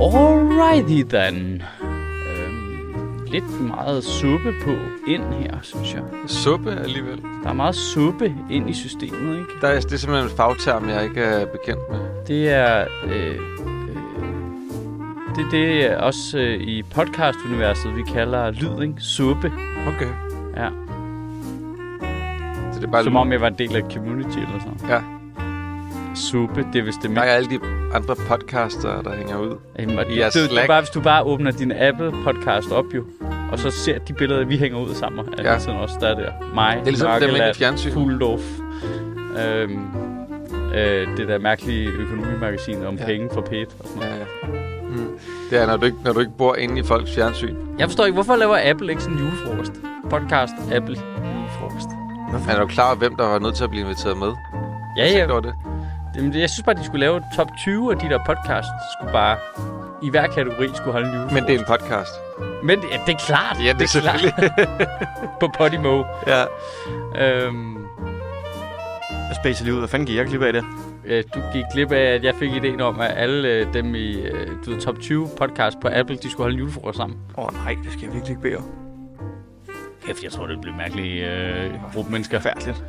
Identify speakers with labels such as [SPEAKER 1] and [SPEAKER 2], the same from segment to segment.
[SPEAKER 1] Alrighty then. Øhm, lidt meget suppe på ind her, synes jeg.
[SPEAKER 2] Suppe alligevel.
[SPEAKER 1] Der er meget suppe ind i systemet, ikke?
[SPEAKER 2] Der er, det er simpelthen en fagterm, jeg ikke er bekendt med.
[SPEAKER 1] Det er... Øh, øh, det, det er også øh, i podcastuniverset, vi kalder lyd, ikke? Suppe.
[SPEAKER 2] Okay.
[SPEAKER 1] Ja.
[SPEAKER 2] Så det er bare
[SPEAKER 1] Som
[SPEAKER 2] lyd.
[SPEAKER 1] om jeg var en del af et community eller sådan.
[SPEAKER 2] Ja.
[SPEAKER 1] Suppe, det er vist det
[SPEAKER 2] Der
[SPEAKER 1] mindste.
[SPEAKER 2] er alle de andre podcaster, der hænger ud.
[SPEAKER 1] Jamen, og det,
[SPEAKER 2] Ja,
[SPEAKER 1] det, det, er
[SPEAKER 2] Slack.
[SPEAKER 1] bare, hvis du bare åbner din Apple-podcast op, jo, og så ser de billeder, vi hænger ud sammen. Er
[SPEAKER 2] Ja.
[SPEAKER 1] ja. sådan også, der er der. Mig,
[SPEAKER 2] Det er ligesom dem inde i
[SPEAKER 1] Nørkeland,
[SPEAKER 2] fjernsynet.
[SPEAKER 1] Fuglendorf. Øhm, øh, det der mærkelige økonomimagasin om
[SPEAKER 2] Ja.
[SPEAKER 1] ja. penge for pæt og sådan noget.
[SPEAKER 2] Ja. Mm. Det er, når du, ikke, når du ikke bor inde i folks fjernsyn.
[SPEAKER 1] Jeg forstår ikke, hvorfor laver Apple ikke sådan en julefrokost? Podcast, Apple, julefrokost.
[SPEAKER 2] Men er du klar over, hvem der var nødt til at blive inviteret med?
[SPEAKER 1] Ja,
[SPEAKER 2] Jeg
[SPEAKER 1] ja.
[SPEAKER 2] tænkte over det.
[SPEAKER 1] Jamen, det- Jeg synes bare, de skulle lave top 20 af de der podcasts. Skulle bare i hver kategori skulle holde en julefrokost.
[SPEAKER 2] Men det er en podcast.
[SPEAKER 1] Men ja, det er klart.
[SPEAKER 2] Ja, det er selvfølgelig.
[SPEAKER 1] klart. På Podimo.
[SPEAKER 2] Ja.
[SPEAKER 1] Øhm,
[SPEAKER 3] Jeg spacer lige ud. Hvad fanden gik jeg glip af det?
[SPEAKER 1] Øh, du gik glip af, at jeg fik ideen om, at alle øh, dem i øh, du ved, top 20 podcast på Apple, de skulle holde en julefrokost sammen.
[SPEAKER 3] Åh oh, nej, det skal jeg virkelig ikke bede om.
[SPEAKER 1] Kæft, jeg tror, det blev mærkeligt øh, gruppe mennesker.
[SPEAKER 3] Forfærdeligt.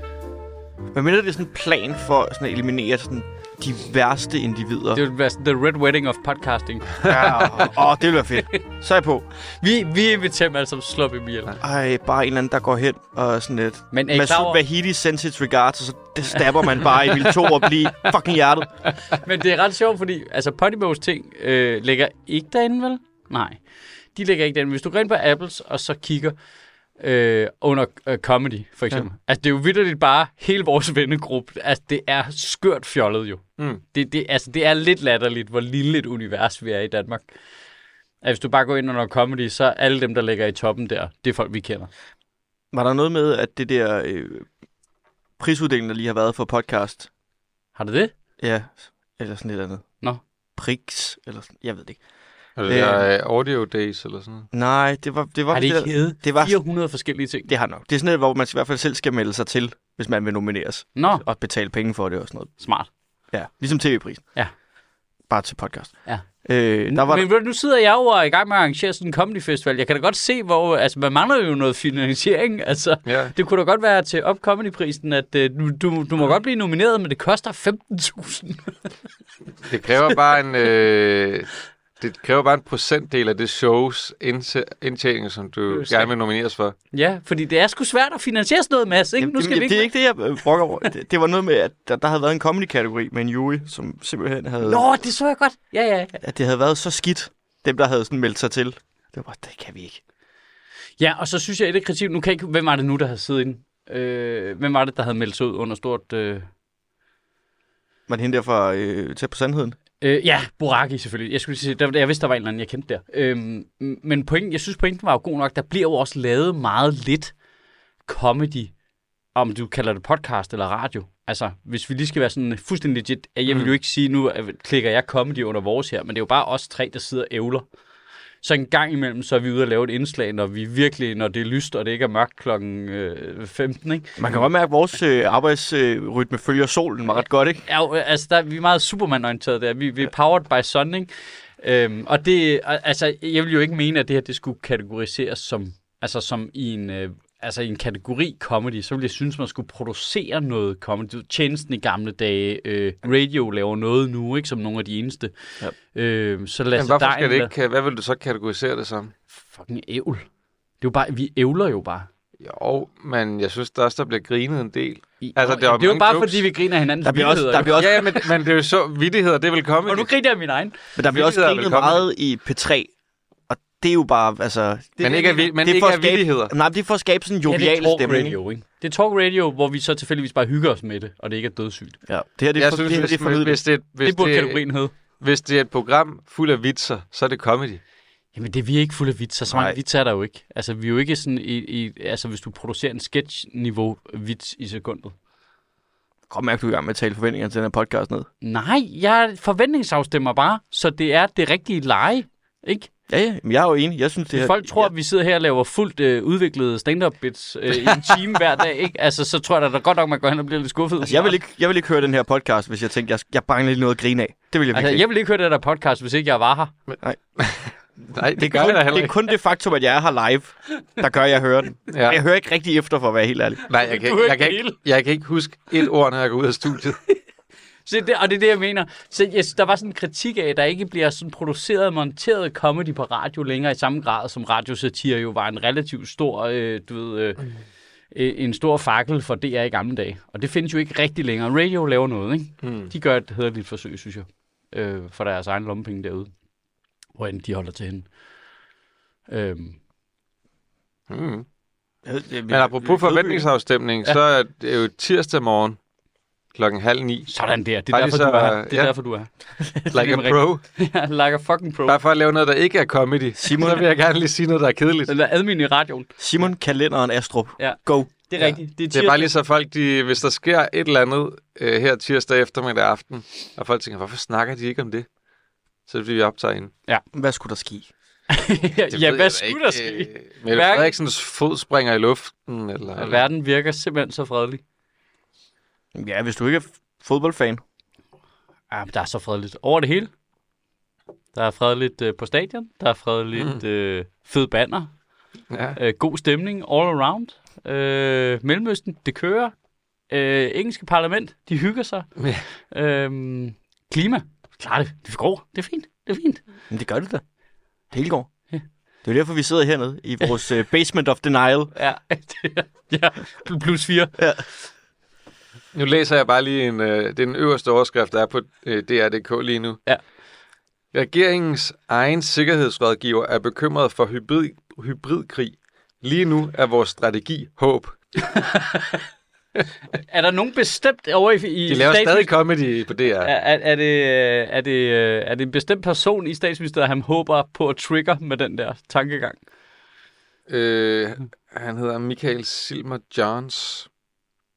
[SPEAKER 3] Hvad mener det er sådan en plan for sådan at eliminere sådan de værste individer?
[SPEAKER 1] Det ville være sådan, the red wedding of podcasting.
[SPEAKER 3] Ja, åh, åh, det ville være fedt. Så er jeg på.
[SPEAKER 1] Vi, vi inviterer dem altså slå dem ihjel.
[SPEAKER 3] Ej, bare en eller anden, der går hen og sådan lidt.
[SPEAKER 1] Men er I klar
[SPEAKER 3] Masoud
[SPEAKER 1] over-
[SPEAKER 3] Vahidi sends its regards, og så det stabber man bare i vil to og blive fucking hjertet.
[SPEAKER 1] Men det er ret sjovt, fordi altså, Podimos ting øh, ligger ikke derinde, vel? Nej, de ligger ikke derinde. Hvis du går ind på Apples og så kigger øh, under øh, comedy, for eksempel. Ja. Altså, det er jo vidderligt bare hele vores vennegruppe. Altså, det er skørt fjollet jo.
[SPEAKER 2] Mm.
[SPEAKER 1] Det, det, altså, det er lidt latterligt, hvor lille et univers vi er i Danmark. Altså, hvis du bare går ind under comedy, så er alle dem, der ligger i toppen der, det er folk, vi kender.
[SPEAKER 3] Var der noget med, at det der øh, prisuddeling, der lige har været for podcast,
[SPEAKER 1] Har du det?
[SPEAKER 3] ja, eller sådan et eller andet.
[SPEAKER 1] Nå.
[SPEAKER 3] Prix, eller sådan, jeg ved det ikke.
[SPEAKER 2] Er det
[SPEAKER 3] Øh.
[SPEAKER 2] der øh, Audio Days eller sådan noget?
[SPEAKER 3] Nej, det var... Det var
[SPEAKER 1] Har det
[SPEAKER 3] der-
[SPEAKER 1] ikke heddet
[SPEAKER 3] det var-
[SPEAKER 1] 400 forskellige ting?
[SPEAKER 3] Det har nok. Det er sådan et, hvor man i hvert fald selv skal melde sig til, hvis man vil nomineres.
[SPEAKER 1] Nå,
[SPEAKER 3] Og betale penge for det og sådan noget.
[SPEAKER 1] smart.
[SPEAKER 3] Ja, ligesom tv-prisen.
[SPEAKER 1] Ja.
[SPEAKER 3] Bare til podcast.
[SPEAKER 1] Ja.
[SPEAKER 3] Øh, der var
[SPEAKER 1] Var men ved du, nu sidder jeg jo og er i gang med at arrangere sådan en comedy festival. Jeg kan da godt se, hvor... Altså, man mangler jo noget finansiering. Altså,
[SPEAKER 2] Ja.
[SPEAKER 1] det kunne da godt være til Up Comedy-prisen, at øh, du, du, du må godt blive nomineret, men det koster 15.000.
[SPEAKER 2] Det kræver bare en... Øh, det kræver bare en procentdel af det shows indtæ- indtjening, som
[SPEAKER 1] er
[SPEAKER 2] du
[SPEAKER 1] jo
[SPEAKER 2] gerne vil nomineres for.
[SPEAKER 1] ja, fordi det er sgu svært at finansiere sådan noget, Mads. Ikke?
[SPEAKER 3] Jamen,
[SPEAKER 1] Nu skal
[SPEAKER 3] jamen,
[SPEAKER 1] vi
[SPEAKER 3] Det er
[SPEAKER 1] ikke...
[SPEAKER 3] ikke det, jeg øh, brokker over. Det, det var noget med, at der, der havde været en comedy-kategori med en jury, som simpelthen havde...
[SPEAKER 1] Nå, det så jeg godt. Ja, ja. ja.
[SPEAKER 3] At det havde været så skidt, dem der havde sådan meldt sig til. Det var bare, det kan vi ikke.
[SPEAKER 1] Ja, og så synes jeg, at det er kritik. Nu kan jeg ikke... Hvem var det nu, der havde siddet inde? Øh, hvem var det, der havde meldt sig ud under stort... Øh...
[SPEAKER 3] Man hende der fra øh, tæt på sandheden.
[SPEAKER 1] Øh, ja, Boraki selvfølgelig. Jeg, skulle lige sige, der, jeg vidste, der var en eller anden, jeg kendte der. Øhm, m- men pointen, jeg synes, pointen var jo god nok. Der bliver jo også lavet meget lidt comedy, om du kalder det podcast eller radio. Altså, hvis vi lige skal være sådan fuldstændig legit. Jeg vil jo ikke sige, nu øh, klikker jeg comedy under vores her, men det er jo bare os tre, der sidder og ævler. Så en gang imellem, så er vi ude og lave et indslag, når vi virkelig, når det er lyst, og det ikke er mørkt klokken øh, 15, ikke?
[SPEAKER 3] Man kan godt mærke, at vores øh, arbejdsrytme følger solen meget godt, ikke?
[SPEAKER 1] Ja, jo, altså, der, vi er meget Superman-orienteret der. Vi, vi er powered by sun, ikke? Øhm, og det, og- altså, jeg vil jo ikke mene, at det her, det skulle kategoriseres som, altså, som i en, øh, altså, i en kategori comedy. Så ville jeg synes, man skulle producere noget comedy. Du ved, Tjenesten i gamle dage, øh, radio laver noget nu, ikke? Som nogle af de eneste. Ja. Øh, så lad
[SPEAKER 2] Men
[SPEAKER 1] os
[SPEAKER 2] hvorfor skal det ikke... Hvad vil du så kategorisere det som?
[SPEAKER 1] Fucking ævl. Det er jo bare, vi ævler jo bare.
[SPEAKER 2] Jo, men jeg synes der også, der bliver grinet en del.
[SPEAKER 1] I,
[SPEAKER 2] Altså,
[SPEAKER 1] Nå,
[SPEAKER 2] der er jo
[SPEAKER 1] det er jo
[SPEAKER 2] mange
[SPEAKER 1] bare,
[SPEAKER 2] jokes.
[SPEAKER 1] fordi vi griner af hinandens
[SPEAKER 3] Der bliver også,
[SPEAKER 1] vittigheder,
[SPEAKER 3] der
[SPEAKER 1] jo.
[SPEAKER 3] bliver også,
[SPEAKER 2] Ja, men, men det er jo så vittigheder, det vil komme.
[SPEAKER 1] Og nu griner jeg min egen.
[SPEAKER 3] men der bliver også
[SPEAKER 2] vittigheder er
[SPEAKER 3] grinet
[SPEAKER 2] velkomne.
[SPEAKER 3] meget i P3. Og det er jo bare, altså... Det,
[SPEAKER 2] Men ikke af vi- men
[SPEAKER 3] det er
[SPEAKER 2] ikke
[SPEAKER 3] for at
[SPEAKER 2] af
[SPEAKER 3] skabe-
[SPEAKER 2] vittigheder.
[SPEAKER 3] Nej, men det er for at skabe sådan en
[SPEAKER 1] Ja, det er
[SPEAKER 3] jovial
[SPEAKER 1] talk
[SPEAKER 3] stemning. ikke?
[SPEAKER 1] radio, ikke? Det er talk radio, hvor vi så tilfældigvis bare hygger os med det, og det ikke er dødssygt.
[SPEAKER 3] Ja, det her det er,
[SPEAKER 2] jeg
[SPEAKER 3] for,
[SPEAKER 2] synes,
[SPEAKER 3] det her,
[SPEAKER 2] hvis,
[SPEAKER 3] det er formidlet.
[SPEAKER 2] hvis, det, er et- hvis,
[SPEAKER 1] det burde
[SPEAKER 2] det, er-
[SPEAKER 1] kategorien hedde.
[SPEAKER 2] hvis det er et program fuld af vitser, så er det comedy.
[SPEAKER 1] Jamen, det er vi ikke fulde af vitser. Så mange
[SPEAKER 3] Nej.
[SPEAKER 1] vitser er der jo ikke. Altså, vi er jo ikke sådan i, i altså, hvis du producerer en sketch-niveau vits i sekundet.
[SPEAKER 3] Godt mærke, du er i gang med at tale forventningerne til den her podcast ned.
[SPEAKER 1] Nej, jeg forventningsafstemmer bare, så det er det rigtige leje. Ikke?
[SPEAKER 3] Ja, ja, men jeg er jo enig. Jeg synes, det
[SPEAKER 1] Hvis
[SPEAKER 3] her...
[SPEAKER 1] folk tror, at vi sidder her og laver fuldt øh, udviklede stand-up-bits øh, i en time hver dag, ikke? Altså, så tror jeg da da godt nok, man går hen og bliver lidt skuffet.
[SPEAKER 3] Altså, jeg vil, ikke, jeg vil ikke høre den her podcast, hvis jeg tænkte, jeg, jeg mangler lige noget at grine af. Det vil jeg virkelig
[SPEAKER 1] Altså,
[SPEAKER 3] ikke.
[SPEAKER 1] jeg vil ikke høre det der podcast, hvis ikke jeg var her.
[SPEAKER 2] Nej, det, det gør
[SPEAKER 3] kun,
[SPEAKER 2] jeg da heller
[SPEAKER 3] det er
[SPEAKER 2] ikke.
[SPEAKER 3] kun det faktum, at jeg er her live, der gør, at jeg hører den.
[SPEAKER 2] Ja.
[SPEAKER 3] Jeg hører ikke rigtig efter, for at være helt ærlig.
[SPEAKER 2] Nej, jeg kan,
[SPEAKER 1] Du er
[SPEAKER 2] ikke-
[SPEAKER 1] ikke
[SPEAKER 2] jeg, kan ikke,
[SPEAKER 1] hele.
[SPEAKER 2] jeg kan ikke huske et ord, når jeg går ud af studiet.
[SPEAKER 1] Så det, og det er det, jeg mener. Så yes, der var sådan en kritik af, at der ikke bliver sådan produceret og monteret comedy på radio længere i samme grad, som radiosatire jo var en relativt stor, øh, du ved, øh, øh, en stor fakkel for DR i gamle dage. Og det findes jo ikke rigtig længere. Radio laver noget, ikke? Mm. De gør et hederligt forsøg, synes jeg, øh, for deres egen lommepenge derude. Hvor end de holder til hende. Øhm,
[SPEAKER 2] Mm. Men
[SPEAKER 3] Men
[SPEAKER 2] apropos forventningsafstemning, så er det jo tirsdag morgen klokken halv ni.
[SPEAKER 1] sådan der. Det er,
[SPEAKER 2] Bare lige
[SPEAKER 1] derfor, du
[SPEAKER 2] så-
[SPEAKER 1] er her. Det er
[SPEAKER 2] ja.
[SPEAKER 1] derfor, du er her.
[SPEAKER 2] Like a
[SPEAKER 1] nemlig
[SPEAKER 2] pro.
[SPEAKER 1] Ja, like a fucking pro.
[SPEAKER 2] Bare for at lave noget, der ikke er comedy. Simon. Så vil jeg gerne lige sige noget, der er kedeligt.
[SPEAKER 1] Eller admin i radioen.
[SPEAKER 3] Simon Kalenderen Astrup.
[SPEAKER 1] Ja.
[SPEAKER 3] Go.
[SPEAKER 1] Det er
[SPEAKER 2] Ja.
[SPEAKER 1] rigtigt. Det er,
[SPEAKER 2] Det er bare lige så folk, de, hvis der sker et eller andet øh, her tirsdag eftermiddag aften, og folk tænker, hvorfor snakker de ikke om det? Så bliver vi optager en.
[SPEAKER 3] Hvad skulle der ske?
[SPEAKER 1] tirsdag. ja, hvad skulle der ske?
[SPEAKER 2] Øh, Mette
[SPEAKER 1] Hverken-
[SPEAKER 2] Frederiksens fod springer i luften, eller...
[SPEAKER 1] Og
[SPEAKER 2] eller
[SPEAKER 1] verden virker simpelthen så fredelig.
[SPEAKER 3] Ja, hvis du ikke er f- fodboldfan.
[SPEAKER 1] Ja, men der er så fredeligt over det hele. Der er fredeligt øh, på stadion. Der er fredeligt mm. øh, fed banner.
[SPEAKER 2] ja.
[SPEAKER 1] Øh, god stemning all around. Øh, Mellemøsten, det kører. Øh, engelske parlament, de hygger sig.
[SPEAKER 2] Ja.
[SPEAKER 1] Øh, klima, klar det. Det går. Det er fint. Det er fint.
[SPEAKER 3] Men det gør det da. Det hele går. Det er jo derfor, vi sidder hernede i vores uh, Basement of Denial.
[SPEAKER 1] Ja, det er, ja. plus fire.
[SPEAKER 2] Nu læser jeg bare lige en, øh, det er den øverste overskrift, der er på øh, DR.dk lige nu.
[SPEAKER 1] Ja.
[SPEAKER 2] Regeringens egen sikkerhedsrådgiver er bekymret for hybrid, hybridkrig. Lige nu er vores strategi håb.
[SPEAKER 1] Er der nogen bestemt over i, i
[SPEAKER 2] De laver
[SPEAKER 1] statsminister-
[SPEAKER 2] stadig comedy på DR.
[SPEAKER 1] Er, er, er, det, øh, er, det, øh, er det en bestemt person i statsministeriet, han håber på at trigger med den der tankegang?
[SPEAKER 2] Øh, han hedder Michael Silmer Johns.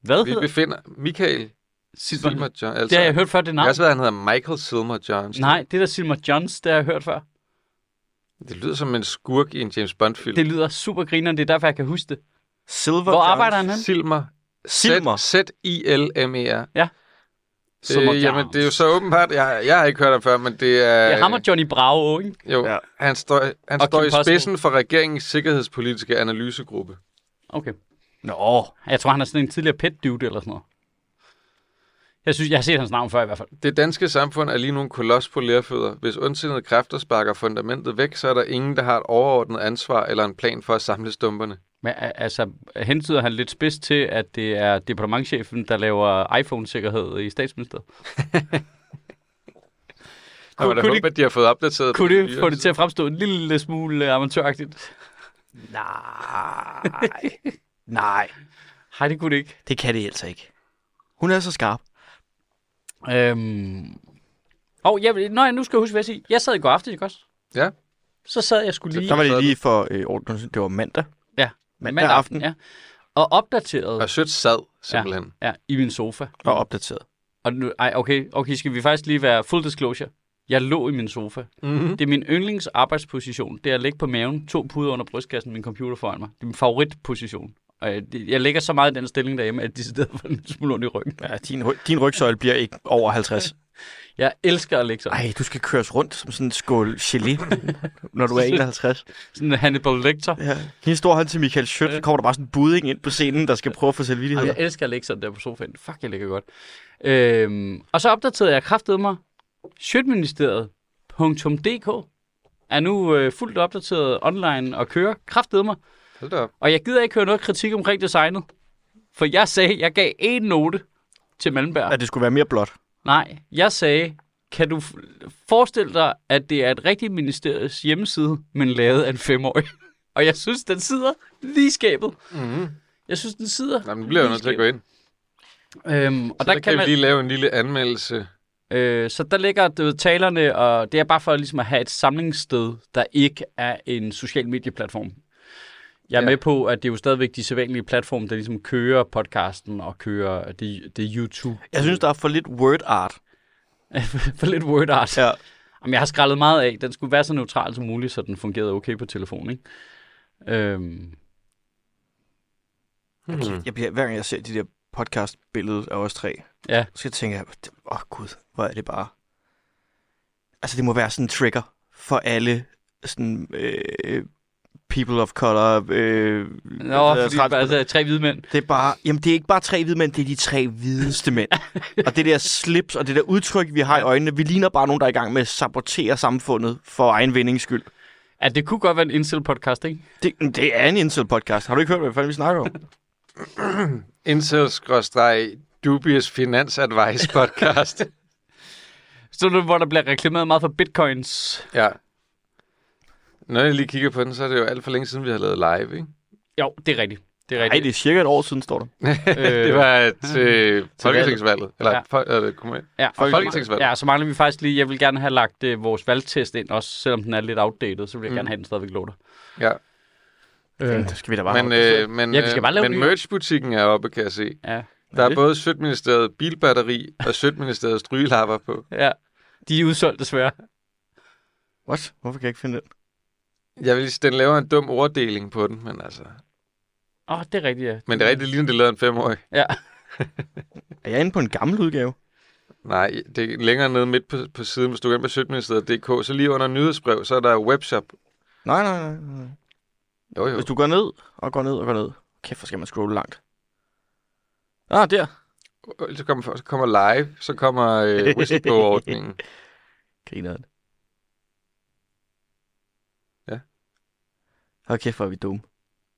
[SPEAKER 1] Hvad
[SPEAKER 2] Vi
[SPEAKER 1] hedder
[SPEAKER 2] befinder... Michael
[SPEAKER 1] Silver?
[SPEAKER 2] Silmer Johns. Altså,
[SPEAKER 1] Det har jeg hørt før, det
[SPEAKER 2] Jeg
[SPEAKER 1] navn.
[SPEAKER 2] har også været, han hedder Michael Silmer Johns.
[SPEAKER 1] Nej, det der Silmer Johns, det har jeg hørt før.
[SPEAKER 2] Det lyder som en skurk i en James Bond-film.
[SPEAKER 1] Det lyder super grineren, det er derfor, jeg kan huske det.
[SPEAKER 3] Silver
[SPEAKER 1] Hvor
[SPEAKER 3] Johns.
[SPEAKER 1] arbejder han hen?
[SPEAKER 2] Silmer.
[SPEAKER 3] Silmer.
[SPEAKER 2] Z-I-L-M-E-R.
[SPEAKER 1] Silmer
[SPEAKER 2] E øh, jamen,
[SPEAKER 1] Johns.
[SPEAKER 2] det er jo så åbenbart. Jeg, jeg har ikke hørt ham før, men det er...
[SPEAKER 1] Det er ham og Johnny Bravo, ikke?
[SPEAKER 2] Jo,
[SPEAKER 3] Ja.
[SPEAKER 2] ja. han står, han
[SPEAKER 1] Og
[SPEAKER 2] står
[SPEAKER 1] Kim
[SPEAKER 2] i
[SPEAKER 1] Possible.
[SPEAKER 2] spidsen for regeringens sikkerhedspolitiske analysegruppe.
[SPEAKER 1] Okay. Nå, jeg tror, han er sådan en tidligere pet dude eller sådan noget. Jeg synes, jeg har set hans navn før i hvert fald.
[SPEAKER 2] Det danske samfund er lige nu en kolos på lærfødder. Hvis ondsindede kræfter sparker fundamentet væk, så er der ingen, der har et overordnet ansvar eller en plan for at samle stumperne.
[SPEAKER 1] Men a- altså, hentyder han lidt spids til, at det er departementchefen, der laver iPhone-sikkerhed i statsministeriet?
[SPEAKER 2] Kunne, jeg må da
[SPEAKER 1] kunne
[SPEAKER 2] håbe, at de har fået opdateret.
[SPEAKER 1] Kunne det
[SPEAKER 2] proceduren.
[SPEAKER 1] få det til at fremstå en lille smule øh, amatøragtigt?
[SPEAKER 3] Nej. Nej.
[SPEAKER 1] Nej, det kunne det ikke.
[SPEAKER 3] Det kan det altså ikke. Hun er så skarp.
[SPEAKER 1] Øhm... Og jeg, når jeg nu skal huske, hvad jeg siger. Jeg sad i går aftes, ikke også?
[SPEAKER 2] Ja.
[SPEAKER 1] Så sad jeg skulle lige
[SPEAKER 3] Så var det lige for øh, ordens skyld, det var mandag.
[SPEAKER 1] Ja.
[SPEAKER 3] Mandag, mandag aften.
[SPEAKER 1] Ja. Og opdateret
[SPEAKER 2] Og Sødt sad, simpelthen.
[SPEAKER 1] ja, i min sofa.
[SPEAKER 3] Og opdateret.
[SPEAKER 1] Og nu, ej, okay, okay, skal vi faktisk lige være full disclosure? Jeg lå i min sofa.
[SPEAKER 2] Ja. Mm-hmm.
[SPEAKER 1] Det er min yndlings arbejdsposition. Det er at ligge på maven, to puder under brystkassen, min computer foran mig. Det er min favoritposition. Og jeg, det- jeg ligger så meget i den stilling derhjemme, at de sidder for en lille smule ondt i ryggen.
[SPEAKER 3] Ja, din, ry- din rygsøjle bliver ikke over 50.
[SPEAKER 1] Jeg elsker at ligge sådan.
[SPEAKER 3] Ej, du skal køres rundt som sådan en skål gelé, når du er 51.
[SPEAKER 1] Sådan en Hannibal Lecter.
[SPEAKER 3] Ja. Hende står han til Michael Schødt, så kommer der bare sådan en budding ind på scenen, der skal prøve at få
[SPEAKER 1] Jamen,
[SPEAKER 3] selvvilligheder.
[SPEAKER 1] jeg elsker at ligge sådan der på sofaen. Fuck, jeg ligger godt. Øhm, og så opdaterede jeg kraftede mig. Sjøtministeriet.dk er nu øh, fuldt opdateret online og kører kraftede mig.
[SPEAKER 2] Hold da op.
[SPEAKER 1] Og jeg gider ikke høre noget kritik omkring designet. For jeg sagde, jeg gav én note til Malmberg.
[SPEAKER 3] At det skulle være mere blot.
[SPEAKER 1] Nej, jeg sagde, kan du f- forestille dig, at det er et rigtigt ministeriets hjemmeside, men lavet af en femårig? Og jeg synes, den sidder lige i skabet.
[SPEAKER 2] Mm-hmm.
[SPEAKER 1] Jeg synes, den sidder.
[SPEAKER 2] Jamen, nu bliver
[SPEAKER 1] lige
[SPEAKER 2] jeg
[SPEAKER 1] i
[SPEAKER 2] nødt til at gå ind.
[SPEAKER 1] skabet. Øhm, og
[SPEAKER 2] Og så der, kan vi lige lave en lille anmeldelse.
[SPEAKER 1] Øh, så der ligger du ved, talerne, og det er bare for ligesom at have et samlingssted, der ikke er en social medieplatform. Jeg er
[SPEAKER 2] Ja.
[SPEAKER 1] ja. med på, at det er jo stadigvæk de sædvanlige platforme, der ligesom kører podcasten og kører det, det YouTube.
[SPEAKER 3] Jeg synes, der er for lidt word art.
[SPEAKER 1] for lidt word art. Ja. Jamen, jeg har skrællet meget af. Den skulle være så neutral som muligt, så den fungerede okay på telefonen, ikke? Øhm, Mhm.
[SPEAKER 2] Hmm.
[SPEAKER 3] Jeg bliver, hver gang jeg ser de der podcast-billeder af os tre,
[SPEAKER 1] Ja.
[SPEAKER 3] så tænker jeg, åh oh, gud, hvor er det bare... Altså, det må være sådan en trigger for alle sådan, øh, people of color. Øh,
[SPEAKER 1] Nå,
[SPEAKER 3] øh,
[SPEAKER 1] fordi,
[SPEAKER 3] trans-
[SPEAKER 1] altså, tre hvide mænd.
[SPEAKER 3] det er bare, jamen det er ikke bare tre hvide mænd, det er de tre hvideste mænd. og det der slips og det der udtryk, vi har i øjnene, vi ligner bare nogen, der er i gang med at sabotere samfundet for egen vindings skyld.
[SPEAKER 1] Ja, det kunne godt være en incel-podcast, ikke?
[SPEAKER 3] Det, det er en incel-podcast. Har du ikke hørt, hvad fanden vi snakker om?
[SPEAKER 2] Incels-dubious finance advice podcast.
[SPEAKER 1] Så nu, hvor der bliver reklameret meget for bitcoins.
[SPEAKER 2] ja. Når jeg lige kigger på den, så er det jo alt for længe siden, vi har lavet live, ikke?
[SPEAKER 1] Jo, det er rigtigt. Det er
[SPEAKER 3] Nej,
[SPEAKER 1] rigtigt.
[SPEAKER 3] det er cirka et år siden, står der.
[SPEAKER 1] Øh,
[SPEAKER 2] det var til folketingsvalget. Eller,
[SPEAKER 1] Ja.
[SPEAKER 2] ja. fol- eller kommunal-
[SPEAKER 1] ja, og så-
[SPEAKER 2] Folketingsvalg.
[SPEAKER 1] Ja, så mangler vi faktisk lige, jeg vil gerne have lagt øh, vores valgtest ind, også selvom den er lidt outdated, så vil jeg mm. gerne have den stadigvæk lå der.
[SPEAKER 2] ja.
[SPEAKER 1] Øh,
[SPEAKER 3] Det skal vi da bare altså.
[SPEAKER 2] Men, øh, men,
[SPEAKER 1] Ja, vi skal bare lave
[SPEAKER 2] men
[SPEAKER 1] nye.
[SPEAKER 2] merch-butikken er oppe, kan jeg se.
[SPEAKER 1] ja,
[SPEAKER 2] Der er
[SPEAKER 3] det?
[SPEAKER 2] både Sødministeriet bilbatteri og Sødministeriet strygelapper på.
[SPEAKER 1] ja. De er udsolgt desværre.
[SPEAKER 3] What? Hvorfor kan jeg ikke finde den?
[SPEAKER 2] Jeg vil sige, den laver en dum orddeling på den, men altså...
[SPEAKER 1] Åh, oh, det er rigtigt, ja.
[SPEAKER 2] Men det er rigtigt ligner, det lavede en femårig.
[SPEAKER 1] Ja.
[SPEAKER 3] Er jeg inde på en gammel udgave?
[SPEAKER 2] Nej, det er længere nede midt på, på siden, hvis du går ind på Sødministeriet.dk, så lige under nyhedsbrev, så er der webshop.
[SPEAKER 3] Nej, nej, nej, nej.
[SPEAKER 2] Jo, jo.
[SPEAKER 3] Hvis du går ned og går ned og går ned. Kæft, hvor skal man scrolle langt. Ah, der.
[SPEAKER 2] Så kommer, så kommer live, så kommer øh, whistleblower-ordningen.
[SPEAKER 3] Griner den.
[SPEAKER 2] Ja.
[SPEAKER 3] Hold kæft, hvor er vi dumme.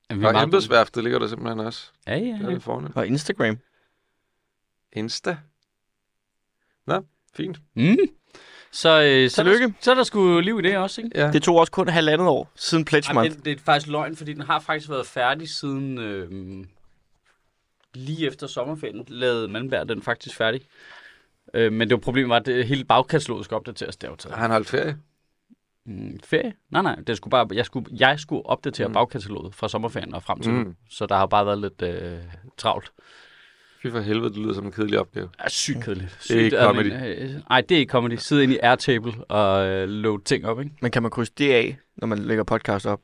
[SPEAKER 1] Jamen, vi er
[SPEAKER 2] Og
[SPEAKER 1] meget-
[SPEAKER 2] embedsværftet ligger der simpelthen også.
[SPEAKER 1] Ja, ja,
[SPEAKER 2] Det er
[SPEAKER 1] ja.
[SPEAKER 2] det fornemt.
[SPEAKER 3] Og Instagram.
[SPEAKER 2] Insta. Nå, fint.
[SPEAKER 1] Mm. Så, øh, så, er der,
[SPEAKER 3] Tillykke.
[SPEAKER 1] så er der sgu liv i det også, ikke?
[SPEAKER 2] Ja.
[SPEAKER 3] Det tog også kun halvandet år siden Pledge
[SPEAKER 1] Jamen,
[SPEAKER 3] Month.
[SPEAKER 1] det, det er faktisk løgn, fordi den har faktisk været færdig siden... Øh, lige efter sommerferien lavede Malmberg den faktisk færdig. Øh, men det var problemet var, at det, hele bagkataloget skal opdateres. Det er jo taget
[SPEAKER 2] Har han holdt ferie?
[SPEAKER 1] Mm, ferie? Nej, nej. Det skulle bare, jeg, skulle, jeg skulle opdatere mm. bagkataloget fra sommerferien og frem til mm. nu.
[SPEAKER 2] Mm.
[SPEAKER 1] Så der har bare været lidt øh, travlt.
[SPEAKER 2] Fy for helvede, det lyder som en kedelig opgave.
[SPEAKER 1] Ja, sygt kedeligt. Sygt,
[SPEAKER 2] Det er ikke
[SPEAKER 1] admin- Øh, nej, det er ikke comedy. Sidde inde i Airtable og øh, load ting op, ikke?
[SPEAKER 3] Men kan man krydse det af, når man lægger podcast op?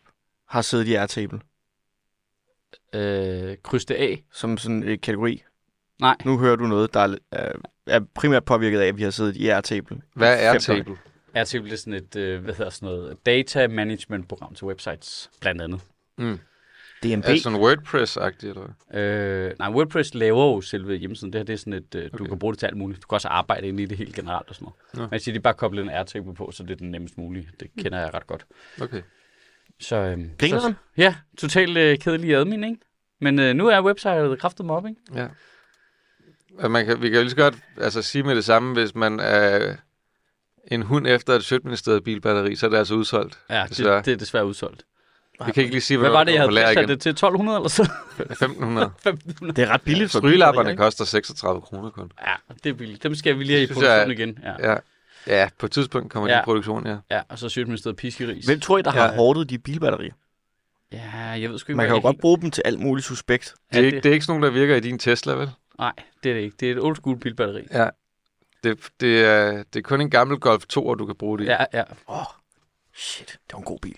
[SPEAKER 3] Har siddet i Airtable
[SPEAKER 1] Øh, kryds det af.
[SPEAKER 3] som sådan en kategori.
[SPEAKER 1] Nej.
[SPEAKER 3] Nu hører du noget, der er, øh, er primært påvirket af, at vi har siddet i Airtable.
[SPEAKER 2] Hvad er
[SPEAKER 3] Fem
[SPEAKER 2] table?
[SPEAKER 1] Airtable er sådan et, øh, hvad hedder sådan noget, data management program til websites, blandt andet.
[SPEAKER 2] Mm.
[SPEAKER 3] DMB.
[SPEAKER 2] Er det sådan WordPress-agtigt, eller hvad?
[SPEAKER 1] Øh, nej, WordPress laver jo selve hjemmesiden. Det her det er sådan et, øh, du
[SPEAKER 2] Okay.
[SPEAKER 1] kan bruge det til alt muligt. Du kan også arbejde inde i det helt generelt og sådan noget.
[SPEAKER 2] Nå.
[SPEAKER 1] Men jeg siger, de er bare koblet en Airtable på, så det er den nemmest mulige. Det kender jeg ret godt.
[SPEAKER 2] Okay.
[SPEAKER 1] Så, øhm,
[SPEAKER 3] Grineren?
[SPEAKER 1] så, ja, totalt øh, kedelig admin, ikke? Men øh, nu er websitet kraftet mig op, ikke?
[SPEAKER 2] Ja. Og man kan, vi kan jo lige så godt altså, sige med det samme, hvis man er en hund efter et sødministeriet bilbatteri, så er det altså udsolgt.
[SPEAKER 1] Ja,
[SPEAKER 2] Desværre.
[SPEAKER 1] det, det er desværre udsolgt.
[SPEAKER 2] Vi kan ikke lige sige,
[SPEAKER 1] Hvad var det, jeg havde
[SPEAKER 2] lager
[SPEAKER 1] prissat
[SPEAKER 2] igen.
[SPEAKER 1] det til? 1200 eller så?
[SPEAKER 2] 1500.
[SPEAKER 1] 1500?
[SPEAKER 3] Det er ret billigt for
[SPEAKER 2] Strygelapperne koster 36 kroner kun.
[SPEAKER 1] Ja, det er billigt. Dem skal vi lige have i
[SPEAKER 2] Det synes jeg
[SPEAKER 1] produktion
[SPEAKER 2] er-
[SPEAKER 1] igen. Ja.
[SPEAKER 2] Ja. ja, på et tidspunkt kommer ja.
[SPEAKER 1] Ja.
[SPEAKER 2] de i produktion, ja.
[SPEAKER 1] ja, og så sygt med stedet piskeris.
[SPEAKER 3] Hvem tror I, der har
[SPEAKER 2] Ja.
[SPEAKER 3] hårdet de bilbatterier?
[SPEAKER 1] Ja, jeg ved sgu ikke,
[SPEAKER 3] Man kan
[SPEAKER 1] hvad
[SPEAKER 3] jo
[SPEAKER 1] jeg
[SPEAKER 3] godt
[SPEAKER 1] helt-
[SPEAKER 3] bruge dem til alt muligt suspekt.
[SPEAKER 2] Det er,
[SPEAKER 1] Ja,
[SPEAKER 2] ikke, det er ikke sådan nogen, der virker i din Tesla, vel?
[SPEAKER 1] Nej, det er det ikke. Det er et old school bilbatteri.
[SPEAKER 2] Ja. Det, det, er, det er kun en gammel Golf 2, du kan bruge det i.
[SPEAKER 1] Ja, ja.
[SPEAKER 3] Åh, oh, shit, det var en god bil.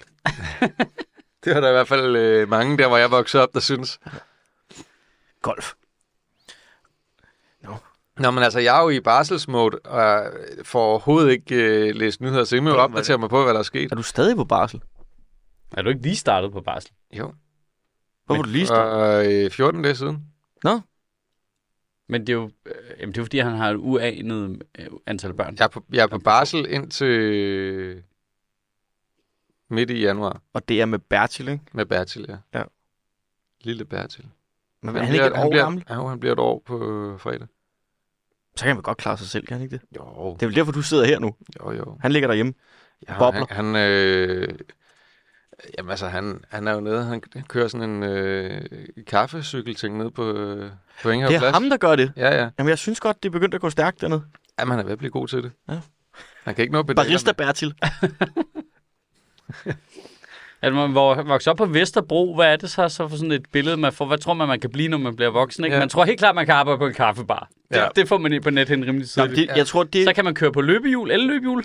[SPEAKER 2] Det var der i hvert fald øh, mange der, hvor jeg voksede op, der synes.
[SPEAKER 3] Golf.
[SPEAKER 2] Nå, men altså, jeg er jo i barselsmode, og får overhovedet ikke øh, læst nyheder, så jeg må jo opdatere mig på, hvad der er sket.
[SPEAKER 3] Er du stadig på barsel?
[SPEAKER 1] Er du ikke lige startet på barsel?
[SPEAKER 2] Jo,
[SPEAKER 3] Hvor var du lige stået?
[SPEAKER 2] for øh, 14 dage siden.
[SPEAKER 1] Men det er jo, øh, jamen, det er jo fordi, han har et uanet øh, antal børn.
[SPEAKER 2] Jeg er på, jeg er på barsel indtil øh, midt i januar
[SPEAKER 3] Og det er med Bertil, ikke?
[SPEAKER 2] med Bertil, ja.
[SPEAKER 3] Ja.
[SPEAKER 2] Lille Bertil.
[SPEAKER 3] Men er han ikke et
[SPEAKER 2] han
[SPEAKER 3] år
[SPEAKER 2] bliver,
[SPEAKER 3] gammel?
[SPEAKER 2] Ja, jo, han bliver et år på øh, fredag.
[SPEAKER 3] Så kan han vel godt klare sig selv, kan han ikke det?
[SPEAKER 2] Jo,
[SPEAKER 3] Det er vel derfor, du sidder her nu.
[SPEAKER 2] jo, jo.
[SPEAKER 3] Han ligger derhjemme.
[SPEAKER 2] Ja,
[SPEAKER 3] Bobler.
[SPEAKER 2] Han, han, øh, jamen altså, han, han er jo nede, han kører sådan en øh, kaffecykelting nede på, øh, på Ingehav
[SPEAKER 3] Det er
[SPEAKER 2] Plads.
[SPEAKER 3] ham, der gør det.
[SPEAKER 2] Ja, ja.
[SPEAKER 3] Jamen, jeg synes godt, det er begyndt at gå stærkt dernede.
[SPEAKER 2] Jamen, han er ved at blive god til det.
[SPEAKER 3] Ja.
[SPEAKER 2] Han kan ikke nå pedalerne.
[SPEAKER 3] Barista Bertil.
[SPEAKER 1] At Altså, man hvor- vokser op på Vesterbro, hvad er det så, så for sådan et billede, man får? Hvad tror man, man kan blive, når man bliver voksen? Ikke? Ja.
[SPEAKER 2] Ja.
[SPEAKER 1] Man tror helt klart, man kan arbejde på en kaffebar. Det, ja.
[SPEAKER 2] Ja.
[SPEAKER 1] det får man ind på nettet rimelig
[SPEAKER 3] Nå,
[SPEAKER 1] tidligt.
[SPEAKER 3] det, jeg tror, det,
[SPEAKER 1] Så kan man køre på løbehjul, elløbehjul.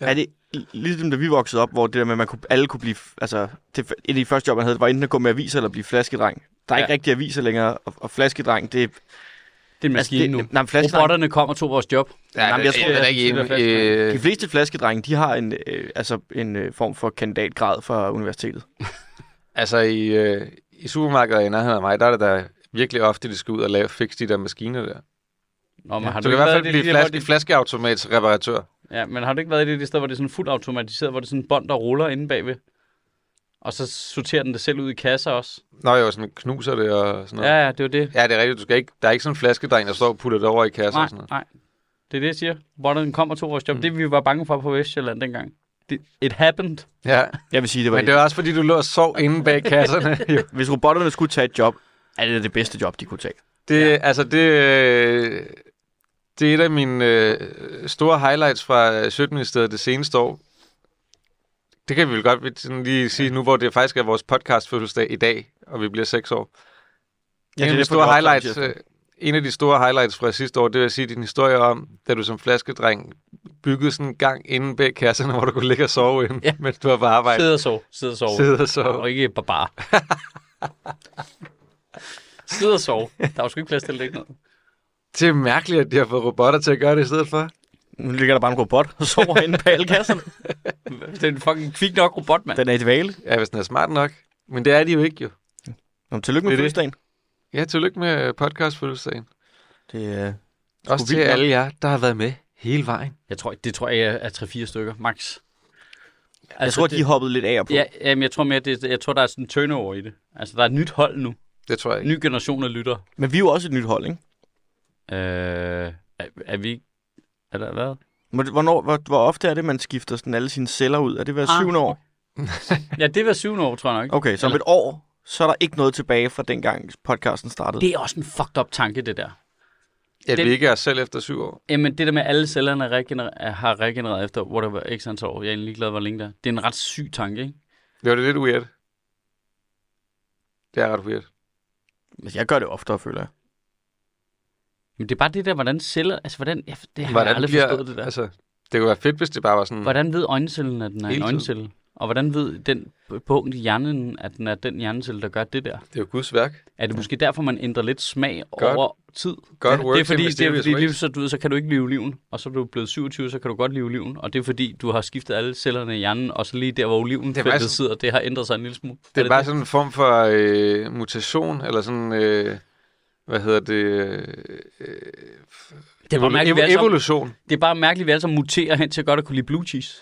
[SPEAKER 2] Ja.
[SPEAKER 3] Ja. Er det ligesom da vi voksede op, hvor det der med, at man kunne, alle kunne blive... Altså, det, et af de første job, man havde, var enten at gå med aviser eller blive flaskedreng. Der er
[SPEAKER 1] Ja.
[SPEAKER 3] ja. ikke rigtig aviser længere, og, og flaskedreng, det er...
[SPEAKER 1] Altså, Det er en maskine
[SPEAKER 3] det,
[SPEAKER 1] nu.
[SPEAKER 3] Nej, men flaskedreng,
[SPEAKER 1] Robotterne kommer og tog vores job.
[SPEAKER 2] Ja,
[SPEAKER 3] Jamen, jeg tror,
[SPEAKER 2] er
[SPEAKER 1] at-
[SPEAKER 2] ikke
[SPEAKER 1] det er
[SPEAKER 2] enig.
[SPEAKER 1] fast,
[SPEAKER 2] Øh,
[SPEAKER 3] de fleste flaskedrenge, de har en, øh, altså en øh, form for kandidatgrad fra universitetet.
[SPEAKER 2] altså, i, øh, i supermarkedet i nærheden af mig, der er det da virkelig ofte, de skal ud og lave fix de der maskiner der.
[SPEAKER 1] Nå, men
[SPEAKER 2] Ja,
[SPEAKER 1] har
[SPEAKER 2] du
[SPEAKER 1] ikke
[SPEAKER 2] kan i hvert
[SPEAKER 1] været
[SPEAKER 2] fald
[SPEAKER 1] det
[SPEAKER 2] blive
[SPEAKER 1] der, hvor
[SPEAKER 2] flas-
[SPEAKER 1] det-
[SPEAKER 2] flaskeautomatsreparatør.
[SPEAKER 1] Ja, men har du ikke været i det, det sted, hvor det er sådan fuldt automatiseret, hvor det er sådan en bånd, der ruller inde bagved? Og så sorterer den det selv ud i kasser også.
[SPEAKER 2] Nå jo, sådan knuser det og sådan noget.
[SPEAKER 1] Ja, ja, det var det.
[SPEAKER 2] Ja, det er rigtigt. Du skal ikke, der er ikke sådan en flaskedreng, der står og putter det over i kassen
[SPEAKER 1] Nej,
[SPEAKER 2] og sådan noget.
[SPEAKER 1] nej. Det er det, jeg siger. Robotterne kommer to vores job. Mm. Det, vi var bange for på Vestjylland dengang. Det, it happened.
[SPEAKER 2] Ja,
[SPEAKER 3] Jeg vil sige, det var,
[SPEAKER 2] men det er også fordi, du lå og sov inde bag kasserne. jo.
[SPEAKER 3] hvis robotterne skulle tage et job, er det det bedste job, de kunne tage.
[SPEAKER 2] Det, ja. altså, det, øh, det er et af mine øh, store highlights fra Sjøtministeriet det seneste år. Det kan vi vel godt sådan lige sige nu, hvor det faktisk er vores podcast fødselsdag i dag, og vi bliver seks år. Ja, en, af de store highlights, øh, en af de store highlights fra sidste år, det vil sige din historie om, da du som flaskedreng byggede sådan en gang inde bag kasserne, hvor du kunne ligge og sove inde, ja.
[SPEAKER 1] Ja.
[SPEAKER 2] mens du var på arbejde.
[SPEAKER 1] Sidde og sove. Sidde og sove.
[SPEAKER 2] Sidde og sove.
[SPEAKER 1] Og ikke barbar. Sidde og sove. Der var sgu ikke plads til at ligge ned.
[SPEAKER 2] Det er mærkeligt, at de har fået robotter til at gøre det i stedet for.
[SPEAKER 3] Nu ligger der bare en robot og sover inde på alle kasserne.
[SPEAKER 1] Det er en fucking kvik nok robot, mand.
[SPEAKER 3] Den er i dvale.
[SPEAKER 2] Ja, hvis den er smart nok. Men det er de jo ikke, jo.
[SPEAKER 3] Nå, men
[SPEAKER 2] Det
[SPEAKER 3] tillykke med
[SPEAKER 2] er det.
[SPEAKER 3] fødselsdagen.
[SPEAKER 2] Ja, tillykke med podcastfødselsdagen.
[SPEAKER 3] Det er...
[SPEAKER 2] Også til
[SPEAKER 3] vildt nok.
[SPEAKER 2] alle jer, der har været med hele vejen.
[SPEAKER 1] Jeg tror, det tror jeg er- er 3-4 stykker, max. Altså,
[SPEAKER 3] jeg tror, de er hoppet lidt af og på.
[SPEAKER 1] Ja, jamen, jeg tror mere, det, jeg tror, der er sådan en turnover i det. Altså, der er et nyt hold nu.
[SPEAKER 2] Det tror jeg
[SPEAKER 1] En ny generation af lytter.
[SPEAKER 3] Men vi er jo også et nyt hold, ikke?
[SPEAKER 1] Øh, er, er vi ikke... Er der hvad?
[SPEAKER 3] Men Hvornår, hvor, hvor ofte er det, man skifter sådan alle sine celler ud? Er det hver
[SPEAKER 1] Ah.
[SPEAKER 3] syvende år?
[SPEAKER 1] Ja, det var syvende år, tror jeg nok.
[SPEAKER 3] Okay, så om
[SPEAKER 1] Eller-
[SPEAKER 3] et år, så er der ikke noget tilbage fra dengang podcasten startede.
[SPEAKER 1] Det er også en fucked up tanke, det der.
[SPEAKER 2] At
[SPEAKER 1] Den-
[SPEAKER 2] vi ikke er os selv efter syv år.
[SPEAKER 1] Jamen, det der med, at alle cellerne er regener- er- har regenereret efter whatever, x antal år. Jeg er egentlig glad, hvor længe der. Det er en ret syg tanke, ikke?
[SPEAKER 2] Det var det lidt weird. Det er ret weird.
[SPEAKER 3] Det... Altså, Jeg gør det oftere, føler jeg.
[SPEAKER 1] Men det er bare det der, hvordan celler... Altså, hvordan... Jeg, det har
[SPEAKER 2] Hvordan
[SPEAKER 1] jeg aldrig
[SPEAKER 2] bliver-
[SPEAKER 1] forstået, det der.
[SPEAKER 2] Altså, det kunne være fedt, hvis det bare var sådan...
[SPEAKER 1] Hvordan ved øjencellen, at den er
[SPEAKER 2] Hele
[SPEAKER 1] en
[SPEAKER 2] tiden.
[SPEAKER 1] øjencelle? Og hvordan ved den punkt i hjernen, at den er den hjernecelle, der gør det der?
[SPEAKER 2] Det er jo Guds værk.
[SPEAKER 1] Er det måske derfor, man ændrer lidt smag
[SPEAKER 2] Godt.
[SPEAKER 1] over tid?
[SPEAKER 2] Godt
[SPEAKER 1] det er
[SPEAKER 2] work
[SPEAKER 1] fordi,
[SPEAKER 2] til
[SPEAKER 1] det er,
[SPEAKER 2] Mysterious
[SPEAKER 1] fordi lige,
[SPEAKER 2] Ways.
[SPEAKER 1] så, du, ved, så kan du ikke leve liven, og så er du blevet 27, så kan du godt leve liven, og det er fordi, du har skiftet alle cellerne i hjernen, og så lige der, hvor oliven
[SPEAKER 2] Det er
[SPEAKER 1] feltet
[SPEAKER 2] bare sådan-
[SPEAKER 1] sidder, det har ændret sig en lille smule.
[SPEAKER 2] Det er bare sådan en form for øh, mutation, eller sådan... Øh, hvad hedder det? Øh,
[SPEAKER 1] det, er bare mærkeligt, vi
[SPEAKER 2] ev-
[SPEAKER 1] alle sammen,
[SPEAKER 2] evolution.
[SPEAKER 1] det er bare mærkeligt, at vi alle sammen muterer hen til godt at kunne lide blue cheese.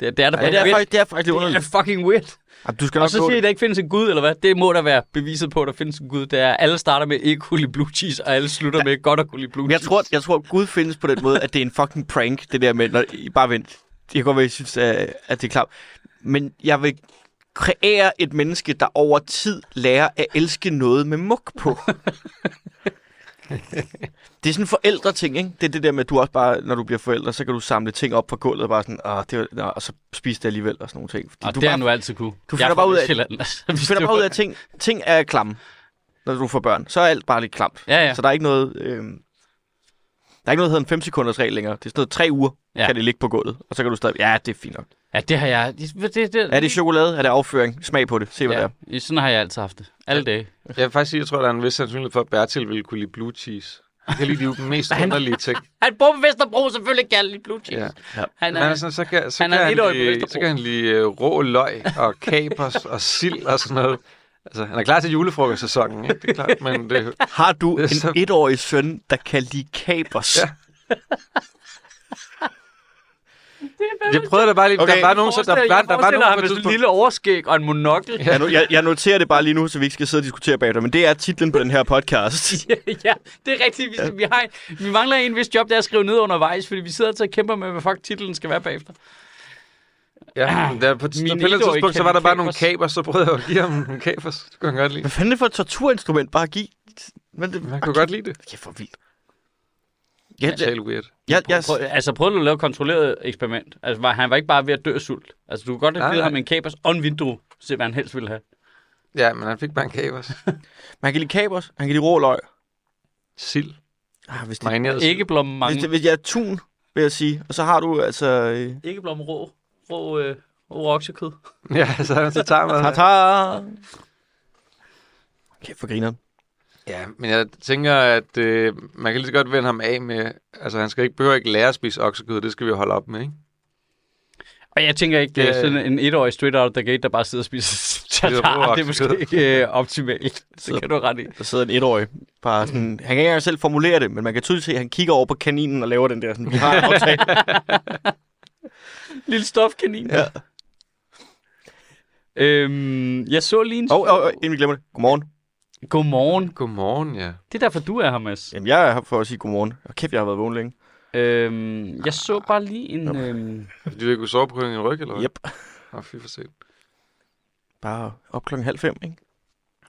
[SPEAKER 1] Det, er- det er da
[SPEAKER 3] Ja,
[SPEAKER 1] bare
[SPEAKER 3] det, er
[SPEAKER 1] weird.
[SPEAKER 3] faktisk, det er faktisk lidt
[SPEAKER 1] Det er
[SPEAKER 3] underligt.
[SPEAKER 1] fucking weird.
[SPEAKER 3] Jamen, du skal
[SPEAKER 1] Og
[SPEAKER 3] nok
[SPEAKER 1] så
[SPEAKER 3] nå
[SPEAKER 1] siger I,
[SPEAKER 3] det.
[SPEAKER 1] at der ikke findes en gud, eller hvad? Det må der være beviset på, at der findes en gud. Det er, at alle starter med ikke kunne lide blue cheese, og alle slutter med godt at kunne lide blue
[SPEAKER 3] Men Jeg
[SPEAKER 1] cheese.
[SPEAKER 3] tror, jeg tror, Gud findes på den måde, at det er en fucking prank, det der med, når I bare vent. Jeg kan godt være, I synes, at, at det er klart. Men jeg vil kreere et menneske, der over tid lærer at elske noget med muk på. det er sådan en forældreting, ikke? Det er det der med, at du også bare, når du bliver forældre, så kan du samle ting op fra gulvet og bare sådan, Åh, det var, nå, og så spise det alligevel og sådan nogle ting. Fordi
[SPEAKER 1] og
[SPEAKER 3] du
[SPEAKER 1] det har
[SPEAKER 3] bare,
[SPEAKER 1] nu altid kunne. Jeg er
[SPEAKER 3] du finder
[SPEAKER 1] fra
[SPEAKER 3] bare ud af-
[SPEAKER 1] Vestjylland, altså.
[SPEAKER 3] du finder bare ud af, at ting, ting er klamme, når du får børn. Så er alt bare lidt klamt.
[SPEAKER 1] Ja, ja.
[SPEAKER 3] Ja. Så der er ikke noget... Øh, der er ikke noget, der hedder en 5 sekunders regel længere. Det er sådan noget, tre uger
[SPEAKER 1] Ja.
[SPEAKER 3] ja. kan det ligge på gulvet, og så kan du stadig... Ja, det er fint nok.
[SPEAKER 1] Ja, det har jeg. Det, det, det,
[SPEAKER 3] Er det chokolade? Er det afføring? Smag på det. Se, hvad ja. det er.
[SPEAKER 1] Ja, sådan har jeg altid haft det. Alle dage.
[SPEAKER 2] Jeg vil faktisk sige, at jeg tror, der er en vis sandsynlighed for, at Bertil ville kunne lide blue cheese. Jeg kan lide de mest underlige ting.
[SPEAKER 1] Han bor på Vesterbro, selvfølgelig kan lige blue cheese.
[SPEAKER 2] Ja.
[SPEAKER 3] Ja.
[SPEAKER 1] Han
[SPEAKER 2] Men
[SPEAKER 1] er,
[SPEAKER 2] altså, så kan, så
[SPEAKER 1] han
[SPEAKER 2] han,
[SPEAKER 1] er
[SPEAKER 2] kan han,
[SPEAKER 1] etårig på
[SPEAKER 2] lide,
[SPEAKER 1] Vesterbro.
[SPEAKER 2] så kan han lide øh, rå løg og kapers og sild og sådan noget. Altså, han er klar til julefrokostsæsonen, ikke? Det er klart, men det,
[SPEAKER 3] Har du
[SPEAKER 2] Det er
[SPEAKER 3] en
[SPEAKER 2] så-
[SPEAKER 3] etårig søn, der kan lide kapers?
[SPEAKER 2] Ja.
[SPEAKER 3] Ja.
[SPEAKER 2] jeg prøvede da bare lige... Okay.
[SPEAKER 3] Okay.
[SPEAKER 2] Der var nogen, så der, der,
[SPEAKER 1] jeg
[SPEAKER 2] der var
[SPEAKER 1] forestiller
[SPEAKER 2] nogen
[SPEAKER 1] ham
[SPEAKER 2] på
[SPEAKER 1] med
[SPEAKER 2] et
[SPEAKER 1] sådan en
[SPEAKER 2] tidspunkt...
[SPEAKER 1] lille overskæg og en monokkel.
[SPEAKER 3] Jeg, no- jeg, jeg noterer det bare lige nu, så vi ikke skal sidde og diskutere bagefter, men det er titlen på den her podcast.
[SPEAKER 1] Ja, ja, det er rigtigt. Vi, vi, har, en- vi mangler en vis job, der er at skrive ned undervejs, fordi vi sidder altid og kæmper med, hvad fuck titlen skal være bagefter.
[SPEAKER 2] Ja, men der, på, et-
[SPEAKER 1] Min
[SPEAKER 2] på et eller andet
[SPEAKER 1] etårige
[SPEAKER 2] tidspunkt, så
[SPEAKER 1] kan
[SPEAKER 2] var der
[SPEAKER 1] lide
[SPEAKER 2] bare nogle
[SPEAKER 1] kapers.
[SPEAKER 2] kapers, så prøvede jeg at give ham nogle kapers. Det kunne han godt lide.
[SPEAKER 3] Hvad fanden er det for et torturinstrument bare at give? Men det,
[SPEAKER 2] Men Han kunne godt lide det.
[SPEAKER 3] Kæft, for vildt.
[SPEAKER 2] Ja,
[SPEAKER 3] Ja,
[SPEAKER 2] det er
[SPEAKER 3] jeg,
[SPEAKER 2] helt weird.
[SPEAKER 3] Altså, jeg, jeg,
[SPEAKER 1] Prøv, altså prøv nu at lave et kontrolleret eksperiment. Altså, var, han var ikke bare ved at dø af sult. Altså, du kunne godt
[SPEAKER 2] Nej,
[SPEAKER 1] have givet
[SPEAKER 2] nej.
[SPEAKER 1] ham en kapers og en vindue, se hvad han helst ville have.
[SPEAKER 2] Ja, men han fik bare en kapers.
[SPEAKER 3] man kan lide kapers, man kan lide rå løg.
[SPEAKER 2] Sild.
[SPEAKER 3] Ah, hvis det,
[SPEAKER 2] Marineret sild.
[SPEAKER 1] Ikke blom mange.
[SPEAKER 3] Hvis, det, hvis jeg er tun, vil vil jeg sige. Og så har du altså... Øh,
[SPEAKER 1] Ikke blom rå, rå, øh, rå oksekød.
[SPEAKER 2] Ja, så, så tager
[SPEAKER 3] Øh.
[SPEAKER 2] man det.
[SPEAKER 3] Tartar. Kæft for griner.
[SPEAKER 2] Ja, men jeg tænker, at øh, man kan lige så godt vende ham af med... Altså, han skal ikke, behøver ikke lære at spise oksekød. Det skal vi holde op med, ikke?
[SPEAKER 1] Og jeg tænker ikke,
[SPEAKER 2] Det-
[SPEAKER 1] det... sådan en etårig straight out of the gate, der bare sidder og spiser
[SPEAKER 2] rå
[SPEAKER 1] tartar, det er
[SPEAKER 2] oksekød.
[SPEAKER 1] måske ikke øh, optimalt. Det kan du have ret i.
[SPEAKER 3] Der sidder en etårig. Bare sådan, han kan ikke engang selv formulere det, men man kan tydeligt se, at han kigger over på kaninen og laver den der. Sådan, vi har en aftale.
[SPEAKER 1] Lille stofkanin. Ja. Øhm, jeg så lige en...
[SPEAKER 3] Åh, oh, oh, inden vi glemmer det. Godmorgen.
[SPEAKER 1] Godmorgen.
[SPEAKER 2] Godmorgen, ja.
[SPEAKER 1] Det er derfor, du er her, Mads.
[SPEAKER 3] Jamen, jeg er her for at sige godmorgen. Og kæft, jeg har været vågen længe.
[SPEAKER 1] Øhm, jeg så bare lige en... Øhm,
[SPEAKER 2] Fordi du ikke kunne sove på grund af din ryg, eller hvad?
[SPEAKER 3] Yep.
[SPEAKER 2] Åh, fy for sent.
[SPEAKER 3] Bare op klokken halv fem, ikke?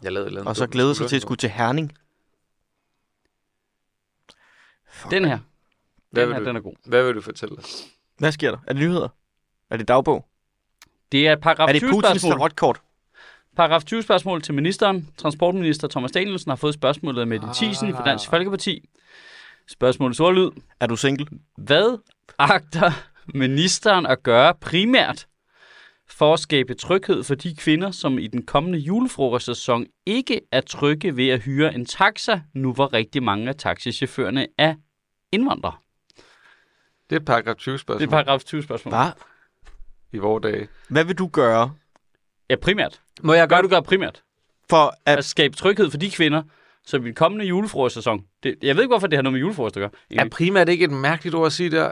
[SPEAKER 2] Jeg lavede et eller andet
[SPEAKER 3] Og så
[SPEAKER 2] dumt med
[SPEAKER 3] glæder sig til
[SPEAKER 2] skulderen.
[SPEAKER 3] at skulle til Herning. Fuck.
[SPEAKER 1] den her.
[SPEAKER 2] Hvad
[SPEAKER 1] Den
[SPEAKER 2] vil
[SPEAKER 1] her,
[SPEAKER 2] du-
[SPEAKER 1] den er god.
[SPEAKER 2] Hvad vil du fortælle os?
[SPEAKER 3] Hvad sker der? Er det nyheder? Er det dagbog?
[SPEAKER 1] Det er et paragraf
[SPEAKER 3] Er det
[SPEAKER 1] 20
[SPEAKER 3] Putins
[SPEAKER 1] spørgsmål.
[SPEAKER 3] tarotkort?
[SPEAKER 1] Paragraf 20 spørgsmål til ministeren. Transportminister Thomas Danielsen har fået spørgsmålet med Mette Thiesen fra Dansk Folkeparti. Spørgsmålets ordlyd.
[SPEAKER 3] Er du single?
[SPEAKER 1] Hvad agter ministeren at gøre primært for at skabe tryghed for de kvinder, som i den kommende julefrokostsæson ikke er trygge ved at hyre en taxa, nu hvor rigtig mange af taxichaufførerne er indvandrere?
[SPEAKER 2] Det er paragraf 20
[SPEAKER 1] Det er
[SPEAKER 2] spørgsmål
[SPEAKER 1] paragraf 20 spørgsmål.
[SPEAKER 3] Hvad?
[SPEAKER 2] i vores dage.
[SPEAKER 3] Hvad vil du gøre
[SPEAKER 1] Ja, primært.
[SPEAKER 2] Må jeg
[SPEAKER 1] Hvad gør du gør primært?
[SPEAKER 3] for at...
[SPEAKER 1] At skabe tryghed for de kvinder, som i den kommende julefrokostsæson... Det, jeg ved ikke, hvorfor det har noget med julefrokost at gøre.
[SPEAKER 2] Er primært ikke et mærkeligt ord at sige der?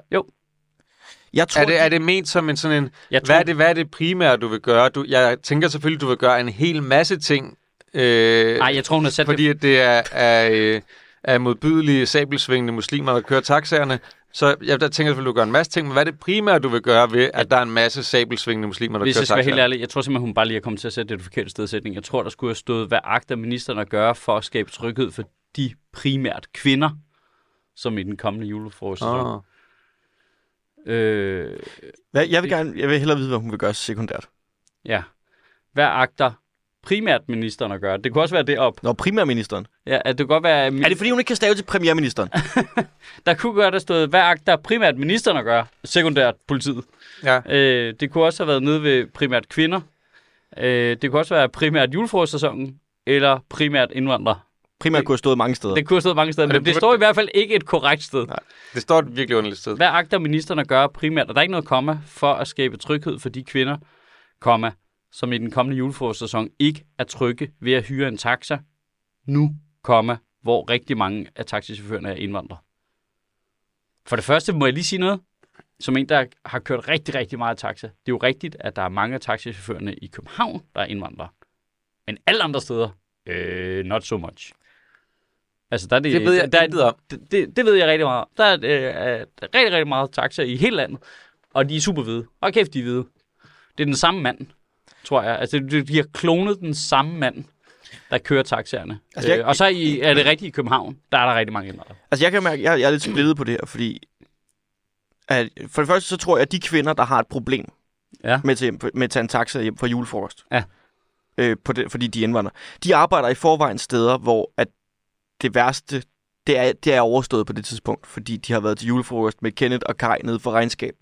[SPEAKER 3] Jeg tror,
[SPEAKER 2] Er det, er det ment som en sådan en...
[SPEAKER 1] Jeg
[SPEAKER 2] Hvad er det, hvad er det primære, du vil gøre? Du, jeg tænker selvfølgelig, du vil gøre en hel masse ting. Øh,
[SPEAKER 1] Nej, jeg tror, hun har sat det...
[SPEAKER 2] fordi at det er, er, øh, er modbydelige sabelsvingende muslimer, der kører taxaerne. Så jeg der tænker selvfølgelig, du gør en masse ting, men hvad er det primære, du vil gøre ved, at der er en masse sabelsvingende muslimer, der
[SPEAKER 1] Hvis
[SPEAKER 2] kører
[SPEAKER 1] jeg skal være helt
[SPEAKER 2] taxaerne?
[SPEAKER 1] ærlig, jeg tror simpelthen, hun bare lige er kommet til at sætte det forkerte sted i sætningen. Jeg tror, der skulle have stået, hvad agter ministeren at gøre for at skabe tryghed for de primært kvinder, som i den kommende julefrokost. Oh.
[SPEAKER 2] Åh.
[SPEAKER 1] Øh,
[SPEAKER 3] Hvad, jeg, vil gerne, jeg vil hellere vide, hvad hun vil gøre sekundært.
[SPEAKER 1] ja. Hvad agter primært ministeren at gøre? Det kunne også være det op.
[SPEAKER 3] Nå, primærministeren.
[SPEAKER 1] Ja, at det kunne godt være... at min-
[SPEAKER 3] Er det, fordi hun ikke kan stave til premierministeren?
[SPEAKER 1] Der kunne godt have stået, hvad agter primært ministeren at gøre? Sekundært politiet.
[SPEAKER 2] Ja.
[SPEAKER 1] Øh, det kunne også have været nede ved primært kvinder. Øh, det kunne også være primært julefrokostsæsonen eller primært indvandrere.
[SPEAKER 3] Primært kunne have stået mange steder.
[SPEAKER 1] Det kunne have stået mange steder,
[SPEAKER 2] det
[SPEAKER 1] men det
[SPEAKER 2] burde-
[SPEAKER 1] står i hvert fald ikke et korrekt sted.
[SPEAKER 3] Nej.
[SPEAKER 2] Det står et virkelig underligt sted.
[SPEAKER 1] Hvad agter ministeren at gøre primært, og der er ikke noget komma, for at skabe tryghed for de kvinder, komma, som i den kommende julefrokostsæson ikke er trygge ved at hyre en taxa nu, komma, hvor rigtig mange af taxichaufførerne er indvandrere? For det første må jeg lige sige noget. Som en, der har kørt rigtig, rigtig meget taxa. Det er jo rigtigt, at der er mange af taxichaufførerne i København, der er indvandrere. Men alle andre steder, øh, not so much. Altså, der er det,
[SPEAKER 2] Det ved jeg
[SPEAKER 1] der, er-
[SPEAKER 2] intet om.
[SPEAKER 1] det, det, det ved jeg rigtig meget. Der er øh, er rigtig, rigtig meget taxa i hele landet, og de er super hvide. Og kæft, de er hvide. Det er den samme mand, tror jeg. Altså, de, de har klonet den samme mand, der kører taxaerne. Altså,
[SPEAKER 3] Altså, jeg-
[SPEAKER 1] øh, og så i, er det rigtigt i København, der er der rigtig mange indvandrere.
[SPEAKER 3] Altså, jeg kan mærke, jeg, jeg er lidt splittet på det her, fordi... At, for det første, så tror jeg, at de kvinder, der har et problem
[SPEAKER 1] Ja.
[SPEAKER 3] med, til, med at tage en taxa hjem fra julefrokost,
[SPEAKER 1] Ja.
[SPEAKER 3] øh, på det, fordi de er indvandrere, de arbejder i forvejen steder, hvor at det værste, det er, det er overstået på det tidspunkt, fordi de har været til julefrokost med Kenneth og Kai nede for regnskab,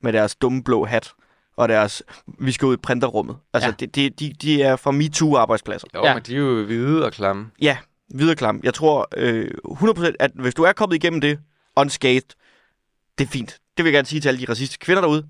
[SPEAKER 3] med deres dumme blå hat, og deres, vi skal ud i printerrummet. Altså,
[SPEAKER 1] Ja.
[SPEAKER 3] ja. det, det, de, de er fra MeToo-arbejdspladser.
[SPEAKER 2] Jo,
[SPEAKER 1] Ja.
[SPEAKER 2] men de er jo hvide og klamme.
[SPEAKER 3] Ja, videreklam. Jeg tror øh, 100% at hvis du er kommet igennem det unscathed, det er fint. Det vil jeg gerne sige til alle de racistiske kvinder derude.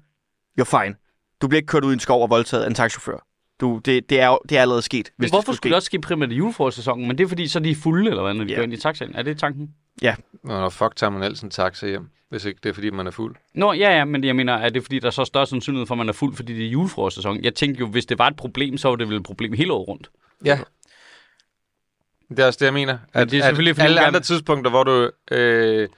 [SPEAKER 3] You're fine. Du bliver ikke kørt ud i en skov og voldtaget af en taxachauffør. Du, det, det, er, jo- det er allerede sket.
[SPEAKER 1] Hvis Hvorfor skulle det også ske primært i julefrokostsæsonen? Men det er fordi, så er de fulde, eller hvad, når de
[SPEAKER 3] Ja.
[SPEAKER 1] yeah. går ind i taxaen. Er det tanken?
[SPEAKER 2] Nå, nå, fuck tager man altid en taxa hjem, hvis ikke det er, fordi man er fuld.
[SPEAKER 1] Nå, ja, ja, men jeg mener, er det fordi, der er så større sandsynlighed for, at man er fuld, fordi det er julefrokostsæson? Jeg tænkte jo, hvis det var et problem, så var det vel et problem hele året rundt.
[SPEAKER 2] Ja. Det er også det, jeg mener. At,
[SPEAKER 1] det er selvfølgelig,
[SPEAKER 2] at
[SPEAKER 1] fordi
[SPEAKER 2] alle
[SPEAKER 1] du
[SPEAKER 2] andre
[SPEAKER 1] gerne-
[SPEAKER 2] tidspunkter, hvor du øh,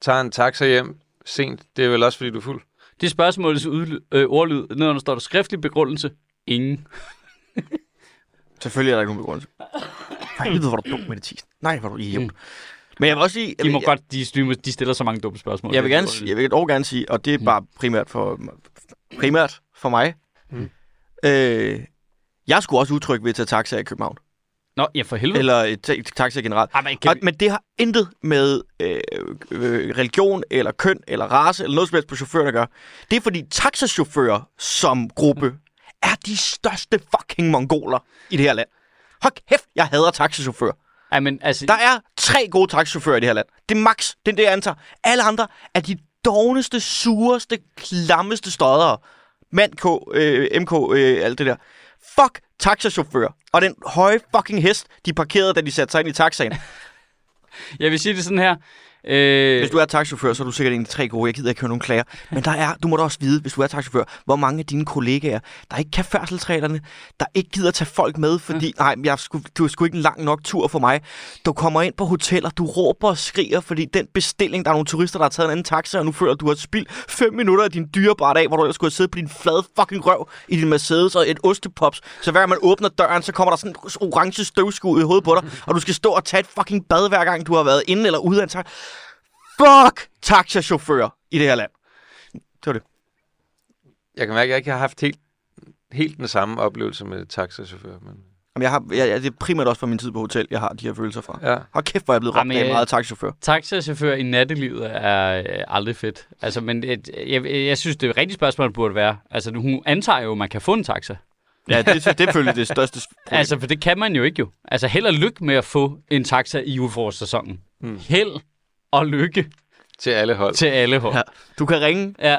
[SPEAKER 2] tager en taxa hjem sent, det er vel også, fordi du er fuld.
[SPEAKER 1] Det er spørgsmålets udlyd, øh, ordlyd. Nedenunder står der skriftlig begrundelse. Ingen.
[SPEAKER 3] Selvfølgelig er der ikke nogen begrundelse. For helvede, hvor er du dum med det tis. Nej, hvor er du idiot. Men jeg vil også sige...
[SPEAKER 1] Mm. De
[SPEAKER 3] jeg,
[SPEAKER 1] må
[SPEAKER 3] vil-
[SPEAKER 1] godt, de, de, må- de stiller så mange dumme spørgsmål.
[SPEAKER 3] jeg, vil gerne,
[SPEAKER 1] Det er
[SPEAKER 3] sige- jeg vil dog gerne sige, og det
[SPEAKER 1] Mm.
[SPEAKER 3] er bare primært for, primært for mig. Mm. Øh, jeg skulle også utryg ved at tage taxa i København.
[SPEAKER 1] Nå, ja, for helvede. Eller...
[SPEAKER 3] eller et, ta- et taxa generelt.
[SPEAKER 1] Ej, men, kan
[SPEAKER 3] Og,
[SPEAKER 1] vi...
[SPEAKER 3] men det har intet med øh, øh, religion, eller køn, eller race, eller noget som helst på chaufføren at gøre. Det er fordi taxachauffører som gruppe er de største fucking mongoler i det her land. Hold kæft, jeg hader taxachauffører.
[SPEAKER 1] Ej, men altså...
[SPEAKER 3] Der er tre gode taxachauffører i det her land. Det er max, det er det, jeg antager. Alle andre er de dogneste, sureste, klammeste stodere. Mand K, øh, MK, øh, alt det der. Fuck taxachauffører. Og den høje fucking hest, de parkerede, da de satte sig ind i taxaen.
[SPEAKER 1] Jeg vil sige det sådan her. Øh,
[SPEAKER 3] Hvis du er taxachauffør, så er du sikkert en af de tre gode. Jeg gider ikke høre nogen klager. Men der er, du må da også vide, hvis du er taxachauffør, hvor mange af dine kollegaer, der ikke kan færdselsreglerne, der ikke gider tage folk med, fordi nej, men jeg skulle, du er sgu ikke en lang nok tur for mig. Du kommer ind på hoteller, du råber og skriger, fordi den bestilling, der er nogle turister, der har taget en anden taxa, og nu føler du, at du har spildt fem minutter af din dyrebare dag, hvor du ellers skulle have siddet på din flade fucking røv i din Mercedes og et ostepops. Så hver gang man åbner døren, så kommer der sådan en orange støvskud i hovedet på dig, og du skal stå og tage et fucking bad hver gang, du har været inde eller ude af en taxa fuck taxachauffører i det her land. Det var det.
[SPEAKER 2] Jeg kan mærke, at jeg ikke har haft helt, helt den samme oplevelse med taxachauffør. Men...
[SPEAKER 3] Jamen, jeg har, jeg, jeg, det er primært også fra min tid på hotel, jeg har de her følelser fra.
[SPEAKER 2] Ja.
[SPEAKER 3] Hold kæft, hvor er jeg er blevet ramt
[SPEAKER 1] Jamen,
[SPEAKER 3] af
[SPEAKER 1] jeg-
[SPEAKER 3] meget taxachauffør.
[SPEAKER 1] taxachauffør i nattelivet er øh, aldrig fedt. Altså, men et, jeg, jeg synes, det rigtige spørgsmål burde være... Altså, nu- hun antager jo, at man kan få en taxa.
[SPEAKER 3] Ja, det, det er selvfølgelig det største problem.
[SPEAKER 1] Altså, for det kan man jo ikke jo. Altså, held og lykke med at få en taxa i UFO-sæsonen.
[SPEAKER 3] Hmm.
[SPEAKER 1] Mm. Held og lykke
[SPEAKER 2] Til alle hold.
[SPEAKER 1] til alle hold.
[SPEAKER 3] Ja. Du kan ringe.
[SPEAKER 1] Ja.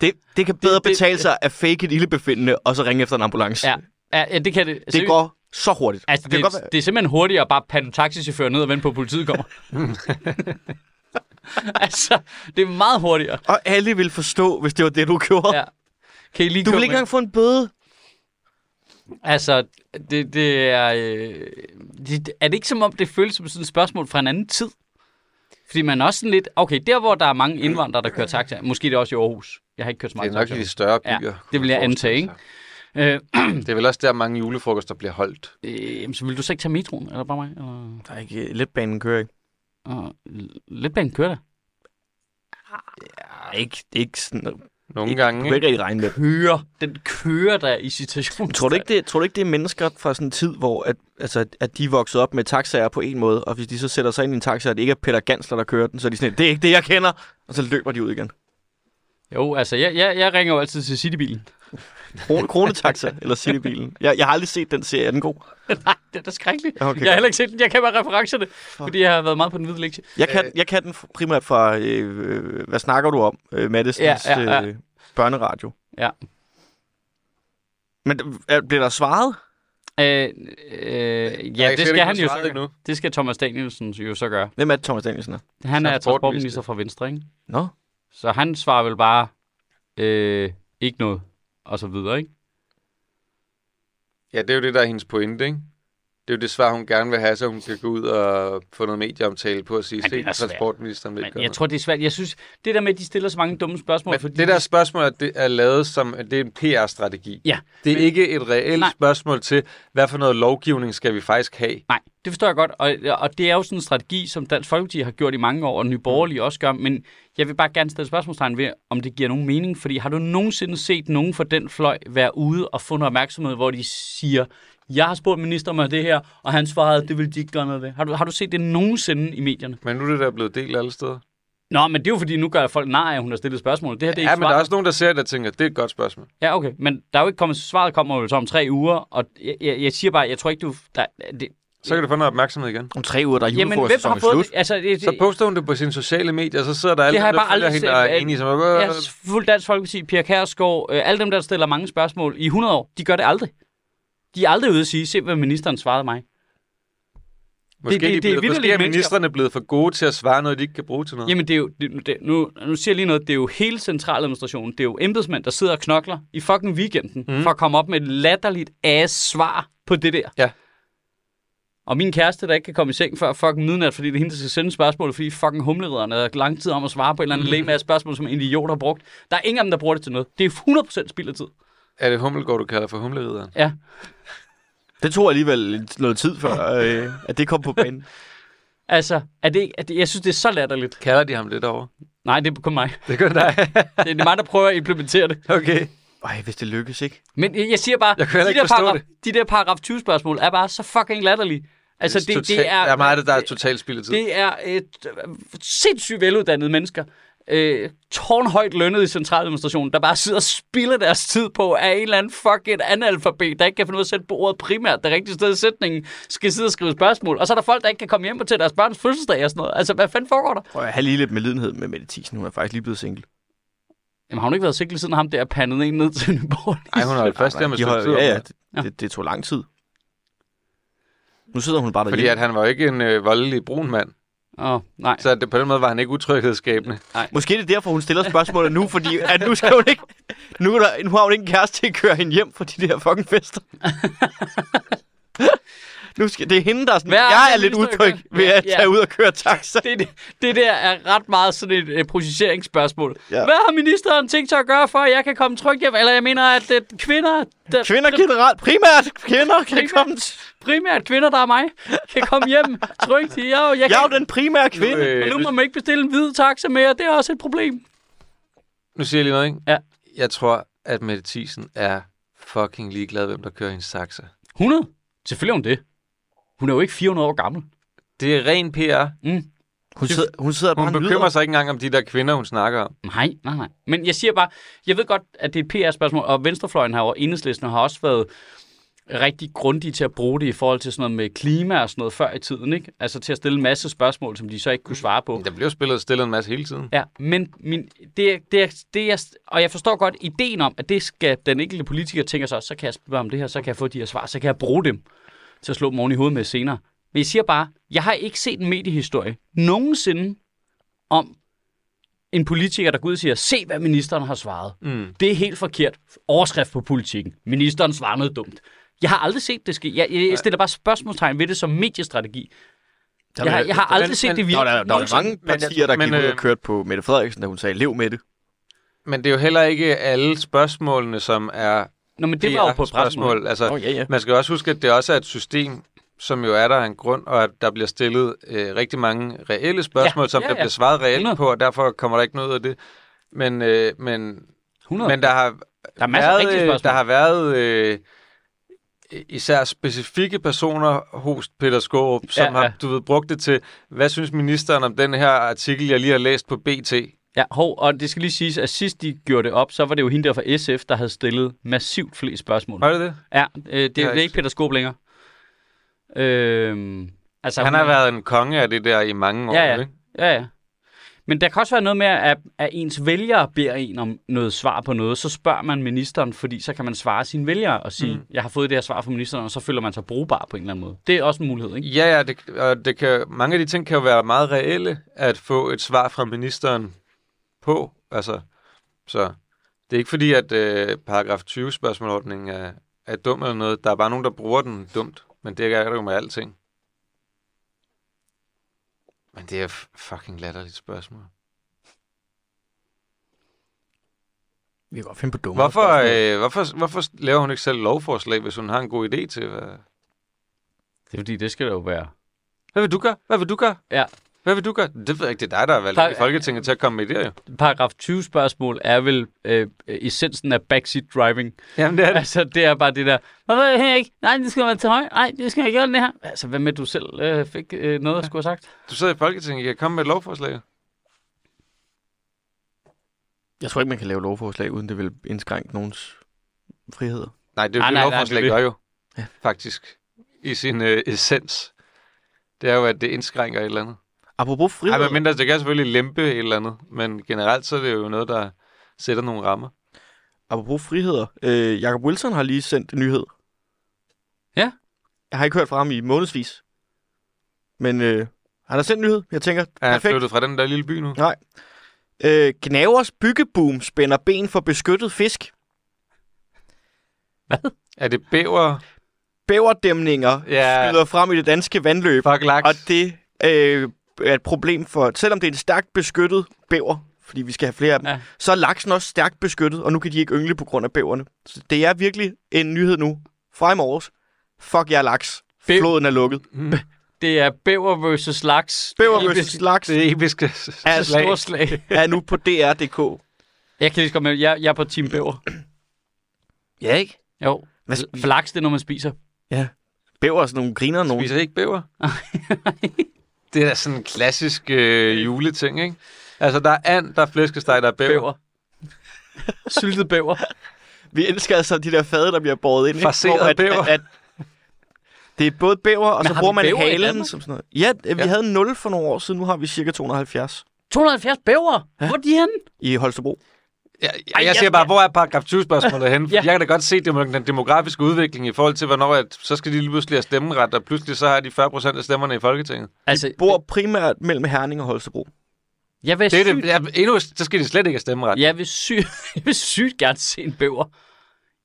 [SPEAKER 3] Det, det kan bedre det,
[SPEAKER 1] det-
[SPEAKER 3] betale sig at fake et ildebefindende, og så ringe efter en ambulance.
[SPEAKER 1] Ja. ja. ja, det kan det.
[SPEAKER 3] Det går så hurtigt.
[SPEAKER 1] Altså,
[SPEAKER 3] kan
[SPEAKER 1] det,
[SPEAKER 3] godt
[SPEAKER 1] det,
[SPEAKER 3] være-
[SPEAKER 1] det er simpelthen hurtigere at bare pande en taxichauffør ned og vente på, at politiet kommer. altså, det er meget hurtigere.
[SPEAKER 3] Og alle vil forstå, hvis det var det, du gjorde.
[SPEAKER 1] Ja. Kan I lige
[SPEAKER 3] Du
[SPEAKER 1] komme
[SPEAKER 3] vil ikke
[SPEAKER 1] ind?
[SPEAKER 3] engang få en bøde.
[SPEAKER 1] Altså, det, det er... Øh, det, er det ikke som om, det føles som sådan et spørgsmål fra en anden tid? Fordi man er også sådan lidt... Okay, der hvor der er mange indvandrere, der kører taxa, måske det er også i Aarhus. Jeg har ikke kørt så
[SPEAKER 2] Det
[SPEAKER 1] meget
[SPEAKER 2] er nok i
[SPEAKER 1] taxa.
[SPEAKER 2] de større
[SPEAKER 1] Ja,
[SPEAKER 2] byer.
[SPEAKER 1] det vil jeg
[SPEAKER 2] kunne
[SPEAKER 1] antage,
[SPEAKER 2] forestille
[SPEAKER 1] Øh,
[SPEAKER 2] sig. Det er vel også der, mange julefrokoster bliver holdt.
[SPEAKER 1] øh, jamen, så vil du så ikke tage metroen, eller bare mig? Eller,
[SPEAKER 3] Der er ikke, letbanen kører ikke.
[SPEAKER 1] og, letbanen kører der.
[SPEAKER 3] Ja, ikke, det er ikke sådan, du
[SPEAKER 2] Nogle gange.
[SPEAKER 3] kan
[SPEAKER 2] Ikke?
[SPEAKER 3] ikke rigtig regne med det.
[SPEAKER 1] Kører. Den kører der i situationen.
[SPEAKER 3] Tror du, ikke, det, tror du ikke, det er mennesker fra sådan en tid, hvor at, altså, at- at de er vokset op med taxaer på en måde, og hvis de så sætter sig ind i en taxa, og det ikke er Peter Gansler, der kører den, så er de sådan, det er ikke det, jeg kender, og så løber de ud igen.
[SPEAKER 1] Jo, altså, jeg, jeg, jeg ringer jo altid til Citybilen.
[SPEAKER 3] Kron- Kronetaxa eller Citybilen. Jeg, jeg har aldrig set den serie, er den god?
[SPEAKER 1] Nej, det er da skrækkeligt.
[SPEAKER 3] Ja,
[SPEAKER 1] Okay,
[SPEAKER 3] okay,
[SPEAKER 1] jeg har
[SPEAKER 3] godt.
[SPEAKER 1] heller ikke set den. Jeg kan bare referencerne, fordi jeg har været meget på den hvide lektie.
[SPEAKER 3] Jeg kan, jeg kan den f- primært fra, øh, øh, hvad snakker du om, øh, Maddisons
[SPEAKER 1] Ja,
[SPEAKER 3] ja,
[SPEAKER 1] ja,
[SPEAKER 3] ja,
[SPEAKER 1] ja.
[SPEAKER 3] Øh, børneradio.
[SPEAKER 1] Ja.
[SPEAKER 3] Men er, bliver der svaret?
[SPEAKER 1] Øh, øh,
[SPEAKER 2] Jeg
[SPEAKER 1] ja,
[SPEAKER 2] kan
[SPEAKER 1] det
[SPEAKER 2] slet
[SPEAKER 1] skal
[SPEAKER 2] ikke
[SPEAKER 1] han jo
[SPEAKER 2] svare
[SPEAKER 1] så
[SPEAKER 2] endnu.
[SPEAKER 1] gøre. Det skal Thomas Danielsen jo så gøre.
[SPEAKER 3] Hvem er det, Thomas Danielsen er?
[SPEAKER 1] Han er
[SPEAKER 2] Transportminister.
[SPEAKER 1] transportminister fra Venstre, ikke?
[SPEAKER 3] Nå,
[SPEAKER 1] Så han svarer vel bare, øh, ikke noget, og så videre, ikke?
[SPEAKER 2] Ja, det er jo det, der er hendes pointe, ikke? Det er jo det svar, hun gerne vil have, så hun kan gå ud og få noget medieomtale på at sige,
[SPEAKER 1] Men det er
[SPEAKER 2] at
[SPEAKER 1] svært.
[SPEAKER 2] transportministeren vil
[SPEAKER 1] Men
[SPEAKER 2] gøre
[SPEAKER 1] jeg tror, det er svært. Jeg synes, det der med, at de stiller så mange dumme spørgsmål,
[SPEAKER 2] Men
[SPEAKER 1] fordi...
[SPEAKER 2] det der spørgsmål det er lavet som, det er en PR-strategi.
[SPEAKER 1] Ja,
[SPEAKER 2] Det
[SPEAKER 1] men-
[SPEAKER 2] er men... ikke et reelt
[SPEAKER 1] Nej.
[SPEAKER 2] Nej. spørgsmål til, hvad for noget lovgivning skal vi faktisk have?
[SPEAKER 1] Nej, det forstår jeg godt, og, og det er jo sådan en strategi, som Dansk Folkeparti har gjort i mange år, og
[SPEAKER 2] Mm.
[SPEAKER 1] Nye Borgerlige også gør, men jeg vil bare gerne stille spørgsmålstegn ved, om det giver nogen mening, fordi har du nogensinde set nogen fra den fløj være ude og få noget opmærksomhed, hvor de siger, jeg har spurgt ministeren om det her, og han svarede, det vil de ikke gøre noget ved. Har du, har du set det nogensinde i medierne?
[SPEAKER 2] Men nu er det der blevet delt alle steder.
[SPEAKER 1] Nå, men det er jo fordi, nu gør folk nej, at hun har stillet spørgsmål. Det her det er
[SPEAKER 2] Ja,
[SPEAKER 1] ikke
[SPEAKER 2] men der er
[SPEAKER 1] svaret.
[SPEAKER 2] også nogen, der ser det og tænker, det er et godt spørgsmål.
[SPEAKER 1] Ja, okay, men der er jo ikke kommet, svaret kommer jo så om tre uger, og jeg, jeg, jeg siger bare, jeg tror ikke, du... Der, det,
[SPEAKER 2] Så kan du få noget opmærksomhed igen.
[SPEAKER 3] om tre uger, der er
[SPEAKER 1] jamen, hvem har
[SPEAKER 3] julefrokostsæsonen
[SPEAKER 1] fået...
[SPEAKER 3] slut.
[SPEAKER 1] det? Altså, det,
[SPEAKER 2] Så poster hun det på sine sociale medier, og så sidder der alle
[SPEAKER 1] har jeg
[SPEAKER 2] dem, der
[SPEAKER 1] bare
[SPEAKER 2] følger
[SPEAKER 1] aldrig
[SPEAKER 2] hende
[SPEAKER 1] set,
[SPEAKER 2] og er
[SPEAKER 1] at-
[SPEAKER 2] enige. Som,
[SPEAKER 1] Jeg har fulgt Dansk Folkeparti, Pia Kærsgaard, øh, alle dem, der stiller mange spørgsmål i 100 år, de gør det aldrig. De er aldrig ude at sige, se hvad ministeren svarede mig. det-
[SPEAKER 2] måske, det,
[SPEAKER 1] det er
[SPEAKER 2] det, det, blevet, måske
[SPEAKER 1] vitterligt
[SPEAKER 2] er
[SPEAKER 1] mennesker.
[SPEAKER 2] ministerne blevet for gode til at svare noget, de ikke kan bruge til noget.
[SPEAKER 1] Jamen, det er jo, det, det, nu, nu siger jeg lige noget, det er jo hele centraladministrationen, det er jo embedsmænd, der sidder og knokler i fucking weekenden, mm. for at komme op med et latterligt ass svar på det der.
[SPEAKER 2] Ja.
[SPEAKER 1] Og min kæreste, der ikke kan komme i seng før fucking midnat, fordi det er hende, der skal sende spørgsmål, fordi fucking humleriderne er lang tid om at svare på et eller andet mm. af spørgsmål, som en idiot har brugt. Der er ingen af dem, der bruger det til noget. Det er 100% spild af tid.
[SPEAKER 2] Er det Hummelgaard, du kalder for humlerideren?
[SPEAKER 1] Ja.
[SPEAKER 3] Det tog alligevel noget tid før, øh, at det kom på banen.
[SPEAKER 1] Altså, er det, ikke- er det, jeg synes, det er så latterligt.
[SPEAKER 2] Kalder de ham det derovre?
[SPEAKER 1] Nej, det er kun mig.
[SPEAKER 2] Det gør dig.
[SPEAKER 1] Det er mig, der prøver at implementere det.
[SPEAKER 2] okay.
[SPEAKER 3] Ej, hvis det lykkes, ikke?
[SPEAKER 1] Men jeg jeg siger bare,
[SPEAKER 2] Jeg kan heller
[SPEAKER 1] de,
[SPEAKER 2] ikke
[SPEAKER 1] der
[SPEAKER 2] forstå
[SPEAKER 1] paragraf, de der paragraf 20 spørgsmål er bare så fucking latterlige. Altså, det, det,
[SPEAKER 2] Total-
[SPEAKER 1] er,
[SPEAKER 2] Der er meget af det, der er totalt spild af tid.
[SPEAKER 1] det er et øh, sindssygt veluddannede mennesker, øh, tårnhøjt lønnet i centraladministrationen, der bare sidder og spilder deres tid på af en eller anden fucking analfabet, der ikke kan finde ud af at sætte på ordet primært, det rigtige sted i sætningen, skal sidde og skrive spørgsmål. Og så er der folk, der ikke kan komme hjem på til deres børns fødselsdag og sådan noget. Altså, hvad fanden foregår der?
[SPEAKER 3] Prøv at have lige lidt medlidenhed med Mette Thiesen. Hun er faktisk lige blevet single.
[SPEAKER 1] Jamen, har hun ikke været sikkert siden ham der pandede en ned til Nyborg?
[SPEAKER 2] Ej, hun har jo først der med
[SPEAKER 3] de har,
[SPEAKER 2] stykke tid.
[SPEAKER 3] ja, ja,
[SPEAKER 2] Ja,
[SPEAKER 3] det, det, det, tog lang tid. Nu sidder hun bare
[SPEAKER 2] Fordi
[SPEAKER 3] derhjemme.
[SPEAKER 2] at han var jo ikke en øh, voldelig brun mand.
[SPEAKER 1] Åh, oh, nej.
[SPEAKER 2] Så det, på den måde var han ikke utryghedsskabende.
[SPEAKER 3] Måske er det derfor, hun stiller spørgsmålet nu, fordi at nu, skal hun ikke, nu, er der, nu har hun ikke en kæreste til at køre hende hjem fra de der fucking fester. nu skal, det er hende, der er sådan,
[SPEAKER 1] Hvad er
[SPEAKER 3] jeg
[SPEAKER 1] det,
[SPEAKER 3] er lidt
[SPEAKER 1] vi står i
[SPEAKER 3] utryg
[SPEAKER 1] gang?
[SPEAKER 3] ved
[SPEAKER 1] Ja,
[SPEAKER 3] at
[SPEAKER 1] ja.
[SPEAKER 3] tage ud og køre taxa.
[SPEAKER 1] det, det der er ret meget sådan et øh, processeringsspørgsmål.
[SPEAKER 3] Ja.
[SPEAKER 1] Ja. Hvad har ministeren tænkt sig at gøre for, at jeg kan komme trygt hjem? Eller jeg mener, at øh, kvinder, der,
[SPEAKER 3] Kvinder generelt, primært kvinder, kan
[SPEAKER 1] Primært.
[SPEAKER 3] komme. t-
[SPEAKER 1] primært kvinder, der er mig, kan komme hjem trygt. Jeg, jeg, jeg
[SPEAKER 3] Jeg er
[SPEAKER 1] kan,
[SPEAKER 3] jo den primære kvinde.
[SPEAKER 2] Øh,
[SPEAKER 1] og nu
[SPEAKER 2] nu-
[SPEAKER 1] må man ikke bestille en hvid taxa mere. Det er også et problem.
[SPEAKER 2] Nu siger jeg lige noget, ikke?
[SPEAKER 1] Ja.
[SPEAKER 2] Jeg tror, at Mette Thiesen er fucking ligeglad, hvem der kører hendes saxer.
[SPEAKER 1] 100? Selvfølgelig er hun det. Hun er jo ikke 400 år gammel.
[SPEAKER 2] Det er ren PR.
[SPEAKER 3] Hun sidder, hun sidder bare
[SPEAKER 2] Hun
[SPEAKER 3] og nyder.
[SPEAKER 2] bekymrer sig ikke engang om de der kvinder, hun snakker om.
[SPEAKER 1] Nej, nej, nej. Men jeg siger bare, jeg ved godt, at det er et PR-spørgsmål, og Venstrefløjen har og Enhedslisten har også været rigtig grundige til at bruge det i forhold til sådan noget med klima og sådan noget før i tiden, ikke? Altså til at stille en masse spørgsmål, som de så ikke kunne svare på.
[SPEAKER 2] Der bliver jo spillet og stillet en masse hele tiden.
[SPEAKER 1] Ja, men min, det, er- det, er- det jeg, og jeg forstår godt ideen om, at det skal den enkelte politiker tænker sig, så kan jeg spørge om det her, så kan jeg få de her svar, så kan jeg bruge dem til at slå dem oven i hovedet med senere. Men jeg siger bare, jeg har ikke set en mediehistorie nogensinde om en politiker, der går ud og siger, se hvad ministeren har svaret.
[SPEAKER 2] Mm.
[SPEAKER 1] Det er helt forkert. Overskrift på politikken. Ministeren svarer noget dumt. Jeg har aldrig set det ske. Jeg, jeg stiller bare spørgsmålstegn ved det som mediestrategi. Jeg har, jeg har
[SPEAKER 2] men-
[SPEAKER 1] aldrig set
[SPEAKER 2] men-
[SPEAKER 1] det
[SPEAKER 3] Der
[SPEAKER 1] virke.
[SPEAKER 3] var, der, der var mange
[SPEAKER 2] Men-
[SPEAKER 3] partier, der
[SPEAKER 2] men,
[SPEAKER 3] gik ud og
[SPEAKER 2] øh,
[SPEAKER 3] kørte på Mette Frederiksen, da hun sagde, lev med det.
[SPEAKER 2] Men det er jo heller ikke alle spørgsmålene, som er
[SPEAKER 1] Nå, men det var jo på et pressemøde.
[SPEAKER 2] spørgsmål. Altså,
[SPEAKER 3] Åh, ja, ja.
[SPEAKER 2] Man skal også huske, at det også er et system, som jo er der af en grund, og at der bliver stillet øh, rigtig mange reelle spørgsmål, ja,
[SPEAKER 1] Ja,
[SPEAKER 2] som ja,
[SPEAKER 1] ja,
[SPEAKER 2] der
[SPEAKER 1] ja.
[SPEAKER 2] bliver svaret reelt
[SPEAKER 1] 100.
[SPEAKER 2] på, og derfor kommer der ikke noget ud af det. Men, øh, men,
[SPEAKER 1] 100.
[SPEAKER 2] men der har
[SPEAKER 1] Der er masser af rigtige
[SPEAKER 2] øh,
[SPEAKER 1] spørgsmål.
[SPEAKER 2] der har været øh, især specifikke personer hos Peter Skårup, som ja,
[SPEAKER 1] Ja,
[SPEAKER 2] ja. har
[SPEAKER 1] ja.
[SPEAKER 2] du ved, brugt det til, hvad synes ministeren om den her artikel, jeg lige har læst på BT?
[SPEAKER 1] Ja, hov, og det skal lige siges, at sidst de gjorde det op, så var det jo hende der fra SF, der havde stillet massivt flere spørgsmål.
[SPEAKER 2] Var det det?
[SPEAKER 1] Ja, øh, det, det
[SPEAKER 2] har
[SPEAKER 1] er
[SPEAKER 2] ikke-
[SPEAKER 1] ikke Peter Skåb længere. Øhm, altså,
[SPEAKER 2] Han
[SPEAKER 1] hun-
[SPEAKER 2] har været en konge af det der i mange år,
[SPEAKER 1] Ja, ja.
[SPEAKER 2] ikke?
[SPEAKER 1] Ja, ja. Men der kan også være noget med, at, at ens vælgere beder en om noget svar på noget, så spørger man ministeren, fordi så kan man svare sine vælgere og sige, mm. jeg har fået det her svar fra ministeren, og så føler man sig brugbar på en eller anden måde. Det er også en mulighed, ikke?
[SPEAKER 2] Ja, ja, det, og det kan, mange af de ting kan jo være meget reelle at få et svar fra ministeren på. Altså, så det er ikke fordi, at øh, paragraf 20-spørgsmålordningen er, er dum eller noget. Der er bare nogen, der bruger den dumt, men det er der jo med alting. Men det er f- fucking latterligt spørgsmål.
[SPEAKER 3] Vi kan godt finde på dumme
[SPEAKER 2] Hvorfor,
[SPEAKER 3] spørgsmål.
[SPEAKER 2] øh, hvorfor, hvorfor laver hun ikke selv lovforslag, hvis hun har en god idé til? Hvad,
[SPEAKER 1] Det er fordi, det skal der jo være.
[SPEAKER 2] hvad vil du gøre? Hvad vil du gøre?
[SPEAKER 1] Ja.
[SPEAKER 2] Hvad vil du gøre? Det ved jeg ikke. Det er dig, der er valgt
[SPEAKER 1] Der-
[SPEAKER 2] ind i Folketinget til at komme med det, jo.
[SPEAKER 1] Paragraf 20 spørgsmål er vel øh, øh, essensen af backseat driving.
[SPEAKER 2] Jamen, det er
[SPEAKER 1] Altså, det er bare det der, hvorfor er det her ikke? Nej, det skal man til højre. Nej, det skal jeg gøre den her. Altså, hvad med, du selv øh, fik øh, noget at skulle have sagt?
[SPEAKER 2] Du sidder i Folketinget, I kan komme med et lovforslag.
[SPEAKER 3] Jeg tror ikke, man kan lave lovforslag, uden det vil indskrænke nogens friheder.
[SPEAKER 2] Nej, det er jo
[SPEAKER 1] Ah, Nej,
[SPEAKER 2] det,
[SPEAKER 1] nej, nej,
[SPEAKER 2] lovforslag
[SPEAKER 1] det
[SPEAKER 2] gør
[SPEAKER 1] er
[SPEAKER 2] jo, faktisk, i sin øh, essens. Det er jo, at det indskrænker et eller andet.
[SPEAKER 3] Apropos
[SPEAKER 2] Nej,
[SPEAKER 3] frihed,
[SPEAKER 2] men mindre, det kan selvfølgelig lempe et eller andet, men generelt så er det jo noget, der sætter nogle rammer.
[SPEAKER 3] apropos friheder. Øh, Jacob Wilson har lige sendt en nyhed.
[SPEAKER 1] Ja.
[SPEAKER 3] Jeg har ikke hørt fra ham i månedsvis. Men øh, han har sendt en nyhed. Jeg tænker,
[SPEAKER 2] Er han
[SPEAKER 3] perfekt.
[SPEAKER 2] flyttet fra den der lille by nu?
[SPEAKER 3] Nej. Øh, Gnavers byggeboom spænder ben for beskyttet fisk.
[SPEAKER 2] Er det bæver?
[SPEAKER 3] Bæverdæmninger
[SPEAKER 2] Ja.
[SPEAKER 3] skyder frem i det danske vandløb.
[SPEAKER 2] Fuck laks.
[SPEAKER 3] Og det øh, er et problem for, selvom det er en stærkt beskyttet bæver, fordi vi skal have flere af dem, ja.
[SPEAKER 1] Ja.
[SPEAKER 3] så er laksen også stærkt beskyttet, og nu kan de ikke yngle på grund af bæverne. Så det er virkelig en nyhed nu. Fra i morges. Fuck jer laks.
[SPEAKER 1] Bæv-
[SPEAKER 3] Floden er lukket.
[SPEAKER 1] Det er bæver versus laks.
[SPEAKER 3] Bæver
[SPEAKER 1] Episk
[SPEAKER 3] versus laks
[SPEAKER 2] Det er episke
[SPEAKER 3] Ja,
[SPEAKER 2] slag.
[SPEAKER 1] Storslag.
[SPEAKER 3] er nu på DR.dk.
[SPEAKER 1] Jeg kan lige så godt med, jeg, jeg er på Team Bæver.
[SPEAKER 3] Ja, ikke?
[SPEAKER 1] Jo.
[SPEAKER 3] Hvad
[SPEAKER 1] L-
[SPEAKER 3] spiser?
[SPEAKER 1] Flaks, det er, når man spiser.
[SPEAKER 3] Ja. Bæver sådan nogle griner nogen.
[SPEAKER 2] Spiser I ikke bæver? det er da sådan en klassisk øh, juleting, ikke? Altså, der er and, der er flæskesteg, der er bæver.
[SPEAKER 1] Bæver. Syltet bæver.
[SPEAKER 3] Vi elsker altså de der fade, der bliver båret ind. ikke?
[SPEAKER 2] Farseret
[SPEAKER 3] Hvor at,
[SPEAKER 2] bæver.
[SPEAKER 3] At, at, det er både bæver, og
[SPEAKER 1] Men
[SPEAKER 3] så
[SPEAKER 1] har
[SPEAKER 3] bruger
[SPEAKER 1] vi
[SPEAKER 3] man
[SPEAKER 1] bæver i
[SPEAKER 3] halen
[SPEAKER 1] Danmark?
[SPEAKER 3] som sådan noget. Ja, øh, vi
[SPEAKER 2] Ja.
[SPEAKER 3] ja. havde 0 for nogle år siden. Nu har vi cirka 270
[SPEAKER 1] 270 bæver? Ja. Hvor er de henne?
[SPEAKER 3] i Holstebro.
[SPEAKER 2] Ja, jeg, jeg siger bare, hvor er paragraf 20-spørgsmålet henne?
[SPEAKER 1] Ja.
[SPEAKER 2] ja. Jeg kan da godt se det med den demografiske udvikling i forhold til, hvornår at, så skal de lige pludselig have stemmeret, og pludselig så har de 40 procent af stemmerne i Folketinget.
[SPEAKER 1] Altså,
[SPEAKER 3] Bor primært mellem Herning og Holstebro.
[SPEAKER 1] jeg vil
[SPEAKER 2] Det er
[SPEAKER 1] sygt,
[SPEAKER 2] det, ja, endnu, så skal de slet ikke have stemmeret. Ja.
[SPEAKER 1] jeg vil sygt, jeg vil sygt gerne se en bæver.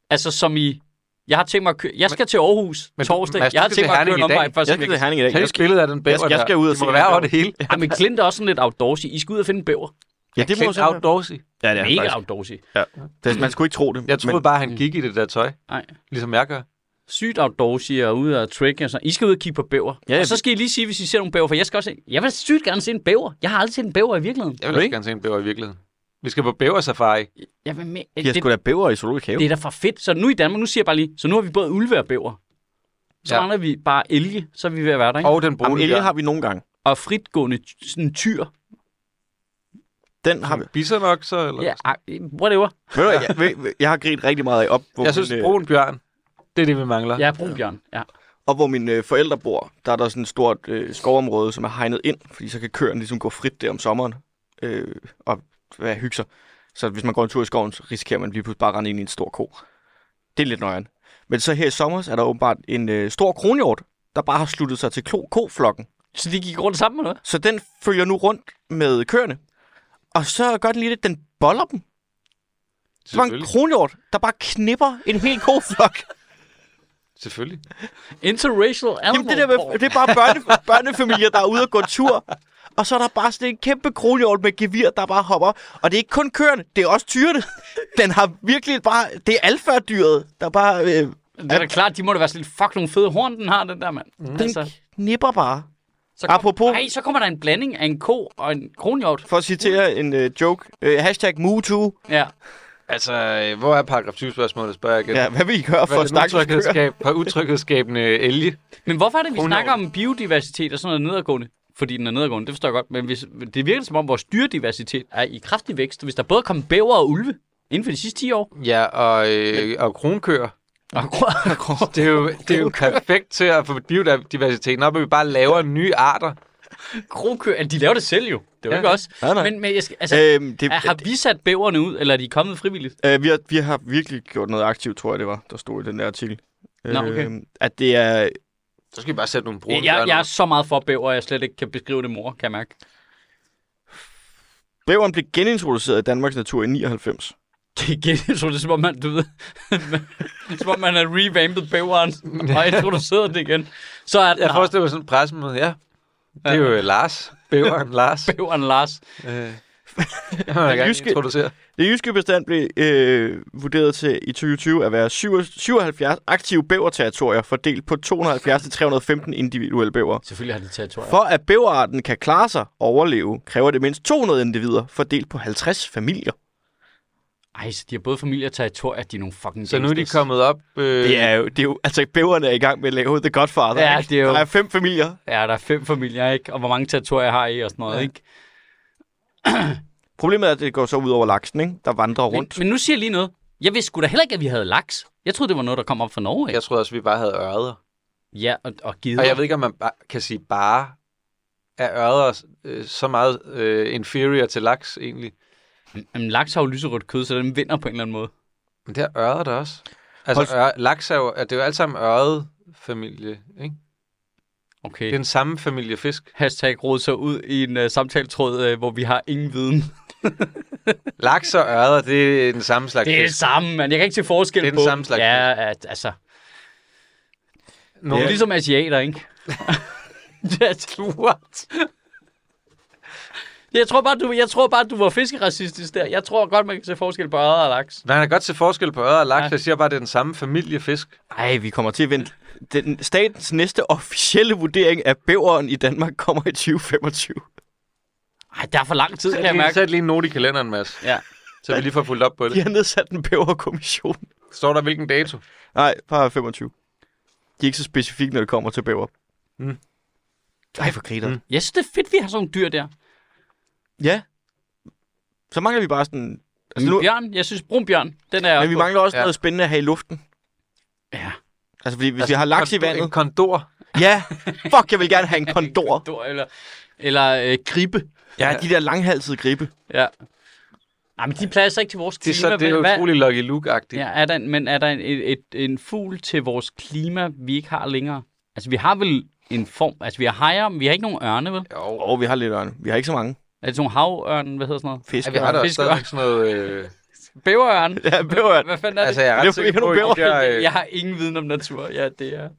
[SPEAKER 1] Altså, som i... Jeg har tænkt mig at køre... Jeg skal til Aarhus
[SPEAKER 2] men-
[SPEAKER 1] torsdag.
[SPEAKER 2] Mads, du
[SPEAKER 1] jeg har tænkt
[SPEAKER 2] skal til
[SPEAKER 1] mig at
[SPEAKER 2] Herning
[SPEAKER 1] køre en
[SPEAKER 2] i dag.
[SPEAKER 1] omvej først.
[SPEAKER 3] Jeg skal til Herning i dag.
[SPEAKER 2] Kan
[SPEAKER 3] Jeg
[SPEAKER 2] du
[SPEAKER 3] skal,
[SPEAKER 2] billede af den bæver
[SPEAKER 3] jeg skal
[SPEAKER 2] der?
[SPEAKER 3] ud og
[SPEAKER 2] de
[SPEAKER 3] se
[SPEAKER 2] må
[SPEAKER 3] den
[SPEAKER 2] være
[SPEAKER 3] bæver.
[SPEAKER 2] over det hele.
[SPEAKER 1] Ja, men Klint er også sådan lidt outdoorsy. I skal ud og finde en bæver.
[SPEAKER 3] ja, det må jo
[SPEAKER 2] Klint
[SPEAKER 3] så være.
[SPEAKER 2] outdoorsy.
[SPEAKER 3] Ja, det
[SPEAKER 1] Ja,
[SPEAKER 3] er
[SPEAKER 1] Mega
[SPEAKER 3] Mega faktisk.
[SPEAKER 1] outdoorsy.
[SPEAKER 3] Det, man skulle ikke tro det.
[SPEAKER 2] Jeg troede
[SPEAKER 3] men,
[SPEAKER 2] bare, han gik i det der tøj,
[SPEAKER 1] Nej.
[SPEAKER 2] ligesom jeg gør.
[SPEAKER 1] Sygt outdoorsy og ude og trekking og sådan. I skal ud og kigge på bæver.
[SPEAKER 3] Ja, ja.
[SPEAKER 1] og så skal I lige sige, hvis I ser nogle bæver, for jeg skal også se... Jeg vil sygt gerne se en bæver. Jeg har aldrig set en bæver i virkeligheden.
[SPEAKER 2] Jeg vil også
[SPEAKER 3] Ikke?
[SPEAKER 2] gerne se en bæver i virkeligheden. Vi skal på bæversafari.
[SPEAKER 1] Jeg vil me-
[SPEAKER 3] de har
[SPEAKER 1] det,
[SPEAKER 3] sgu da bæver i zoologisk have.
[SPEAKER 1] det, er da for fedt. Så nu i Danmark, nu siger jeg bare lige, så nu har vi både ulve og bæver. Så
[SPEAKER 2] Ja.
[SPEAKER 1] ja. mangler vi bare elge, så er vi ved at være der, ikke? Og,
[SPEAKER 2] Og den
[SPEAKER 3] Jamen, elge
[SPEAKER 2] brune
[SPEAKER 3] har vi nogle gange.
[SPEAKER 1] og fritgående ty- sådan tyr.
[SPEAKER 3] Den har vi.
[SPEAKER 2] Bisser nok, så? Eller?
[SPEAKER 1] Ja, ah, whatever.
[SPEAKER 3] Ved du, hvad, jeg, ved- jeg har grint rigtig meget af op, hvor
[SPEAKER 2] Jeg synes,
[SPEAKER 3] min, øh,
[SPEAKER 2] brun bjørn, det er det, vi mangler.
[SPEAKER 1] Jeg er brunbjørn. Ja.
[SPEAKER 3] Og hvor mine øh, forældre bor, der er der sådan et stort øh, skovområde, som er hegnet ind, fordi så kan køerne ligesom gå frit der om sommeren øh, og være hygge sig. Så hvis man går en tur i skoven, så risikerer man lige pludselig bare at rende ind i en stor ko. Det er lidt nøjeren. Men så her i sommer så er der åbenbart en øh, stor kronhjort, der bare har sluttet sig til klo- koflokken.
[SPEAKER 1] Så de gik rundt sammen, eller hvad?
[SPEAKER 3] Så den følger nu rundt med køerne. Og så gør den lige det, den boller dem. Det var en
[SPEAKER 2] Selvfølgelig.
[SPEAKER 3] kronhjort, der bare knipper en hel koflok.
[SPEAKER 2] Selvfølgelig.
[SPEAKER 1] Interracial animal
[SPEAKER 3] Jamen, det, der med,
[SPEAKER 1] porn.
[SPEAKER 3] det er bare børne, børnefamilier, der er ude og gå tur. Og så er der bare sådan en kæmpe kronhjort med gevir, der bare hopper. Og det er ikke kun køerne, det er også tyrene. Den har virkelig bare... Det er alfa-dyret, der bare... Øh,
[SPEAKER 1] det er da klart, de må da være sådan lidt, fuck nogle fede horn, den har, den der mand. Mm.
[SPEAKER 3] den knipper bare.
[SPEAKER 1] så kom,
[SPEAKER 3] apropos-
[SPEAKER 1] Ej, så kommer der en blanding af en ko og en kronhjort.
[SPEAKER 3] For at citere en øh, joke. Øh, hashtag MooToo.
[SPEAKER 1] Ja.
[SPEAKER 2] Altså, øh, hvor er paragraf 20-spørgsmålet, spørger jeg igen.
[SPEAKER 3] Ja, hvad vil I gøre for at
[SPEAKER 2] Hvad er
[SPEAKER 3] snakke
[SPEAKER 2] det
[SPEAKER 3] køer?
[SPEAKER 2] utryghedsskab, for utryghedsskabende elge?
[SPEAKER 1] Men hvorfor er det, vi
[SPEAKER 2] Kronhjort.
[SPEAKER 1] snakker om biodiversitet og sådan noget nedadgående? Fordi den er nedadgående, det forstår jeg godt. Men hvis, det virker som om, vores dyrediversitet er i kraftig vækst. Hvis der både kom bæver og ulve inden for de sidste 10 år.
[SPEAKER 2] Ja, og, øh, og kronkøer.
[SPEAKER 1] Og kro-
[SPEAKER 2] Det er, jo, det er jo perfekt til at få biodiversiteten op, at vi bare laver nye arter.
[SPEAKER 1] krokøer, de laver det selv jo. Det er jo
[SPEAKER 2] Ja.
[SPEAKER 1] ikke os.
[SPEAKER 3] Nej, nej.
[SPEAKER 1] Men, men jeg skal, altså,
[SPEAKER 3] Øhm,
[SPEAKER 1] Er,
[SPEAKER 3] det,
[SPEAKER 1] har vi sat bæverne ud, eller er de kommet frivilligt?
[SPEAKER 3] øh, vi, har, vi har virkelig gjort noget aktivt, tror jeg, det var, der stod i den der artikel.
[SPEAKER 1] Nå, okay.
[SPEAKER 3] Øhm, at det er...
[SPEAKER 2] Så skal vi bare sætte nogle brune
[SPEAKER 1] Jeg,
[SPEAKER 2] bjørne
[SPEAKER 1] jeg er
[SPEAKER 2] op.
[SPEAKER 1] så meget for bæver, at jeg slet ikke kan beskrive det mor, kan jeg mærke.
[SPEAKER 3] Bæveren blev genintroduceret i Danmarks natur i 99.
[SPEAKER 1] Det er igen, jeg tror, det er som om man, du ved, som om man har revampet bæveren, og introduceret det igen. Så er
[SPEAKER 2] Jeg
[SPEAKER 1] jeg
[SPEAKER 2] forestiller mig sådan en pressemøde, ja. Det er jo øh, Lars. Bæveren Lars.
[SPEAKER 1] bæveren Lars.
[SPEAKER 2] Øh, jeg har gerne
[SPEAKER 3] jyske-
[SPEAKER 2] introducere.
[SPEAKER 3] Det jyske bestand blev øh, vurderet til i 2020 at være 7, 77 aktive bæverterritorier fordelt på 270-315 individuelle bæver.
[SPEAKER 1] Selvfølgelig har de territorier.
[SPEAKER 3] For at bæverarten kan klare sig og overleve, kræver det mindst 200 individer fordelt på 50 familier.
[SPEAKER 1] Ej, så de har både familie og territorier, de er nogle fucking
[SPEAKER 2] Så nu er de
[SPEAKER 1] gangsters.
[SPEAKER 2] kommet op. Øh,
[SPEAKER 3] Det er jo, det er jo altså bæverne er i gang med at lave The Godfather.
[SPEAKER 1] Ja,
[SPEAKER 3] ikke?
[SPEAKER 1] det er jo-
[SPEAKER 3] Der er fem familier.
[SPEAKER 1] Ja, der er fem familier, ikke? Og hvor mange territorier har I og sådan noget,
[SPEAKER 3] Ja.
[SPEAKER 1] ikke?
[SPEAKER 3] Problemet er, at det går så ud over laksen, ikke? der vandrer
[SPEAKER 1] Men,
[SPEAKER 3] rundt.
[SPEAKER 1] men nu siger jeg lige noget. Jeg vidste sgu da heller ikke, at vi havde laks. Jeg troede, det var noget, der kom op fra Norge, ikke?
[SPEAKER 2] Jeg troede også, vi bare havde ørder.
[SPEAKER 1] Ja, og, og givet.
[SPEAKER 2] Og jeg ved ikke, om man bare kan sige bare, er ørder øh, så meget øh, inferior til laks egentlig.
[SPEAKER 1] Jamen, laks har jo lyserødt kød, så den vinder på en eller anden måde.
[SPEAKER 2] Men det er ørder der også. Altså, ør, laks er jo, det er jo alt sammen ørret familie, ikke?
[SPEAKER 1] Okay.
[SPEAKER 2] Det er den samme familie fisk.
[SPEAKER 1] hashtag råd så ud i en uh, samtaletråd, uh, hvor vi har ingen viden.
[SPEAKER 2] Laks og ørder, det er den samme slags
[SPEAKER 1] Det er det
[SPEAKER 2] fisk.
[SPEAKER 1] samme, man. Jeg kan ikke se forskel på.
[SPEAKER 2] Det er den samme slags
[SPEAKER 1] Ja, at, altså.
[SPEAKER 2] Nogle
[SPEAKER 1] Ja. Ligesom asiater, ikke? Yes. What? Jeg tror, bare, du, jeg tror bare, du var fiskeracistisk der. Jeg tror godt, man kan se forskel på ørder og laks.
[SPEAKER 2] Man kan godt se forskel på ørder og laks.
[SPEAKER 1] Ja.
[SPEAKER 2] Jeg siger bare, det er den samme familie fisk.
[SPEAKER 3] Ej, vi kommer til at vente. Den, statens næste officielle vurdering af bæveren i Danmark kommer i 2025.
[SPEAKER 1] Ej, der er for lang tid, kan jeg
[SPEAKER 2] Lige-
[SPEAKER 1] mærke.
[SPEAKER 2] Sæt lige en note i kalenderen, Mads,
[SPEAKER 1] Ja.
[SPEAKER 2] så vi lige får fuldt op på det.
[SPEAKER 3] De har nedsat en bæverkommission.
[SPEAKER 2] Står der hvilken dato?
[SPEAKER 3] Nej, bare 25. De er ikke så specifikke, når det kommer til bæver.
[SPEAKER 2] Mm.
[SPEAKER 3] Ej, for griner. Mm.
[SPEAKER 2] Mm.
[SPEAKER 1] Jeg synes, det er fedt, vi har sådan nogle dyr der.
[SPEAKER 3] Ja. Så mangler vi bare sådan... Altså
[SPEAKER 1] Altså,
[SPEAKER 3] nu,
[SPEAKER 1] Bjørn, jeg synes, brun bjørn, den er
[SPEAKER 3] men vi mangler også ja.
[SPEAKER 2] Ja.
[SPEAKER 3] noget spændende at have i luften.
[SPEAKER 1] Ja.
[SPEAKER 3] Altså, fordi hvis altså, vi har laks i
[SPEAKER 2] kondor-
[SPEAKER 3] vandet...
[SPEAKER 2] En kondor.
[SPEAKER 3] Ja, fuck, jeg vil gerne have en kondor.
[SPEAKER 1] Dår, eller, eller øh, gribe.
[SPEAKER 3] Ja, de der langhalsede gribe.
[SPEAKER 1] Ja. Nej, men de plads ikke til vores
[SPEAKER 2] Det er,
[SPEAKER 1] klima.
[SPEAKER 2] så, det er
[SPEAKER 1] vel?
[SPEAKER 2] jo
[SPEAKER 1] Hvad-
[SPEAKER 2] utrolig Lucky Luke-agtigt.
[SPEAKER 1] Ja, er der, en- men er der en, et, et, en fugl til vores klima, vi ikke har længere? Altså, vi har vel en form... Altså, vi har hajer, men vi har ikke nogen ørne, vel?
[SPEAKER 2] Jo.
[SPEAKER 3] Åh, oh, vi har lidt ørne. Vi har ikke så mange
[SPEAKER 1] Er det sådan nogle havørne, hvad hedder sådan noget?
[SPEAKER 3] fisk.
[SPEAKER 2] Ja, vi har da også
[SPEAKER 1] Fisk-
[SPEAKER 2] stadigvæk sådan noget... Øh,
[SPEAKER 1] Bæverørne?
[SPEAKER 3] Ja, bæverørn.
[SPEAKER 1] Hvad fanden er
[SPEAKER 2] altså,
[SPEAKER 1] det?
[SPEAKER 2] jeg er
[SPEAKER 3] Det er
[SPEAKER 2] ret
[SPEAKER 3] fordi,
[SPEAKER 2] sikker
[SPEAKER 3] du
[SPEAKER 2] på, at de
[SPEAKER 3] bæver.
[SPEAKER 2] der, øh,
[SPEAKER 1] Jeg har ingen viden om natur. Ja, det er...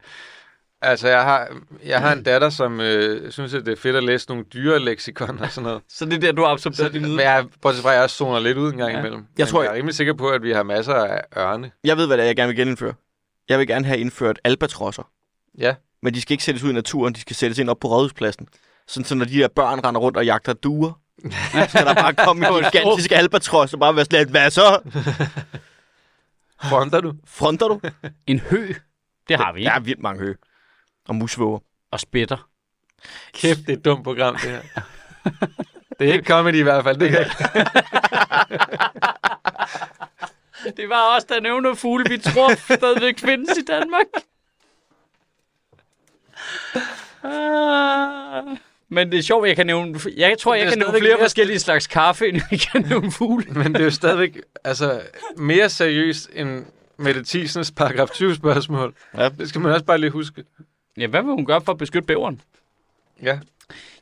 [SPEAKER 2] Altså, jeg har, jeg har en datter, som øh, synes, at det er fedt at læse nogle dyreleksikon og sådan noget.
[SPEAKER 1] Så det er der, du har absorberet din
[SPEAKER 2] Men
[SPEAKER 1] viden.
[SPEAKER 2] jeg, bortset fra, at jeg også zoner lidt ud en gang
[SPEAKER 1] Ja.
[SPEAKER 2] ja. imellem.
[SPEAKER 3] Jeg
[SPEAKER 2] Men
[SPEAKER 3] tror,
[SPEAKER 2] jeg er
[SPEAKER 3] jeg-
[SPEAKER 2] rimelig sikker på, at vi har masser af ørne.
[SPEAKER 3] Jeg ved, hvad det er, jeg gerne vil genindføre. Jeg vil gerne have indført albatrosser.
[SPEAKER 2] Ja.
[SPEAKER 3] Men de skal ikke sættes ud i naturen, de skal sættes ind op på rådhuspladsen. Sådan, så når de der børn render rundt og jagter duer, så skal der bare komme en gigantisk albatros og bare være sådan lidt, hvad så?
[SPEAKER 2] Fronter du?
[SPEAKER 3] Fronter du?
[SPEAKER 1] En hø, det har vi,
[SPEAKER 3] Der
[SPEAKER 1] ikke?
[SPEAKER 3] er vildt mange hø. Og musvåger.
[SPEAKER 1] Og spætter.
[SPEAKER 2] Kæft, det er et dumt program, det her. det er ikke comedy i hvert fald. Det kan jeg ikke.
[SPEAKER 1] Det var også der nævner fugle, vi tror stadigvæk findes i Danmark. Ah. Men det er sjovt, jeg kan nævne... Jeg tror,
[SPEAKER 2] Det
[SPEAKER 1] jeg
[SPEAKER 2] er
[SPEAKER 1] kan nævne
[SPEAKER 2] stadigvæk
[SPEAKER 1] flere
[SPEAKER 2] mere-
[SPEAKER 1] forskellige slags kaffe, end jeg kan nævne fugle.
[SPEAKER 2] Men det er jo stadigvæk altså, mere seriøst end Mette Thiesens paragraf 20 spørgsmål.
[SPEAKER 3] Ja.
[SPEAKER 2] Det skal man også bare lige huske.
[SPEAKER 1] Ja, hvad vil hun gøre for at beskytte bæveren?
[SPEAKER 2] Ja.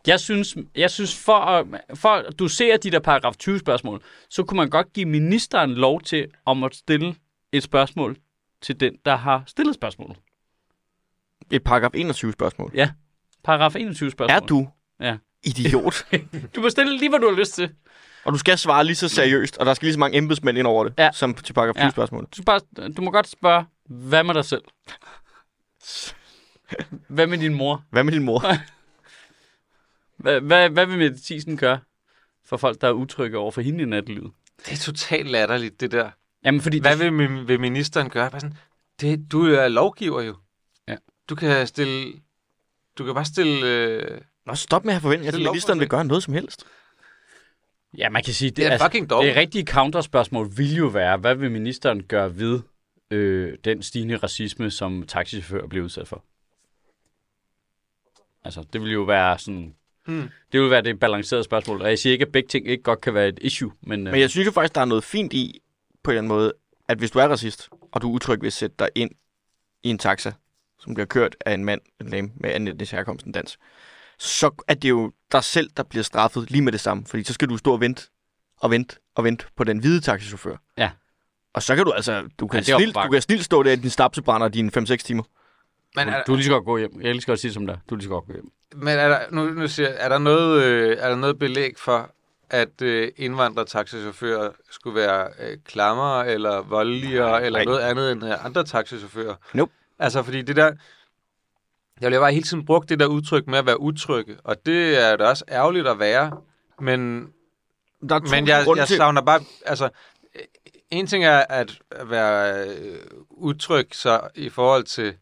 [SPEAKER 1] Jeg synes, jeg synes for, at, for at du ser de der paragraf 20 spørgsmål, så kunne man godt give ministeren lov til om at stille et spørgsmål til den, der har stillet spørgsmålet.
[SPEAKER 3] Et paragraf 21 spørgsmål.
[SPEAKER 1] Paragraf 21 spørgsmål.
[SPEAKER 3] Er du
[SPEAKER 1] Ja.
[SPEAKER 3] idiot?
[SPEAKER 1] Du må stille lige, hvad du har lyst til.
[SPEAKER 3] og du skal svare lige så seriøst, og der skal lige så mange embedsmænd ind over det,
[SPEAKER 1] Ja.
[SPEAKER 3] ja. som til paragraf 20
[SPEAKER 1] Ja.
[SPEAKER 3] ja. spørgsmål.
[SPEAKER 1] Du, skal bare, du må godt spørge, hvad med dig selv? Hvad med din mor?
[SPEAKER 3] Hvad med din mor?
[SPEAKER 1] Hvad, hvad, hvad vil Mette Thiesen gøre for folk, der er utrygge over for hende i nattelivet?
[SPEAKER 2] Det er totalt latterligt, det der.
[SPEAKER 1] Jamen, fordi
[SPEAKER 2] Hvad vil, min- vil ministeren gøre? Bare sådan, det, du er lovgiver jo.
[SPEAKER 1] Ja.
[SPEAKER 2] Du kan stille... Du kan bare stille... Øh,
[SPEAKER 3] Nå, stop med at have forventninger til, at
[SPEAKER 2] Stille
[SPEAKER 3] ministeren vil gøre noget som helst.
[SPEAKER 1] Ja, man kan sige, det,
[SPEAKER 2] Det er
[SPEAKER 1] altså,
[SPEAKER 2] fucking dog.
[SPEAKER 1] Det rigtige counterspørgsmål vil jo være, hvad vil ministeren gøre ved øh, den stigende racisme, som taxichauffører bliver udsat for? Altså, det vil jo være sådan...
[SPEAKER 2] Hmm.
[SPEAKER 1] Det vil være det balancerede spørgsmål. Og jeg siger ikke, at begge ting ikke godt kan være et issue, men... Øh,
[SPEAKER 3] Men jeg synes jo faktisk, der er noget fint i, på en eller anden måde, at hvis du er racist, og du er utryg ved at sætte dig ind i en taxa, som bliver kørt af en mand, en lame, med anden etnisk herkomst end dansk, så er det jo dig selv, der bliver straffet lige med det samme. Fordi så skal du stå og vente, og vente, og vente på den hvide taxichauffør.
[SPEAKER 1] Ja.
[SPEAKER 3] Og så kan du altså, du kan,
[SPEAKER 1] det er
[SPEAKER 3] ja, snilt,
[SPEAKER 1] opbakke.
[SPEAKER 3] du kan snilt stå der i din snapsebrænder dine 5-6 timer.
[SPEAKER 2] men, er,
[SPEAKER 1] du er lige så godt gå hjem. Jeg kan lige så godt sige det som der. Du er lige så godt gå hjem.
[SPEAKER 2] men er der, nu, nu siger jeg, er der, noget, øh, er der noget belæg for, at øh, indvandrertaxichauffører skulle være øh, klammere eller voldeligere
[SPEAKER 3] Nej,
[SPEAKER 2] nej, eller
[SPEAKER 3] nej.
[SPEAKER 2] nej. noget andet end øh, andre taxichauffører?
[SPEAKER 3] Nope.
[SPEAKER 2] Altså, fordi det der... Jeg bliver bare hele tiden brugt det der udtryk med at være utrygge, og det er da også ærgerligt at være, men
[SPEAKER 3] Der er
[SPEAKER 2] Men
[SPEAKER 3] tusind
[SPEAKER 2] jeg,
[SPEAKER 3] grunde
[SPEAKER 2] jeg
[SPEAKER 3] til-
[SPEAKER 2] savner bare, altså, øh, en ting er at være øh, utryg så i forhold til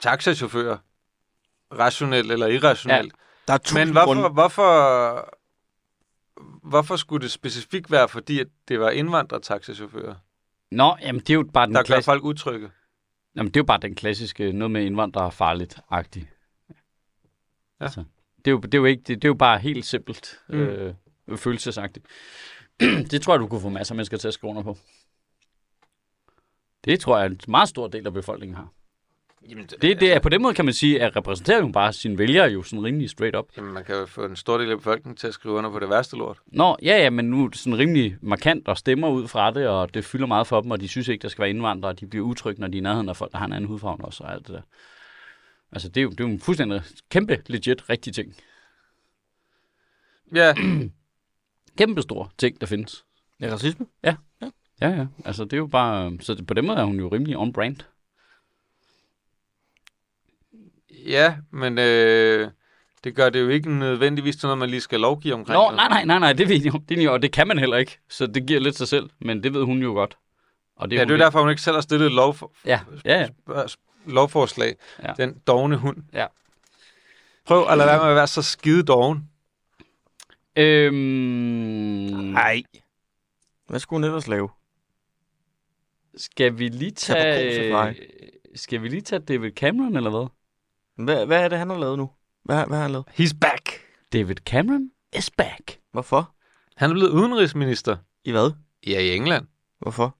[SPEAKER 2] taxachauffører, rationelt eller irrationelt.
[SPEAKER 3] der er
[SPEAKER 2] Ja,
[SPEAKER 3] tusind
[SPEAKER 2] Men hvorfor,
[SPEAKER 3] grunde.
[SPEAKER 2] hvorfor, hvorfor skulle det specifikt være, fordi at det var indvandrertaxachauffører,
[SPEAKER 1] Nå, jamen det er jo bare den,
[SPEAKER 2] der gør
[SPEAKER 1] klass...
[SPEAKER 2] folk utrygge?
[SPEAKER 1] jamen, det er jo bare den klassiske, noget med indvandrere er farligt-agtigt.
[SPEAKER 2] Ja.
[SPEAKER 1] Altså, det, er jo, det, er jo ikke, det, det er jo bare helt simpelt
[SPEAKER 2] Mm.
[SPEAKER 1] øh, følelsesagtigt. det tror jeg, du kunne få masser af mennesker til at skrive under på. Det tror jeg, en meget stor del af befolkningen har.
[SPEAKER 2] Jamen, det,
[SPEAKER 1] Det, det er, på den måde kan man sige, at repræsenterer jo bare sine vælgere jo sådan rimelig straight up.
[SPEAKER 2] Jamen, man kan jo få en stor del af befolkningen til at skrive under på det værste lort.
[SPEAKER 1] Nå, ja, ja, men nu er det sådan rimelig markant og stemmer ud fra det, og det fylder meget for dem, og de synes ikke, der skal være indvandrere, og de bliver utrygge, når de er i nærheden af folk, der har en anden hudfarve også, og alt det der. Altså, det er jo, det er jo en fuldstændig kæmpe, legit, rigtig ting.
[SPEAKER 2] Ja,
[SPEAKER 1] Kæmpe stor ting, der findes.
[SPEAKER 3] Ja, racisme.
[SPEAKER 1] Ja, ja. Altså, det er jo bare... Så det, på den måde er hun jo rimelig on-brand.
[SPEAKER 2] ja men øh, det gør det jo ikke nødvendigvis til noget, man lige skal lovgive omkring.
[SPEAKER 1] Nå,
[SPEAKER 2] jo.
[SPEAKER 1] nej, nej, nej, nej, det ved jeg, det, er, og det kan man heller ikke. Så det giver lidt sig selv, men det ved hun jo godt. Og
[SPEAKER 2] Det ja, det er jo derfor, hun ikke selv har stillet et lovfor-
[SPEAKER 1] Ja, ja, ja.
[SPEAKER 2] spørg- lovforslag.
[SPEAKER 1] Ja.
[SPEAKER 2] Ja. Den dogne hund.
[SPEAKER 1] Ja.
[SPEAKER 2] Prøv at lade være med at være så skide doven.
[SPEAKER 1] Øhm,
[SPEAKER 3] Nej. Hvad skulle hun ellers lave?
[SPEAKER 1] skal vi lige
[SPEAKER 3] Tag på
[SPEAKER 1] tage...
[SPEAKER 3] kosefly.
[SPEAKER 1] øh, Skal vi lige tage David Cameron, eller hvad?
[SPEAKER 3] Hvad, hvad er det, han har lavet nu? Hvad, hvad har han lavet?
[SPEAKER 2] He's back.
[SPEAKER 1] David Cameron is back.
[SPEAKER 3] Hvorfor?
[SPEAKER 2] Han er blevet udenrigsminister.
[SPEAKER 3] I hvad?
[SPEAKER 2] Ja, i England.
[SPEAKER 3] Hvorfor?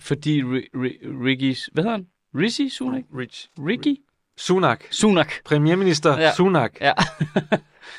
[SPEAKER 1] Fordi Ri- Ri- Ricky... Hvad hedder han? Rishi Sunak?
[SPEAKER 2] Rich.
[SPEAKER 1] Ricky?
[SPEAKER 2] Sunak.
[SPEAKER 1] Sunak.
[SPEAKER 2] Premierminister
[SPEAKER 1] Ja.
[SPEAKER 2] ja. Sunak.
[SPEAKER 1] Ja.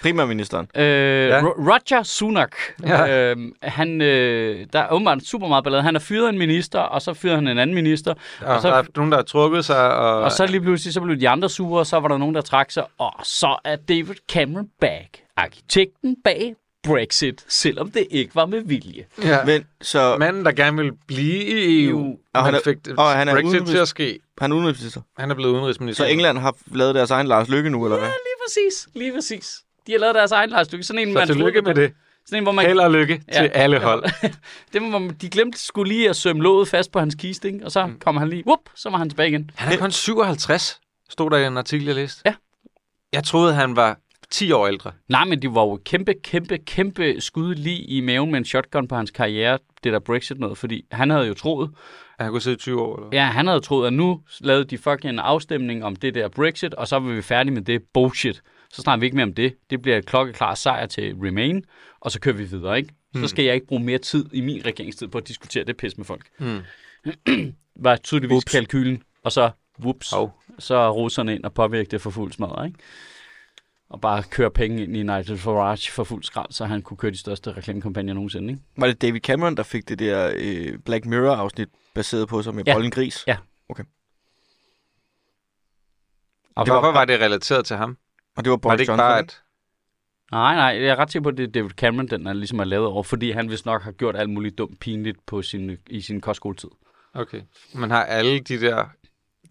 [SPEAKER 3] Primærministeren.
[SPEAKER 1] Øh,
[SPEAKER 2] Ja.
[SPEAKER 1] ja. Roger Sunak, ja.
[SPEAKER 2] Ja.
[SPEAKER 1] øhm, han, øh, der er åbenbart super meget ballade. Han har fyret en minister, og så fyrede han en anden minister.
[SPEAKER 2] Og, og
[SPEAKER 1] så-
[SPEAKER 2] så... der er nogen, der har trukket sig. Og,
[SPEAKER 1] Og så lige pludselig, så blev de andre sure, og så var der nogen, der trak sig. Og så er David Cameron back, arkitekten bag Brexit, selvom det ikke var med vilje.
[SPEAKER 2] ja.
[SPEAKER 3] Men så
[SPEAKER 2] Manden, der gerne ville blive i EU,
[SPEAKER 1] EU.
[SPEAKER 2] og han,
[SPEAKER 3] han er-
[SPEAKER 2] fik
[SPEAKER 3] og han er
[SPEAKER 2] Brexit
[SPEAKER 3] udenrigs-
[SPEAKER 2] til at ske.
[SPEAKER 3] han er udenrigsminister.
[SPEAKER 2] Han er blevet udenrigsminister.
[SPEAKER 3] Så England har lavet deres egen Lars Lykke nu, eller hvad?
[SPEAKER 1] Lige præcis, lige præcis. De har lavet deres egen lejstykke. Sådan en,
[SPEAKER 2] Så
[SPEAKER 1] man
[SPEAKER 2] tillykke med det.
[SPEAKER 1] Sådan en, hvor man...
[SPEAKER 2] Held og lykke
[SPEAKER 1] Ja.
[SPEAKER 2] til alle hold.
[SPEAKER 1] det var, hvor man- de glemte skulle lige at sømme låget fast på hans kiste, ikke? og så mm. kom han lige, whoop, så var han tilbage igen.
[SPEAKER 2] Han er kun 57, stod der i en artikel, jeg læste.
[SPEAKER 1] Ja.
[SPEAKER 2] Jeg troede, han var 10 år ældre.
[SPEAKER 1] Nej, men det var jo kæmpe, kæmpe, kæmpe skud lige i maven med en shotgun på hans karriere, det der Brexit noget, fordi han havde jo troet,
[SPEAKER 2] At han kunne sidde i 20 år. Eller?
[SPEAKER 1] ja, han havde troet, at nu lavede de fucking en afstemning om det der Brexit, og så var vi færdige med det bullshit. Så snakker vi ikke mere om det. Det bliver et klokkeklar sejr til Remain, og så kører vi videre, ikke? Så skal jeg ikke bruge mere tid i min regeringstid på at diskutere det pis med folk.
[SPEAKER 2] Mm.
[SPEAKER 1] var tydeligvis
[SPEAKER 3] Whoops.
[SPEAKER 1] kalkylen, og så, whoops,
[SPEAKER 2] Hov.
[SPEAKER 1] så er russerne ind og påvirker det for fuld smadret, ikke? Og bare køre penge ind i Nigel Farage for fuld skrald, så han kunne køre de største reklamekampagner nogensinde, ikke?
[SPEAKER 3] Var det David Cameron, der fik det der øh, Black Mirror-afsnit baseret på sig med
[SPEAKER 1] Ja.
[SPEAKER 3] ja. bolden gris?
[SPEAKER 1] Ja.
[SPEAKER 2] Og
[SPEAKER 3] Det var-
[SPEAKER 2] hvorfor var det relateret til ham?
[SPEAKER 3] Og det var
[SPEAKER 2] Var
[SPEAKER 3] Boris
[SPEAKER 2] det ikke
[SPEAKER 3] Johnson,
[SPEAKER 2] bare,
[SPEAKER 3] ikke?
[SPEAKER 2] at...
[SPEAKER 1] Nej, nej, jeg er ret sikker på, at det er David Cameron, den er ligesom er lavet over, fordi han vist nok har gjort alt muligt dumt pinligt på sin, i sin kostskoletid.
[SPEAKER 2] Okay. Men har alle de der,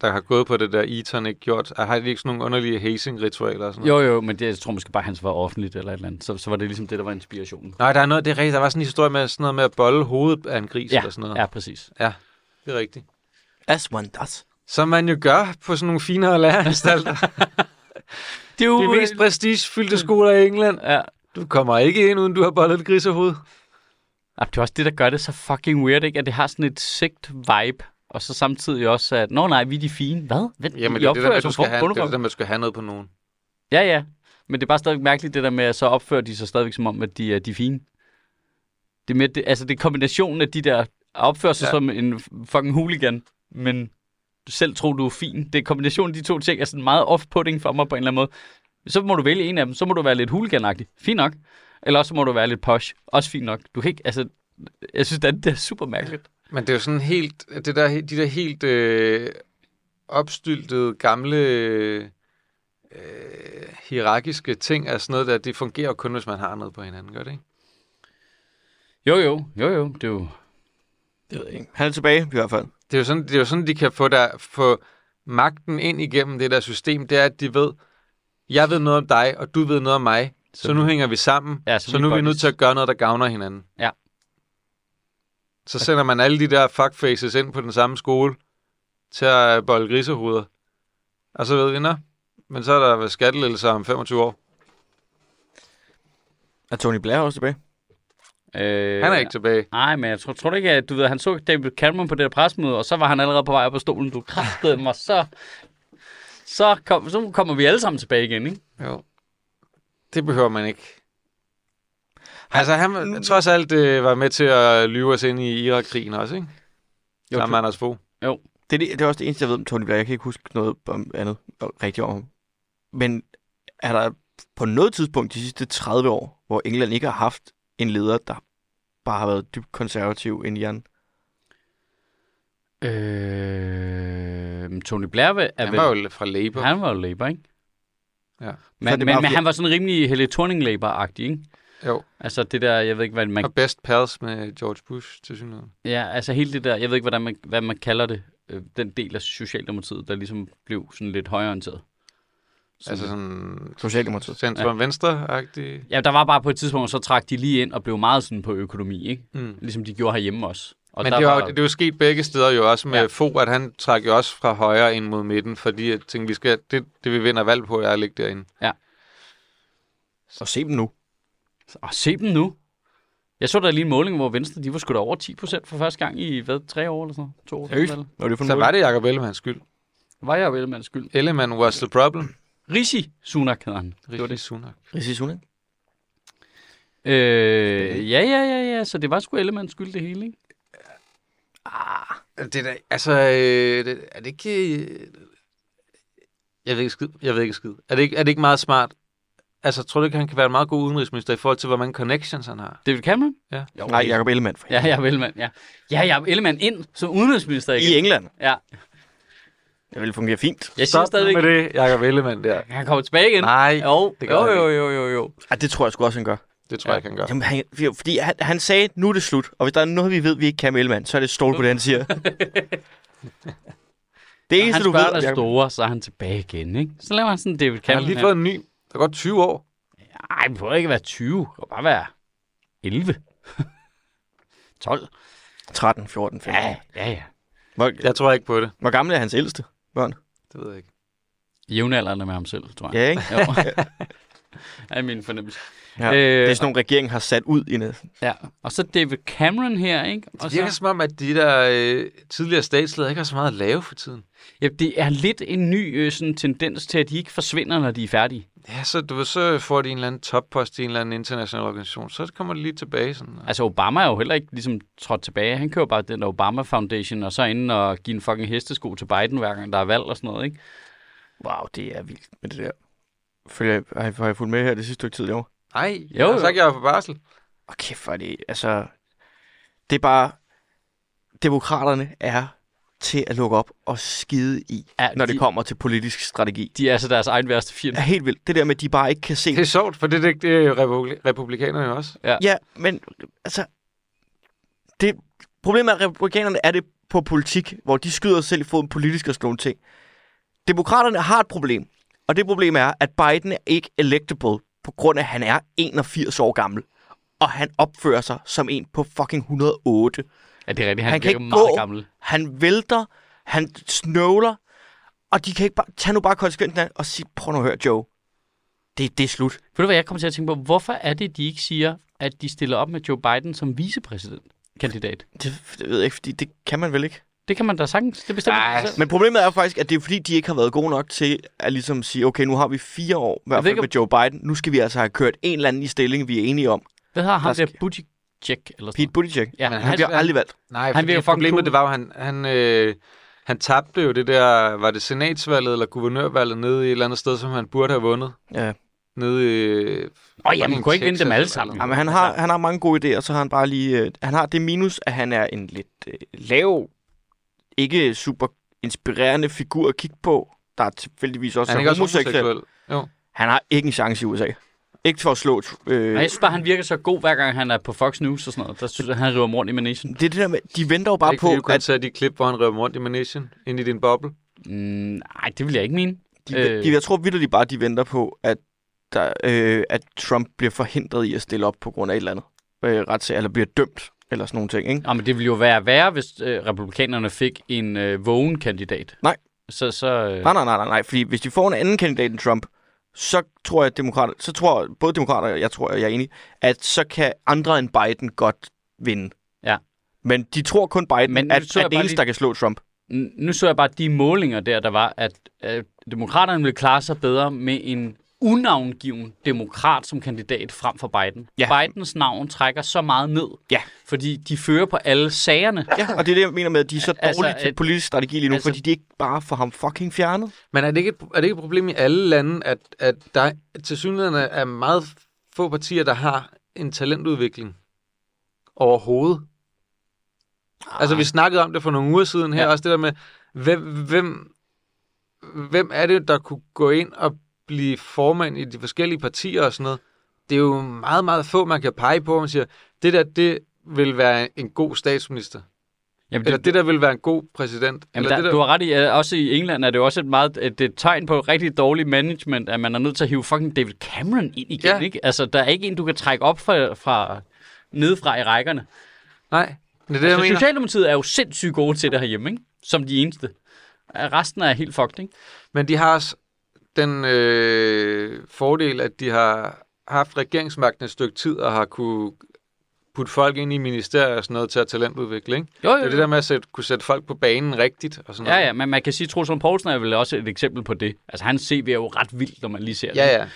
[SPEAKER 2] der har gået på det der Eton, ikke gjort... Har de ikke sådan nogle underlige hazing-ritualer og sådan noget?
[SPEAKER 1] Jo, jo, men det, jeg tror måske bare, hans var offentligt eller et eller andet. Så, så var det ligesom det, der var inspirationen.
[SPEAKER 2] Nej, der er noget, det er rigtigt. Der var sådan en historie med sådan noget med at bolle hovedet af en gris
[SPEAKER 1] Ja,
[SPEAKER 2] eller sådan noget.
[SPEAKER 1] ja, præcis.
[SPEAKER 2] Det er rigtigt.
[SPEAKER 3] As one does.
[SPEAKER 2] Som man jo gør på sådan nogle finere læreranstalter.
[SPEAKER 1] Det er jo... øh,
[SPEAKER 2] De mest prestigefyldte skoler i England.
[SPEAKER 1] Ja,
[SPEAKER 2] Du kommer ikke ind, uden du har bollet et grisehoved.
[SPEAKER 1] Ja, det er også det, der gør det så fucking weird, ikke? At det har sådan et sigt vibe, og så samtidig også, at nå nej, vi er de fine. Hvad? Hvad?
[SPEAKER 2] Jamen,
[SPEAKER 1] I
[SPEAKER 2] det er det,
[SPEAKER 1] opfører
[SPEAKER 2] der, med,
[SPEAKER 1] jer
[SPEAKER 2] at
[SPEAKER 1] som
[SPEAKER 2] du skal
[SPEAKER 1] fucking
[SPEAKER 2] have, det er
[SPEAKER 1] bunderøve.
[SPEAKER 2] det der med, at du skal have noget på nogen.
[SPEAKER 1] Ja, ja. Men det er bare stadigvæk mærkeligt, det der med, at så opfører de sig stadigvæk som om, at de er de er fine. Det er, mere, det, altså, det er kombinationen af de der opfører sig ja.
[SPEAKER 2] Ja.
[SPEAKER 1] som en fucking hooligan, men du selv tror, du er fin. Det er kombinationen af de to ting, altså, er sådan meget off-putting for mig på en eller anden måde. Så må du vælge en af dem. Så må du være lidt hooliganagtig. Fint nok. Eller også må du være lidt posh. Også fint nok. Du kan ikke, altså, jeg synes, det andet, det er super mærkeligt.
[SPEAKER 2] Men det er jo sådan helt, det der, de der helt øh, opstyltede, gamle, øh, hierarkiske ting er sådan noget der, det fungerer jo kun, hvis man har noget på hinanden, gør det ikke?
[SPEAKER 1] Jo, jo, jo, jo. Det er jo...
[SPEAKER 3] Det ved jeg ikke. Han er tilbage, i hvert fald.
[SPEAKER 2] Det er jo sådan, det er jo sådan de kan få, der, få magten ind igennem det der system, det er, at de ved, jeg ved noget om dig, og du ved noget om mig, så,
[SPEAKER 1] Så-
[SPEAKER 2] så nu hænger vi sammen,
[SPEAKER 1] Ja,
[SPEAKER 2] ja,
[SPEAKER 1] så vi
[SPEAKER 2] så, så nu er vi
[SPEAKER 1] buddies.
[SPEAKER 2] nødt til at gøre noget, der gavner hinanden.
[SPEAKER 1] Ja.
[SPEAKER 2] Så sender man alle de der fuckfaces ind på den samme skole til at bolle grisehoveder. Og så ved vi, nå, men så er der vel skattelettelser om 25 år.
[SPEAKER 3] Er Tony Blair også tilbage?
[SPEAKER 1] Øh,
[SPEAKER 2] Han er ikke tilbage.
[SPEAKER 1] Nej, men jeg tror, tror du ikke, at du ved, han så David Cameron på det der presmøde, og så var han allerede på vej op på stolen. Du kræftede mig, så... Så, kom, så kommer vi alle sammen tilbage igen, ikke?
[SPEAKER 2] Jo. Det behøver man ikke. Altså, han trods alt øh, var med til at lyve os ind i Irak-krigen også, ikke?
[SPEAKER 1] Jo,
[SPEAKER 2] Jo, Sammen med Anders Fogh.
[SPEAKER 3] Det er, det, det er også det eneste, jeg ved om Tony Blair. Jeg kan ikke huske noget om andet og rigtigt om ham. Men er der på noget tidspunkt de sidste 30 år, hvor England ikke har haft en leder, der bare har været dybt konservativ end Jan?
[SPEAKER 1] Øh, men Tony Blair var, er
[SPEAKER 2] Han var jo fra Labour.
[SPEAKER 1] han var jo Labour, ikke?
[SPEAKER 2] Ja.
[SPEAKER 1] Men,
[SPEAKER 3] det er
[SPEAKER 1] men,
[SPEAKER 3] bare-
[SPEAKER 1] men, han var sådan rimelig Helle thorning agtig ikke?
[SPEAKER 2] Jo.
[SPEAKER 1] Altså det der, jeg ved ikke, hvad man
[SPEAKER 2] Og best pals med George Bush, til synligheden.
[SPEAKER 1] Ja, altså hele det der, jeg ved ikke, hvordan man, hvad man kalder det, øh, den del af Socialdemokratiet, der ligesom blev sådan lidt højorienteret. Sådan
[SPEAKER 2] Altså sådan...
[SPEAKER 3] Socialdemokratiet.
[SPEAKER 2] Centrum-venstre-agtig.
[SPEAKER 1] Ja, der var bare på et tidspunkt, så trak de lige ind og blev meget sådan på økonomi, ikke?
[SPEAKER 2] Mm.
[SPEAKER 1] Ligesom de gjorde herhjemme også. Og
[SPEAKER 2] Men
[SPEAKER 1] der
[SPEAKER 2] det er, jo,
[SPEAKER 1] var-
[SPEAKER 2] det er jo sket begge steder jo også med
[SPEAKER 1] Ja.
[SPEAKER 2] ja. Fogh, at han trak jo også fra højre ind mod midten, fordi jeg tænkte, vi skal, det, det vi vinder valg på, er at ligge derinde.
[SPEAKER 3] Så se dem nu.
[SPEAKER 1] Og Ah, se dem nu. Jeg så der lige en måling, hvor Venstre de var sgu da over 10 for første gang i, hvad, tre år eller sådan noget? To år?
[SPEAKER 3] Seriøst?
[SPEAKER 1] eller hvad?
[SPEAKER 3] Nå, det er for
[SPEAKER 2] Så var det Jacob Ellemanns skyld.
[SPEAKER 1] Var jeg jo Ellemanns skyld.
[SPEAKER 2] Ellemann was the problem.
[SPEAKER 1] Rishi Sunak hedder han.
[SPEAKER 2] Det var det, Sunak.
[SPEAKER 3] Rishi Sunak.
[SPEAKER 1] Øh, ja, ja, ja, ja. Så det var sgu Ellemanns skyld det hele, ikke?
[SPEAKER 2] Det der, altså, øh, det, er det ikke... øh, Jeg ved ikke skid. Jeg ved ikke skid. Er det ikke, er det ikke meget smart? Altså, tror du ikke, han kan være en meget god udenrigsminister i forhold til, hvor mange connections han har?
[SPEAKER 1] Det kan man.
[SPEAKER 2] Ja.
[SPEAKER 1] Jo,
[SPEAKER 3] Nej, Jacob Ellemann. For
[SPEAKER 1] Ja, Jacob Ellemann, ja. Ja, Jacob Ellemann ind som udenrigsminister igen.
[SPEAKER 3] I England.
[SPEAKER 1] Ja.
[SPEAKER 3] Det ville fungere fint.
[SPEAKER 1] Jeg siger stadigvæk,
[SPEAKER 2] med det, Jacob Ellemann der.
[SPEAKER 1] han kommer tilbage igen.
[SPEAKER 2] Nej,
[SPEAKER 1] Jo,
[SPEAKER 2] det gør
[SPEAKER 1] jo,
[SPEAKER 2] han
[SPEAKER 1] jo, jo, jo, jo.
[SPEAKER 3] Ej, det tror jeg sgu også, han gør.
[SPEAKER 2] det tror jeg ikke, han gør.
[SPEAKER 3] Jamen, han, fordi han, han sagde, nu er det slut. Og hvis der er noget, vi ved, vi ikke kan med Ellemann, så er det stol på det, han siger. det
[SPEAKER 1] Når
[SPEAKER 3] eneste,
[SPEAKER 1] hans
[SPEAKER 3] du
[SPEAKER 1] børn
[SPEAKER 3] ved...
[SPEAKER 1] er
[SPEAKER 3] Jacob-
[SPEAKER 1] store, så er han tilbage igen, ikke? Så laver han sådan en David
[SPEAKER 2] Han
[SPEAKER 1] Cameron.
[SPEAKER 2] har lige
[SPEAKER 1] her.
[SPEAKER 2] fået en ny. Der er godt 20 år.
[SPEAKER 1] Nej, det behøver ikke at være 20. Det kan bare være 11. 12.
[SPEAKER 3] 13, 14, 15.
[SPEAKER 1] Ja, ja, ja.
[SPEAKER 3] Hvor,
[SPEAKER 2] Jeg tror ikke på det.
[SPEAKER 3] hvor gammel er hans ældste børn?
[SPEAKER 2] Det ved jeg ikke.
[SPEAKER 1] Jævnaldrende med ham selv, tror jeg.
[SPEAKER 3] Ja, ikke?
[SPEAKER 1] Jo. er min fornemmelse. Øh,
[SPEAKER 3] Ja. Det er sådan nogle, regeringen har sat ud i net.
[SPEAKER 1] ja. Og så David Cameron her, ikke? Og
[SPEAKER 2] Det virker
[SPEAKER 1] så,
[SPEAKER 2] som om, at de der øh, tidligere statsledere ikke har så meget at lave for tiden.
[SPEAKER 1] ja, det er lidt en ny øh, sådan, tendens til, at de ikke forsvinder, når de er færdige.
[SPEAKER 2] Ja, så, du ved, så får de en eller anden toppost i en eller anden international organisation. Så kommer de lige tilbage. Sådan,
[SPEAKER 1] Altså, Obama er jo heller ikke ligesom trådt tilbage. Han kører bare den der Obama Foundation, og så inden og give en fucking hestesko til Biden, hver gang der er valg og sådan noget, ikke?
[SPEAKER 3] Wow, det er vildt med det der. Følger, jeg- har, I, har I fulgt med her det sidste stykke tid i år?
[SPEAKER 2] Nej,
[SPEAKER 1] Jo,
[SPEAKER 2] jeg har
[SPEAKER 1] jo.
[SPEAKER 2] sagt, at jeg er på barsel.
[SPEAKER 3] Og kæft, hvor er det... Altså, det er bare... Demokraterne er til at lukke op og skide i,
[SPEAKER 1] Ja,
[SPEAKER 3] ja, når de...
[SPEAKER 1] de-
[SPEAKER 3] det kommer til politisk strategi.
[SPEAKER 1] De er altså deres egen værste
[SPEAKER 3] Det
[SPEAKER 1] fjende.
[SPEAKER 3] er helt vildt. Det der med, at de bare ikke kan se...
[SPEAKER 2] Det er sjovt, for det, det, det er republi- republikanerne jo også.
[SPEAKER 3] Ja, men altså... Det, problemet er, at republikanerne er det på politik, hvor de skyder sig selv i foden politisk og sådan nogle ting. Demokraterne har et problem, og det problem er, at Biden er ikke electable, på grund af, at han er 81 år gammel. Og han opfører sig som en på fucking 108.
[SPEAKER 1] Ja, det er rigtigt. Han,
[SPEAKER 3] Han kan
[SPEAKER 1] virker
[SPEAKER 3] ikke
[SPEAKER 1] meget
[SPEAKER 3] gå.
[SPEAKER 1] gammel.
[SPEAKER 3] Han vælter, han snøvler, og de kan ikke bare, tage nu bare konsekvensen af det og sige, prøv nu at høre, Joe. Det, det er slut.
[SPEAKER 1] Ved du hvad, jeg kommer til at tænke på? Hvorfor er det, de ikke siger, at de stiller op med Joe Biden som vicepræsidentkandidat?
[SPEAKER 3] Det, det ved jeg ikke, fordi det kan man vel ikke.
[SPEAKER 1] Det kan man da sagtens. Det bestemmer
[SPEAKER 2] Ej,
[SPEAKER 1] de selv.
[SPEAKER 3] Men problemet er jo faktisk, at det er fordi, de ikke har været gode nok til at ligesom sige, okay, nu har vi fire år, i
[SPEAKER 1] Jeg
[SPEAKER 3] hvert
[SPEAKER 1] ved
[SPEAKER 3] fald
[SPEAKER 1] ikke,
[SPEAKER 3] med Joe Biden. Nu skal vi altså have kørt en eller anden i stilling, vi er enige om.
[SPEAKER 1] Hvad har ham
[SPEAKER 3] der
[SPEAKER 1] der
[SPEAKER 3] sk-
[SPEAKER 1] Buttigieg? Eller sådan
[SPEAKER 3] Pete Buttigieg.
[SPEAKER 1] noget? Ja,
[SPEAKER 2] Men
[SPEAKER 1] han,
[SPEAKER 2] han
[SPEAKER 3] Han
[SPEAKER 1] han,
[SPEAKER 3] bliver
[SPEAKER 2] skal-
[SPEAKER 3] aldrig valgt.
[SPEAKER 2] Nej,
[SPEAKER 1] Han
[SPEAKER 2] han
[SPEAKER 1] virker
[SPEAKER 2] fordi
[SPEAKER 1] fucking
[SPEAKER 2] problemet
[SPEAKER 1] cool.
[SPEAKER 2] det var jo, han, han, øh, han tabte jo det der, var det senatsvalget eller guvernørvalget nede i et eller andet sted, som han burde have vundet.
[SPEAKER 3] Ja.
[SPEAKER 2] Nede i... Øh,
[SPEAKER 1] Åh, ja, man
[SPEAKER 2] fucking
[SPEAKER 1] kunne ikke vinde dem
[SPEAKER 2] Texas
[SPEAKER 1] alle
[SPEAKER 2] eller
[SPEAKER 1] sammen.
[SPEAKER 2] noget.
[SPEAKER 3] Jamen, han, har, han har mange gode idéer, så har han bare lige... Øh, han har det minus, at han er en lidt øh, lav, ikke super inspirerende figur at kigge på, der er tilfældigvis også
[SPEAKER 2] Han er
[SPEAKER 3] er
[SPEAKER 2] ikke også
[SPEAKER 3] homoseksuel.
[SPEAKER 2] homoseksuel. Jo.
[SPEAKER 3] Han har ikke en chance i USA. Ikke for at slå... Øh,
[SPEAKER 1] Nej, jeg synes bare, han virker så god, hver gang han er på Fox News og sådan noget. Der synes jeg, han river rundt i Manation.
[SPEAKER 3] det er det der med, de venter jo
[SPEAKER 2] Bare
[SPEAKER 3] bare
[SPEAKER 2] ikke, på, du
[SPEAKER 3] på,
[SPEAKER 2] kan
[SPEAKER 3] at
[SPEAKER 2] at... tage de klip, hvor han rører rundt i managen, ind i din boble.
[SPEAKER 1] Mm, nej, det vil jeg ikke mene.
[SPEAKER 3] De, øh. de, jeg tror vidderligt bare, de venter på, at, der, øh, at Trump bliver forhindret i at stille op på grund af et eller andet øh, retssag, eller bliver dømt, eller sådan nogle ting. Ikke?
[SPEAKER 1] Nå, men det ville jo være værre, hvis øh, republikanerne fik en øh, vågen kandidat.
[SPEAKER 3] Nej.
[SPEAKER 1] Så, så, øh,
[SPEAKER 3] Nej, nej, nej, nej, nej, fordi hvis de får en anden kandidat end Trump, så tror jeg, at demokrater, så tror både demokrater og jeg tror, jeg er enig, at så kan andre end Biden godt vinde.
[SPEAKER 1] Ja.
[SPEAKER 3] Men de tror kun Biden,
[SPEAKER 1] Men
[SPEAKER 3] Men
[SPEAKER 1] nu
[SPEAKER 3] at,
[SPEAKER 1] så jeg
[SPEAKER 3] at
[SPEAKER 1] bare
[SPEAKER 3] det eneste,
[SPEAKER 1] lige-
[SPEAKER 3] der kan slå Trump.
[SPEAKER 1] N- Nu så jeg bare de målinger der, der var, at øh, demokraterne ville klare sig bedre med en unavngiven demokrat som kandidat frem for Biden.
[SPEAKER 3] Ja.
[SPEAKER 1] Bidens navn trækker så meget ned,
[SPEAKER 3] Ja.
[SPEAKER 1] fordi de fører på alle sagerne.
[SPEAKER 3] Ja, og det er det, jeg mener med, at de er så
[SPEAKER 1] Altså,
[SPEAKER 3] dårlige til
[SPEAKER 1] at-
[SPEAKER 3] politisk strategi lige nu,
[SPEAKER 1] altså-
[SPEAKER 3] altså, fordi de ikke bare får ham fucking fjernet.
[SPEAKER 2] Men er det ikke et, er det ikke et problem i alle lande, at, at der til synligheden er meget få partier, der har en talentudvikling overhovedet? Altså, vi snakkede om det for nogle uger siden her,
[SPEAKER 1] Ja.
[SPEAKER 2] ja. også det der med, hvem, hvem, hvem er det, der kunne gå ind og blive formand i de forskellige partier og sådan noget? Det er jo meget, meget få, man kan pege på, og man siger, det der, det vil være en god statsminister.
[SPEAKER 1] Jamen,
[SPEAKER 2] Eller det der vil være en god præsident.
[SPEAKER 1] Jamen,
[SPEAKER 2] eller
[SPEAKER 1] der,
[SPEAKER 2] det
[SPEAKER 1] der... Du har ret i, at også i England er det jo også et meget et, et tegn på rigtig dårlig management, at man er nødt til at hive fucking David Cameron ind igen,
[SPEAKER 2] Ja.
[SPEAKER 1] ikke? Altså, der er ikke en, du kan trække op fra, fra nedefra i rækkerne.
[SPEAKER 2] Nej. Det er det, jeg
[SPEAKER 1] Altså,
[SPEAKER 2] mener.
[SPEAKER 1] Socialdemokratiet er jo sindssygt gode til det herhjemme, ikke? Som de eneste. Ah, Resten er helt fucked, ikke?
[SPEAKER 2] Men de har også den øh, fordel, at de har haft regeringsmagten et stykke tid, og har kunne putte folk ind i ministerier og sådan noget til at talentudvikle, ikke?
[SPEAKER 1] Jo, jo,
[SPEAKER 2] Det er det der med at sætte, kunne sætte folk på banen rigtigt og sådan
[SPEAKER 1] Ja,
[SPEAKER 2] noget.
[SPEAKER 1] ja, men man kan sige, at Troels Lund Poulsen er vel også et eksempel på det. Altså, hans CV er jo ret vildt, når man lige ser det.
[SPEAKER 2] Ja, ja.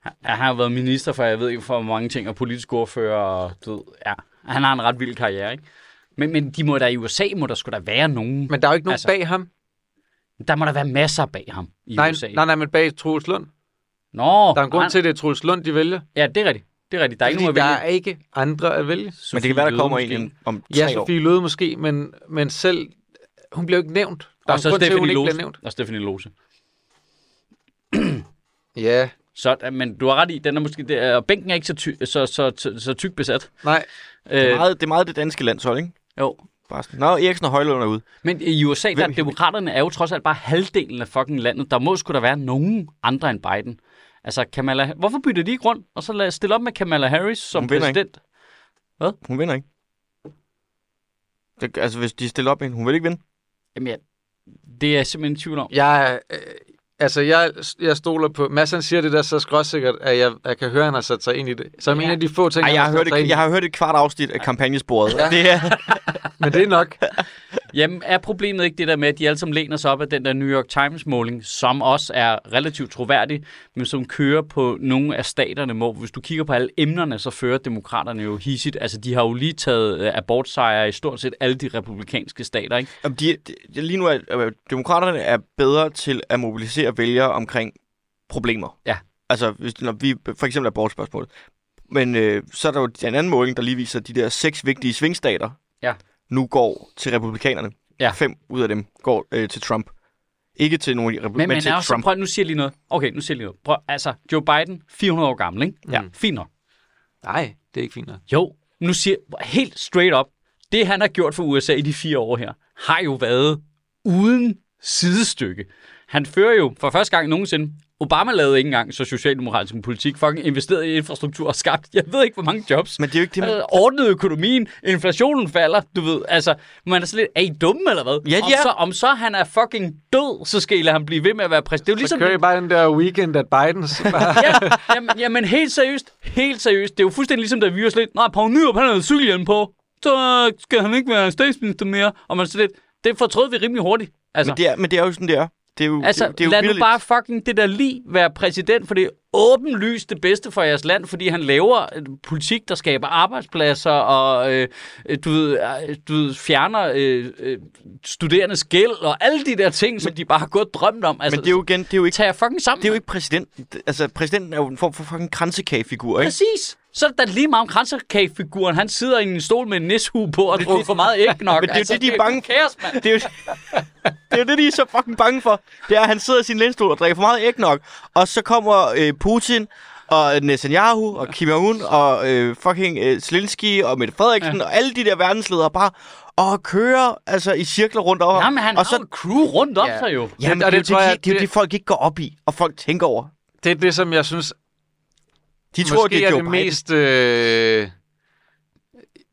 [SPEAKER 1] Han har jo været minister for, jeg ved ikke, for mange ting, og politisk ordfører, og du ved, ja. Han har en ret vild karriere, ikke? Men, men de må der i USA, må der skulle der være nogen.
[SPEAKER 2] Men der er jo ikke nogen
[SPEAKER 1] Altså,
[SPEAKER 2] altså, bag ham.
[SPEAKER 1] Der må der være masser bag ham i
[SPEAKER 2] Nej,
[SPEAKER 1] USA.
[SPEAKER 2] nej, nej, men bag Troels Lund.
[SPEAKER 1] Nå,
[SPEAKER 2] Der er en grund
[SPEAKER 1] nej.
[SPEAKER 2] til, at det er Troels Lund, de vælger.
[SPEAKER 1] Ja, det er rigtigt. Det er rigtigt. Der er ikke
[SPEAKER 2] Fordi
[SPEAKER 1] nogen
[SPEAKER 2] der
[SPEAKER 1] at
[SPEAKER 2] er ikke andre at vælge.
[SPEAKER 1] vælge.
[SPEAKER 3] Men det kan være, der
[SPEAKER 1] Sofie
[SPEAKER 3] kommer
[SPEAKER 1] Løhde
[SPEAKER 3] en
[SPEAKER 1] måske.
[SPEAKER 3] om, om tre
[SPEAKER 2] Ja,
[SPEAKER 3] år.
[SPEAKER 2] Sofie Løde måske, men, men selv... Hun bliver jo ikke nævnt. Der er
[SPEAKER 1] Og
[SPEAKER 2] en
[SPEAKER 1] så
[SPEAKER 2] grund til, at hun
[SPEAKER 1] Stephanie
[SPEAKER 2] ikke bliver
[SPEAKER 1] Lose.
[SPEAKER 2] nævnt.
[SPEAKER 1] Og Stephanie Lose.
[SPEAKER 2] Ja,
[SPEAKER 1] Så, ja, men du har ret i, den er måske, det er, og bænken er ikke så, ty, så, så, så, så tyk besat.
[SPEAKER 2] nej.
[SPEAKER 3] Det er,
[SPEAKER 1] Øh,
[SPEAKER 3] meget, det er meget det danske landshold, ikke?
[SPEAKER 1] jo.
[SPEAKER 3] Bare sådan. Nå, Eriksen og Højlund er ude.
[SPEAKER 1] Men i USA, der
[SPEAKER 3] Hvem-
[SPEAKER 1] er demokraterne er jo trods alt bare halvdelen af fucking landet. Der må sgu da være nogen andre end Biden. Altså, Kamala, hvorfor bytter de ikke rundt, og så lad stille op med Kamala Harris som
[SPEAKER 3] Hun vinder ikke.
[SPEAKER 1] præsident? Ikke.
[SPEAKER 3] Hun vinder ikke. Det, altså, hvis de stiller op med hende, hun vil ikke vinde.
[SPEAKER 1] Jamen, ja, det er jeg simpelthen i tvivl om.
[SPEAKER 2] Jeg, øh, altså, jeg, jeg stoler på... Mads han siger det der så skråsikkert, at jeg, jeg kan høre, at han har sat sig ind i det. Som
[SPEAKER 1] Ja.
[SPEAKER 2] ja. en af de få ting,
[SPEAKER 3] Ej, jeg, har
[SPEAKER 2] han har
[SPEAKER 3] hørt
[SPEAKER 2] sat sig
[SPEAKER 3] et,
[SPEAKER 2] ind
[SPEAKER 3] jeg har hørt et kvart afsnit af kampagnesporet. Ja. Det er,
[SPEAKER 2] i. Men det er nok.
[SPEAKER 1] Jamen, er problemet ikke det der med, at de alle sammen læner sig op af den der New York Times-måling, som også er relativt troværdig, men som kører på nogle af staterne, hvor hvis du kigger på alle emnerne, så fører demokraterne jo hisigt. Altså, de har jo lige taget øh, abortsejre i stort set alle de republikanske stater, ikke?
[SPEAKER 3] Jamen, de, de, lige nu er øh, demokraterne er bedre til at mobilisere vælgere omkring problemer.
[SPEAKER 1] Ja.
[SPEAKER 3] Altså, hvis, når vi for eksempel er bortspørgsmål. Men øh, så er der jo en anden måling, der lige viser, at de der seks vigtige svingstater
[SPEAKER 1] Ja.
[SPEAKER 3] nu går til republikanerne.
[SPEAKER 1] Ja.
[SPEAKER 3] Fem ud af dem går øh, til Trump. Ikke til nogen af de
[SPEAKER 1] Men,
[SPEAKER 3] republikanerne, men,
[SPEAKER 1] men
[SPEAKER 3] til
[SPEAKER 1] er også,
[SPEAKER 3] Trump.
[SPEAKER 1] prøv, nu siger jeg lige noget. Okay, nu siger jeg lige noget. Prøv, altså, Joe Biden, 400 år gammel, ikke? Ja. Fint nok.
[SPEAKER 2] Nej, det er ikke fint nok.
[SPEAKER 1] Jo, nu siger helt straight up, det han har gjort for USA i de fire år her, har jo været uden sidestykke. Han fører jo for første gang nogensinde, Obama lavede ikke engang så socialdemokratisk en politik, fucking investeret i infrastruktur og skabt, jeg ved ikke, hvor mange jobs.
[SPEAKER 3] Men det er jo ikke det, man...
[SPEAKER 1] Øh, ordnet økonomien, inflationen falder, du ved, altså, man er sådan lidt, er I dumme eller hvad?
[SPEAKER 3] Ja, de
[SPEAKER 1] om,
[SPEAKER 3] er.
[SPEAKER 1] så, om så han er fucking død, så skal I lade ham blive ved med at være præsident. Det er jo
[SPEAKER 2] Så
[SPEAKER 1] ligesom,
[SPEAKER 2] kører I bare den der weekend at Bidens. Bare,
[SPEAKER 1] ja, jamen, jamen, helt seriøst. Helt seriøst. Det er jo fuldstændig ligesom, da vi var sådan lidt, nej, Poul Nyrup, han havde cykelhjelm på. Så skal han ikke være statsminister mere. Og man er sådan lidt, det fortrød vi rimelig hurtigt. Altså,
[SPEAKER 3] Men det, er, men det er jo sådan, det er. Det er jo,
[SPEAKER 1] altså
[SPEAKER 3] det, det er jo
[SPEAKER 1] lad nu
[SPEAKER 3] vildt.
[SPEAKER 1] bare fucking det der lige være præsident, for det er åbenlyst det bedste for jeres land, fordi han laver øh, politik, der skaber arbejdspladser, og øh, øh, du, ved, øh, du ved, fjerner øh, øh, studerendes gæld, og alle de der ting, som de bare har gået og drømt om. Altså,
[SPEAKER 3] Men det er jo igen, det er jo ikke,
[SPEAKER 1] Tag jer fucking sammen.
[SPEAKER 3] det er jo ikke præsidenten. Altså, præsidenten er jo en form for fucking kransekagefigur, ikke?
[SPEAKER 1] Præcis. Så er det da lige meget om kransekagefiguren. Han sidder i en stol med en nishue på og drukker for meget altså. æg nok.
[SPEAKER 3] Men det er jo det, de er bange for.
[SPEAKER 1] kaos, mand.
[SPEAKER 3] Det er, jo, det er jo det, de er så fucking bange for. Det er, at han sidder i sin lænestol og drikker for meget ægnok. Og så kommer øh, Putin og Netanyahu og Kim Jong-un og øh, fucking øh, Zelensky og Mette Frederiksen ja. og alle de der verdensledere bare og kører altså i cirkler rundt over. ham.
[SPEAKER 1] Jamen, han
[SPEAKER 3] og
[SPEAKER 1] og så... har jo et crew rundt om
[SPEAKER 2] Ja.
[SPEAKER 1] sig jo.
[SPEAKER 3] Jamen,
[SPEAKER 2] Det- og
[SPEAKER 3] det, er jo
[SPEAKER 2] det tror
[SPEAKER 3] det,
[SPEAKER 2] jeg,
[SPEAKER 3] de- det, er jo
[SPEAKER 2] det-
[SPEAKER 3] det, folk ikke går op i, og folk tænker over.
[SPEAKER 2] det er det, som jeg synes,
[SPEAKER 3] De tror,
[SPEAKER 2] måske
[SPEAKER 3] det er,
[SPEAKER 2] er
[SPEAKER 3] Joe
[SPEAKER 2] det
[SPEAKER 3] Biden.
[SPEAKER 2] mest øh,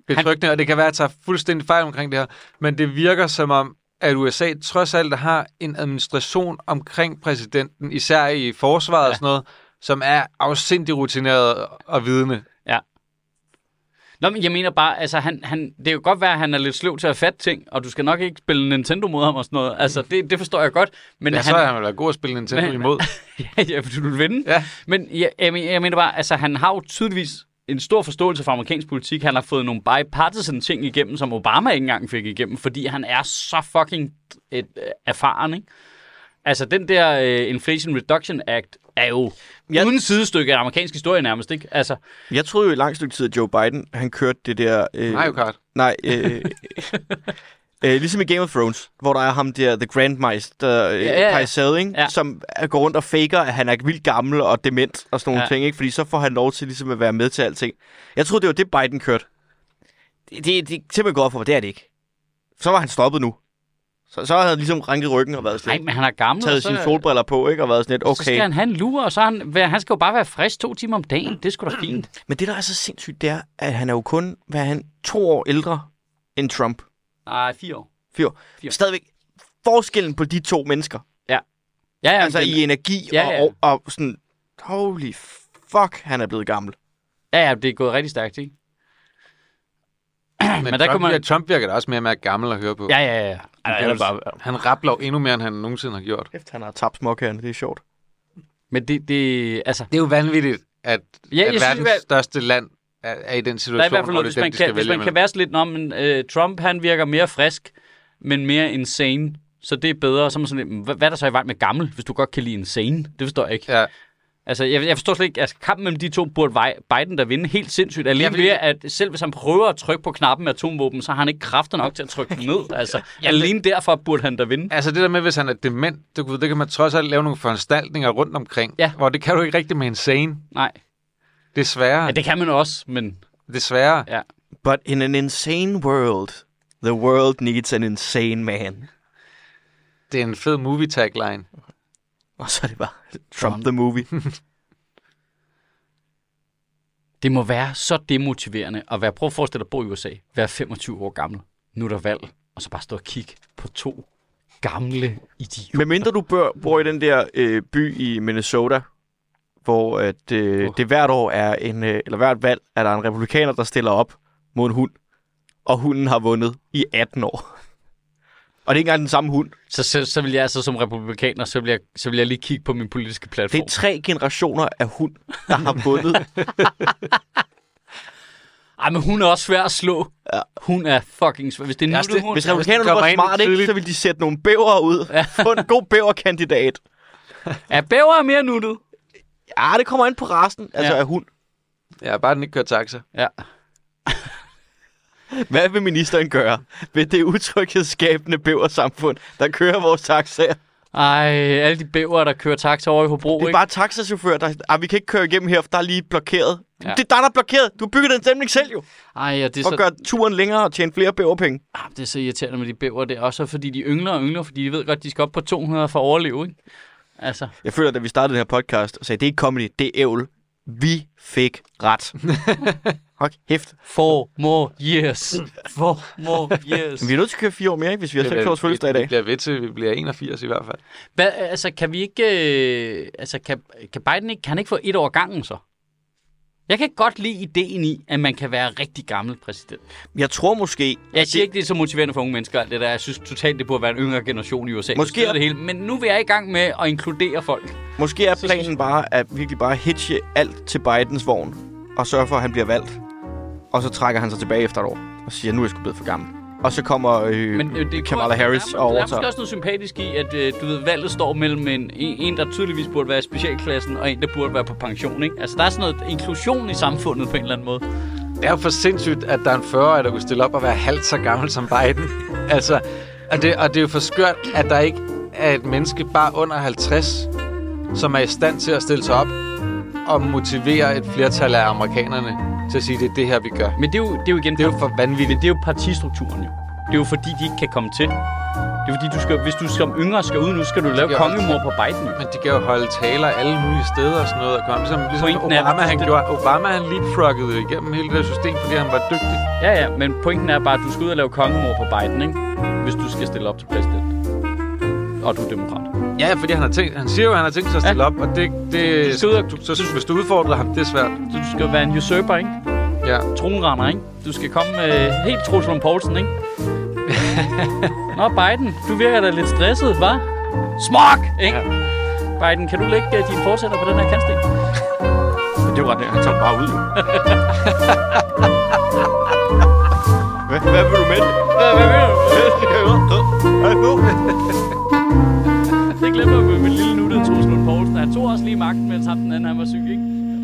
[SPEAKER 2] betryggende, og det kan være, at jeg tager fuldstændig fejl omkring det her, men det virker som om, at USA trods alt har en administration omkring præsidenten, især i forsvaret ja. og sådan noget, som er afsindig rutineret og vidende.
[SPEAKER 1] Nå, men jeg mener bare, altså, han, han, det kan jo godt være, at han er lidt sløv til at fatte ting, og du skal nok ikke spille Nintendo mod ham og sådan noget. Altså, det, det forstår jeg godt. Men
[SPEAKER 2] Ja,
[SPEAKER 1] han,
[SPEAKER 2] så er han vel god at spille Nintendo
[SPEAKER 1] Men-
[SPEAKER 2] imod.
[SPEAKER 1] ja, ja, fordi du vil vinde.
[SPEAKER 2] Ja.
[SPEAKER 1] Men jeg, jeg, men- jeg mener bare, altså han har jo tydeligvis en stor forståelse for amerikansk politik. Han har fået nogle bipartisan ting igennem, som Obama ikke engang fik igennem, fordi han er så fucking et, øh, erfaren, ikke? Altså, den der øh, Inflation Reduction Act er jo
[SPEAKER 3] Jeg-
[SPEAKER 1] jeg... uden sidestykke af amerikansk historie nærmest, ikke? Altså,
[SPEAKER 3] Jeg troede jo i lang stykke tid, at Joe Biden, han kørte det der... Øh,
[SPEAKER 2] Mario Kart.
[SPEAKER 3] Nej, øh, øh, ligesom i Game of Thrones, hvor der er ham der, The Grandmaster, øh,
[SPEAKER 1] Ja, ja,
[SPEAKER 3] ja,
[SPEAKER 1] ja.
[SPEAKER 3] Paisade, ikke?
[SPEAKER 1] Ja.
[SPEAKER 3] som øh, går rundt og faker, at han er vildt gammel og dement og sådan nogle
[SPEAKER 1] Ja.
[SPEAKER 3] ja. ting, ikke? fordi så får han lov til ligesom at være med til alting. Jeg troede, det var det, Biden kørte. Det, det, det er simpelthen godt for mig, det er det ikke. Så var han stoppet nu. Så, så havde han ligesom ranket ryggen og været
[SPEAKER 1] nej,
[SPEAKER 3] sådan,
[SPEAKER 1] men han er gammel. og
[SPEAKER 3] taget
[SPEAKER 1] så,
[SPEAKER 3] sine solbriller på, ikke? og været sådan lidt,
[SPEAKER 1] Så skal
[SPEAKER 3] okay.
[SPEAKER 1] han have en lur, og så er han, han skal jo bare være frisk to timer om dagen. Det er sgu da fint.
[SPEAKER 3] Men det, der er så sindssygt, det er, at han er jo kun, hvad er han, to år ældre end Trump.
[SPEAKER 1] Nej, fire år.
[SPEAKER 3] Fire.
[SPEAKER 1] Fire.
[SPEAKER 3] Fire. Stadigvæk forskellen på de to mennesker,
[SPEAKER 1] Ja, ja,
[SPEAKER 3] altså
[SPEAKER 1] men-
[SPEAKER 3] i energi
[SPEAKER 1] Ja,
[SPEAKER 3] ja,
[SPEAKER 1] ja.
[SPEAKER 3] ja. Og, og, og sådan, holy fuck, han er blevet gammel.
[SPEAKER 1] ja, ja, det er gået rigtig stærkt, ikke?
[SPEAKER 2] Men,
[SPEAKER 1] Men der
[SPEAKER 2] men Trump,
[SPEAKER 1] kunne man-
[SPEAKER 2] man... Trump virker da også mere og mere gammel at høre på.
[SPEAKER 1] Ja, ja, ja.
[SPEAKER 3] er
[SPEAKER 1] Altså,
[SPEAKER 3] jo-
[SPEAKER 1] bare,
[SPEAKER 2] Han rappler jo endnu mere, end han nogensinde har gjort.
[SPEAKER 3] Efter han har tabt småkagerne, det er sjovt.
[SPEAKER 1] men det, det, altså,
[SPEAKER 2] Det er jo vanvittigt, at, ja,
[SPEAKER 1] jeg
[SPEAKER 2] at
[SPEAKER 1] synes,
[SPEAKER 2] verdens
[SPEAKER 1] det er-
[SPEAKER 2] synes, største land er, er i den situation,
[SPEAKER 1] der er i hvert fald
[SPEAKER 2] hvor
[SPEAKER 1] noget,
[SPEAKER 2] det
[SPEAKER 1] hvis
[SPEAKER 2] er
[SPEAKER 1] man,
[SPEAKER 2] dem, de skal
[SPEAKER 1] kan, hvis man
[SPEAKER 2] vælge
[SPEAKER 1] kan
[SPEAKER 2] imellem.
[SPEAKER 1] være sådan lidt, Nå, men, øh, Trump han virker mere frisk, men mere insane, så det er bedre. Så er man sådan, lidt, "Men hvad, hvad er der så i vejen med gammel, hvis du godt kan lide insane? Det forstår jeg ikke.
[SPEAKER 2] Ja.
[SPEAKER 1] Altså, jeg, jeg forstår slet ikke, altså kampen mellem de to burde vej- Biden der vinde helt sindssygt. Alene
[SPEAKER 2] Ja,
[SPEAKER 1] ja,
[SPEAKER 2] fordi-
[SPEAKER 1] ved, at selv hvis han prøver at trykke på knappen med atomvåben, så har han ikke kræfter nok til at trykke den ned. Altså, ja, alene derfor burde han da vinde.
[SPEAKER 2] Altså det der med, hvis han er dement, det, det kan man trods alt lave nogle foranstaltninger rundt omkring,
[SPEAKER 1] Ja.
[SPEAKER 2] hvor det kan du ikke rigtig med insane.
[SPEAKER 1] Nej,
[SPEAKER 2] Desværre.
[SPEAKER 1] ja,
[SPEAKER 2] Ja, det...
[SPEAKER 1] det kan man også, men
[SPEAKER 2] Desværre.
[SPEAKER 1] ja.
[SPEAKER 3] But in an insane world, the world needs an insane man.
[SPEAKER 2] Det er en fed movie tagline.
[SPEAKER 3] Og så er det bare Trump the movie.
[SPEAKER 1] Det må være så demotiverende at være, prøv at forestille dig at bo i USA, være 25 år gammel, nu er der valg, og så bare stå og kigge på to gamle idioter.
[SPEAKER 3] Men mindre du bør, bor i den der øh, by i Minnesota, hvor at, øh, det hvert år er en, øh, eller hvert valg, er der en republikaner, der stiller op mod en hund. Og hunden har vundet i 18 år. Og det er ikke engang den samme hund.
[SPEAKER 1] Så, så, så vil jeg altså som republikaner, så vil jeg, så vil jeg lige kigge på min politiske
[SPEAKER 3] Det
[SPEAKER 1] platform.
[SPEAKER 3] er tre generationer af hund, der har vundet.
[SPEAKER 1] Ej, men hun er også svær at slå.
[SPEAKER 3] Ja.
[SPEAKER 1] Hun er fucking svær. Hvis det er en
[SPEAKER 2] Ja,
[SPEAKER 1] nuttet
[SPEAKER 2] det-
[SPEAKER 1] hund...
[SPEAKER 3] Hvis
[SPEAKER 2] kommer
[SPEAKER 3] republikanerne var
[SPEAKER 2] ind
[SPEAKER 3] smart, ikke,
[SPEAKER 2] tidligt.
[SPEAKER 3] så ville de sætte nogle bæver ud. Få en god bæverkandidat.
[SPEAKER 1] Er bæver mere nuttet?
[SPEAKER 3] Ja, det kommer ind på rasen, altså
[SPEAKER 1] Ja.
[SPEAKER 3] af hund.
[SPEAKER 2] Ja, bare den ikke kører taxa.
[SPEAKER 1] Ja.
[SPEAKER 3] Hvad vil ministeren gøre ved det utryghedsskabende bæversamfund, der kører vores taxaer?
[SPEAKER 1] Ej, alle de bæver, der kører taxa over i Hobro,
[SPEAKER 3] Det er
[SPEAKER 1] ikke?
[SPEAKER 3] bare taxachauffører, der... Ah, vi kan ikke køre igennem her, for der er lige blokeret.
[SPEAKER 1] Ja.
[SPEAKER 3] Ja. Det er dig, der er blokeret. Du bygger den stemning selv jo.
[SPEAKER 1] Ej, ja, det er
[SPEAKER 3] For
[SPEAKER 1] så
[SPEAKER 3] at gøre turen længere og tjene flere bæverpenge.
[SPEAKER 1] Ah, det er så irriterende med de bæver der. Også fordi de yngler og yngler, fordi de ved godt, de skal op på 200 for at overleve, ikke? Altså,
[SPEAKER 3] Jeg føler, da vi startede den her podcast og sagde, det er ikke comedy, det er ævl. Vi fik ret. Hold hæft.
[SPEAKER 1] four more years. Four more years.
[SPEAKER 3] Men vi er nødt til at køre fire år mere, ikke? hvis vi har 6 års fødselsdag i
[SPEAKER 2] Vi
[SPEAKER 3] dag.
[SPEAKER 2] bliver ved til, vi bliver 81 i hvert fald.
[SPEAKER 1] Hvad, altså, kan vi ikke... Øh, altså, kan, kan Biden ikke... Kan han ikke få et år gangen, så? Jeg kan godt lide ideen i, at man kan være rigtig gammel præsident.
[SPEAKER 3] Jeg tror måske...
[SPEAKER 1] Jeg siger ikke, det er så motiverende for unge mennesker, alt det der. Jeg synes totalt, det burde være en yngre generation i USA. der
[SPEAKER 3] Måske
[SPEAKER 1] styrer
[SPEAKER 3] er-
[SPEAKER 1] det hele. Men nu er jeg i gang med at inkludere folk.
[SPEAKER 3] Måske er
[SPEAKER 1] Så-
[SPEAKER 3] planen bare at virkelig bare hitche alt til Bidens vogn og sørge for, at han bliver valgt. Og så trækker han sig tilbage efter et år og siger, nu er jeg sgu blevet for gammel. Og så kommer øh,
[SPEAKER 1] Men øh, det
[SPEAKER 3] Kamala Harris
[SPEAKER 1] der,
[SPEAKER 3] og
[SPEAKER 1] Der er måske
[SPEAKER 3] overtager.
[SPEAKER 1] også noget sympatisk i, at øh, du ved, valget står mellem en, en, en, der tydeligvis burde være i specialklassen, og en, der burde være på pension. Ikke? Altså, der er sådan noget inklusion i samfundet på en eller anden måde.
[SPEAKER 2] Det er jo for sindssygt, at der er en 40-årig, der kunne stille op og være halvt så gammel som Biden. altså, og det, og det er jo for skørt, at der ikke er et menneske bare under 50, som er i stand til at stille sig op og motivere et flertal af amerikanerne til at sige, det er det her, vi gør.
[SPEAKER 1] Men det er jo, det er jo igen...
[SPEAKER 2] Det er jo for
[SPEAKER 1] Men
[SPEAKER 2] vanvittigt.
[SPEAKER 1] det er jo partistrukturen jo. Det er jo fordi, de ikke kan komme til. Det er fordi, du skal, hvis du som yngre skal ud nu, skal du lave
[SPEAKER 2] skal også
[SPEAKER 1] kongemor på Biden. jo.
[SPEAKER 2] Men de kan jo holde taler alle mulige steder og sådan noget. Og komme. Ligesom, ligesom
[SPEAKER 1] Pointen er,
[SPEAKER 2] Obama, han
[SPEAKER 1] det-
[SPEAKER 2] gjorde. Obama, han leapfroggede jo igennem hele det der system, fordi han var dygtig.
[SPEAKER 1] Ja, ja, men pointen er bare, at du skal ud og lave kongemor på Biden, ikke? Hvis du skal stille op til præsident. Og du er demokrat.
[SPEAKER 2] Ja, fordi han, har tænkt, han siger jo, at han har tænkt sig at stille op, og det, det,
[SPEAKER 1] Du skal ud og-
[SPEAKER 2] du, så, hvis du udfordrer ham, det er svært.
[SPEAKER 1] Så du skal være en usurper, ikke?
[SPEAKER 2] Ja.
[SPEAKER 1] Tronrender, ikke? Du skal komme øh, helt Troels Lund Poulsen, ikke? Nå, Biden, du virker da lidt stresset, hva? Smok! Ikke? Ja. Biden, kan du lægge øh, dine fortsætter på den her kantsten?
[SPEAKER 3] Det er jo ret nemt. Han tager bare ud. hvad, hvad vil du med det?
[SPEAKER 1] Hvad, hvad mener du?
[SPEAKER 3] Hvad
[SPEAKER 1] Det glemmer vi med lille nuttede Troels Lund Poulsen. Han tog også lige magten, mens ham den anden han var syg, ikke?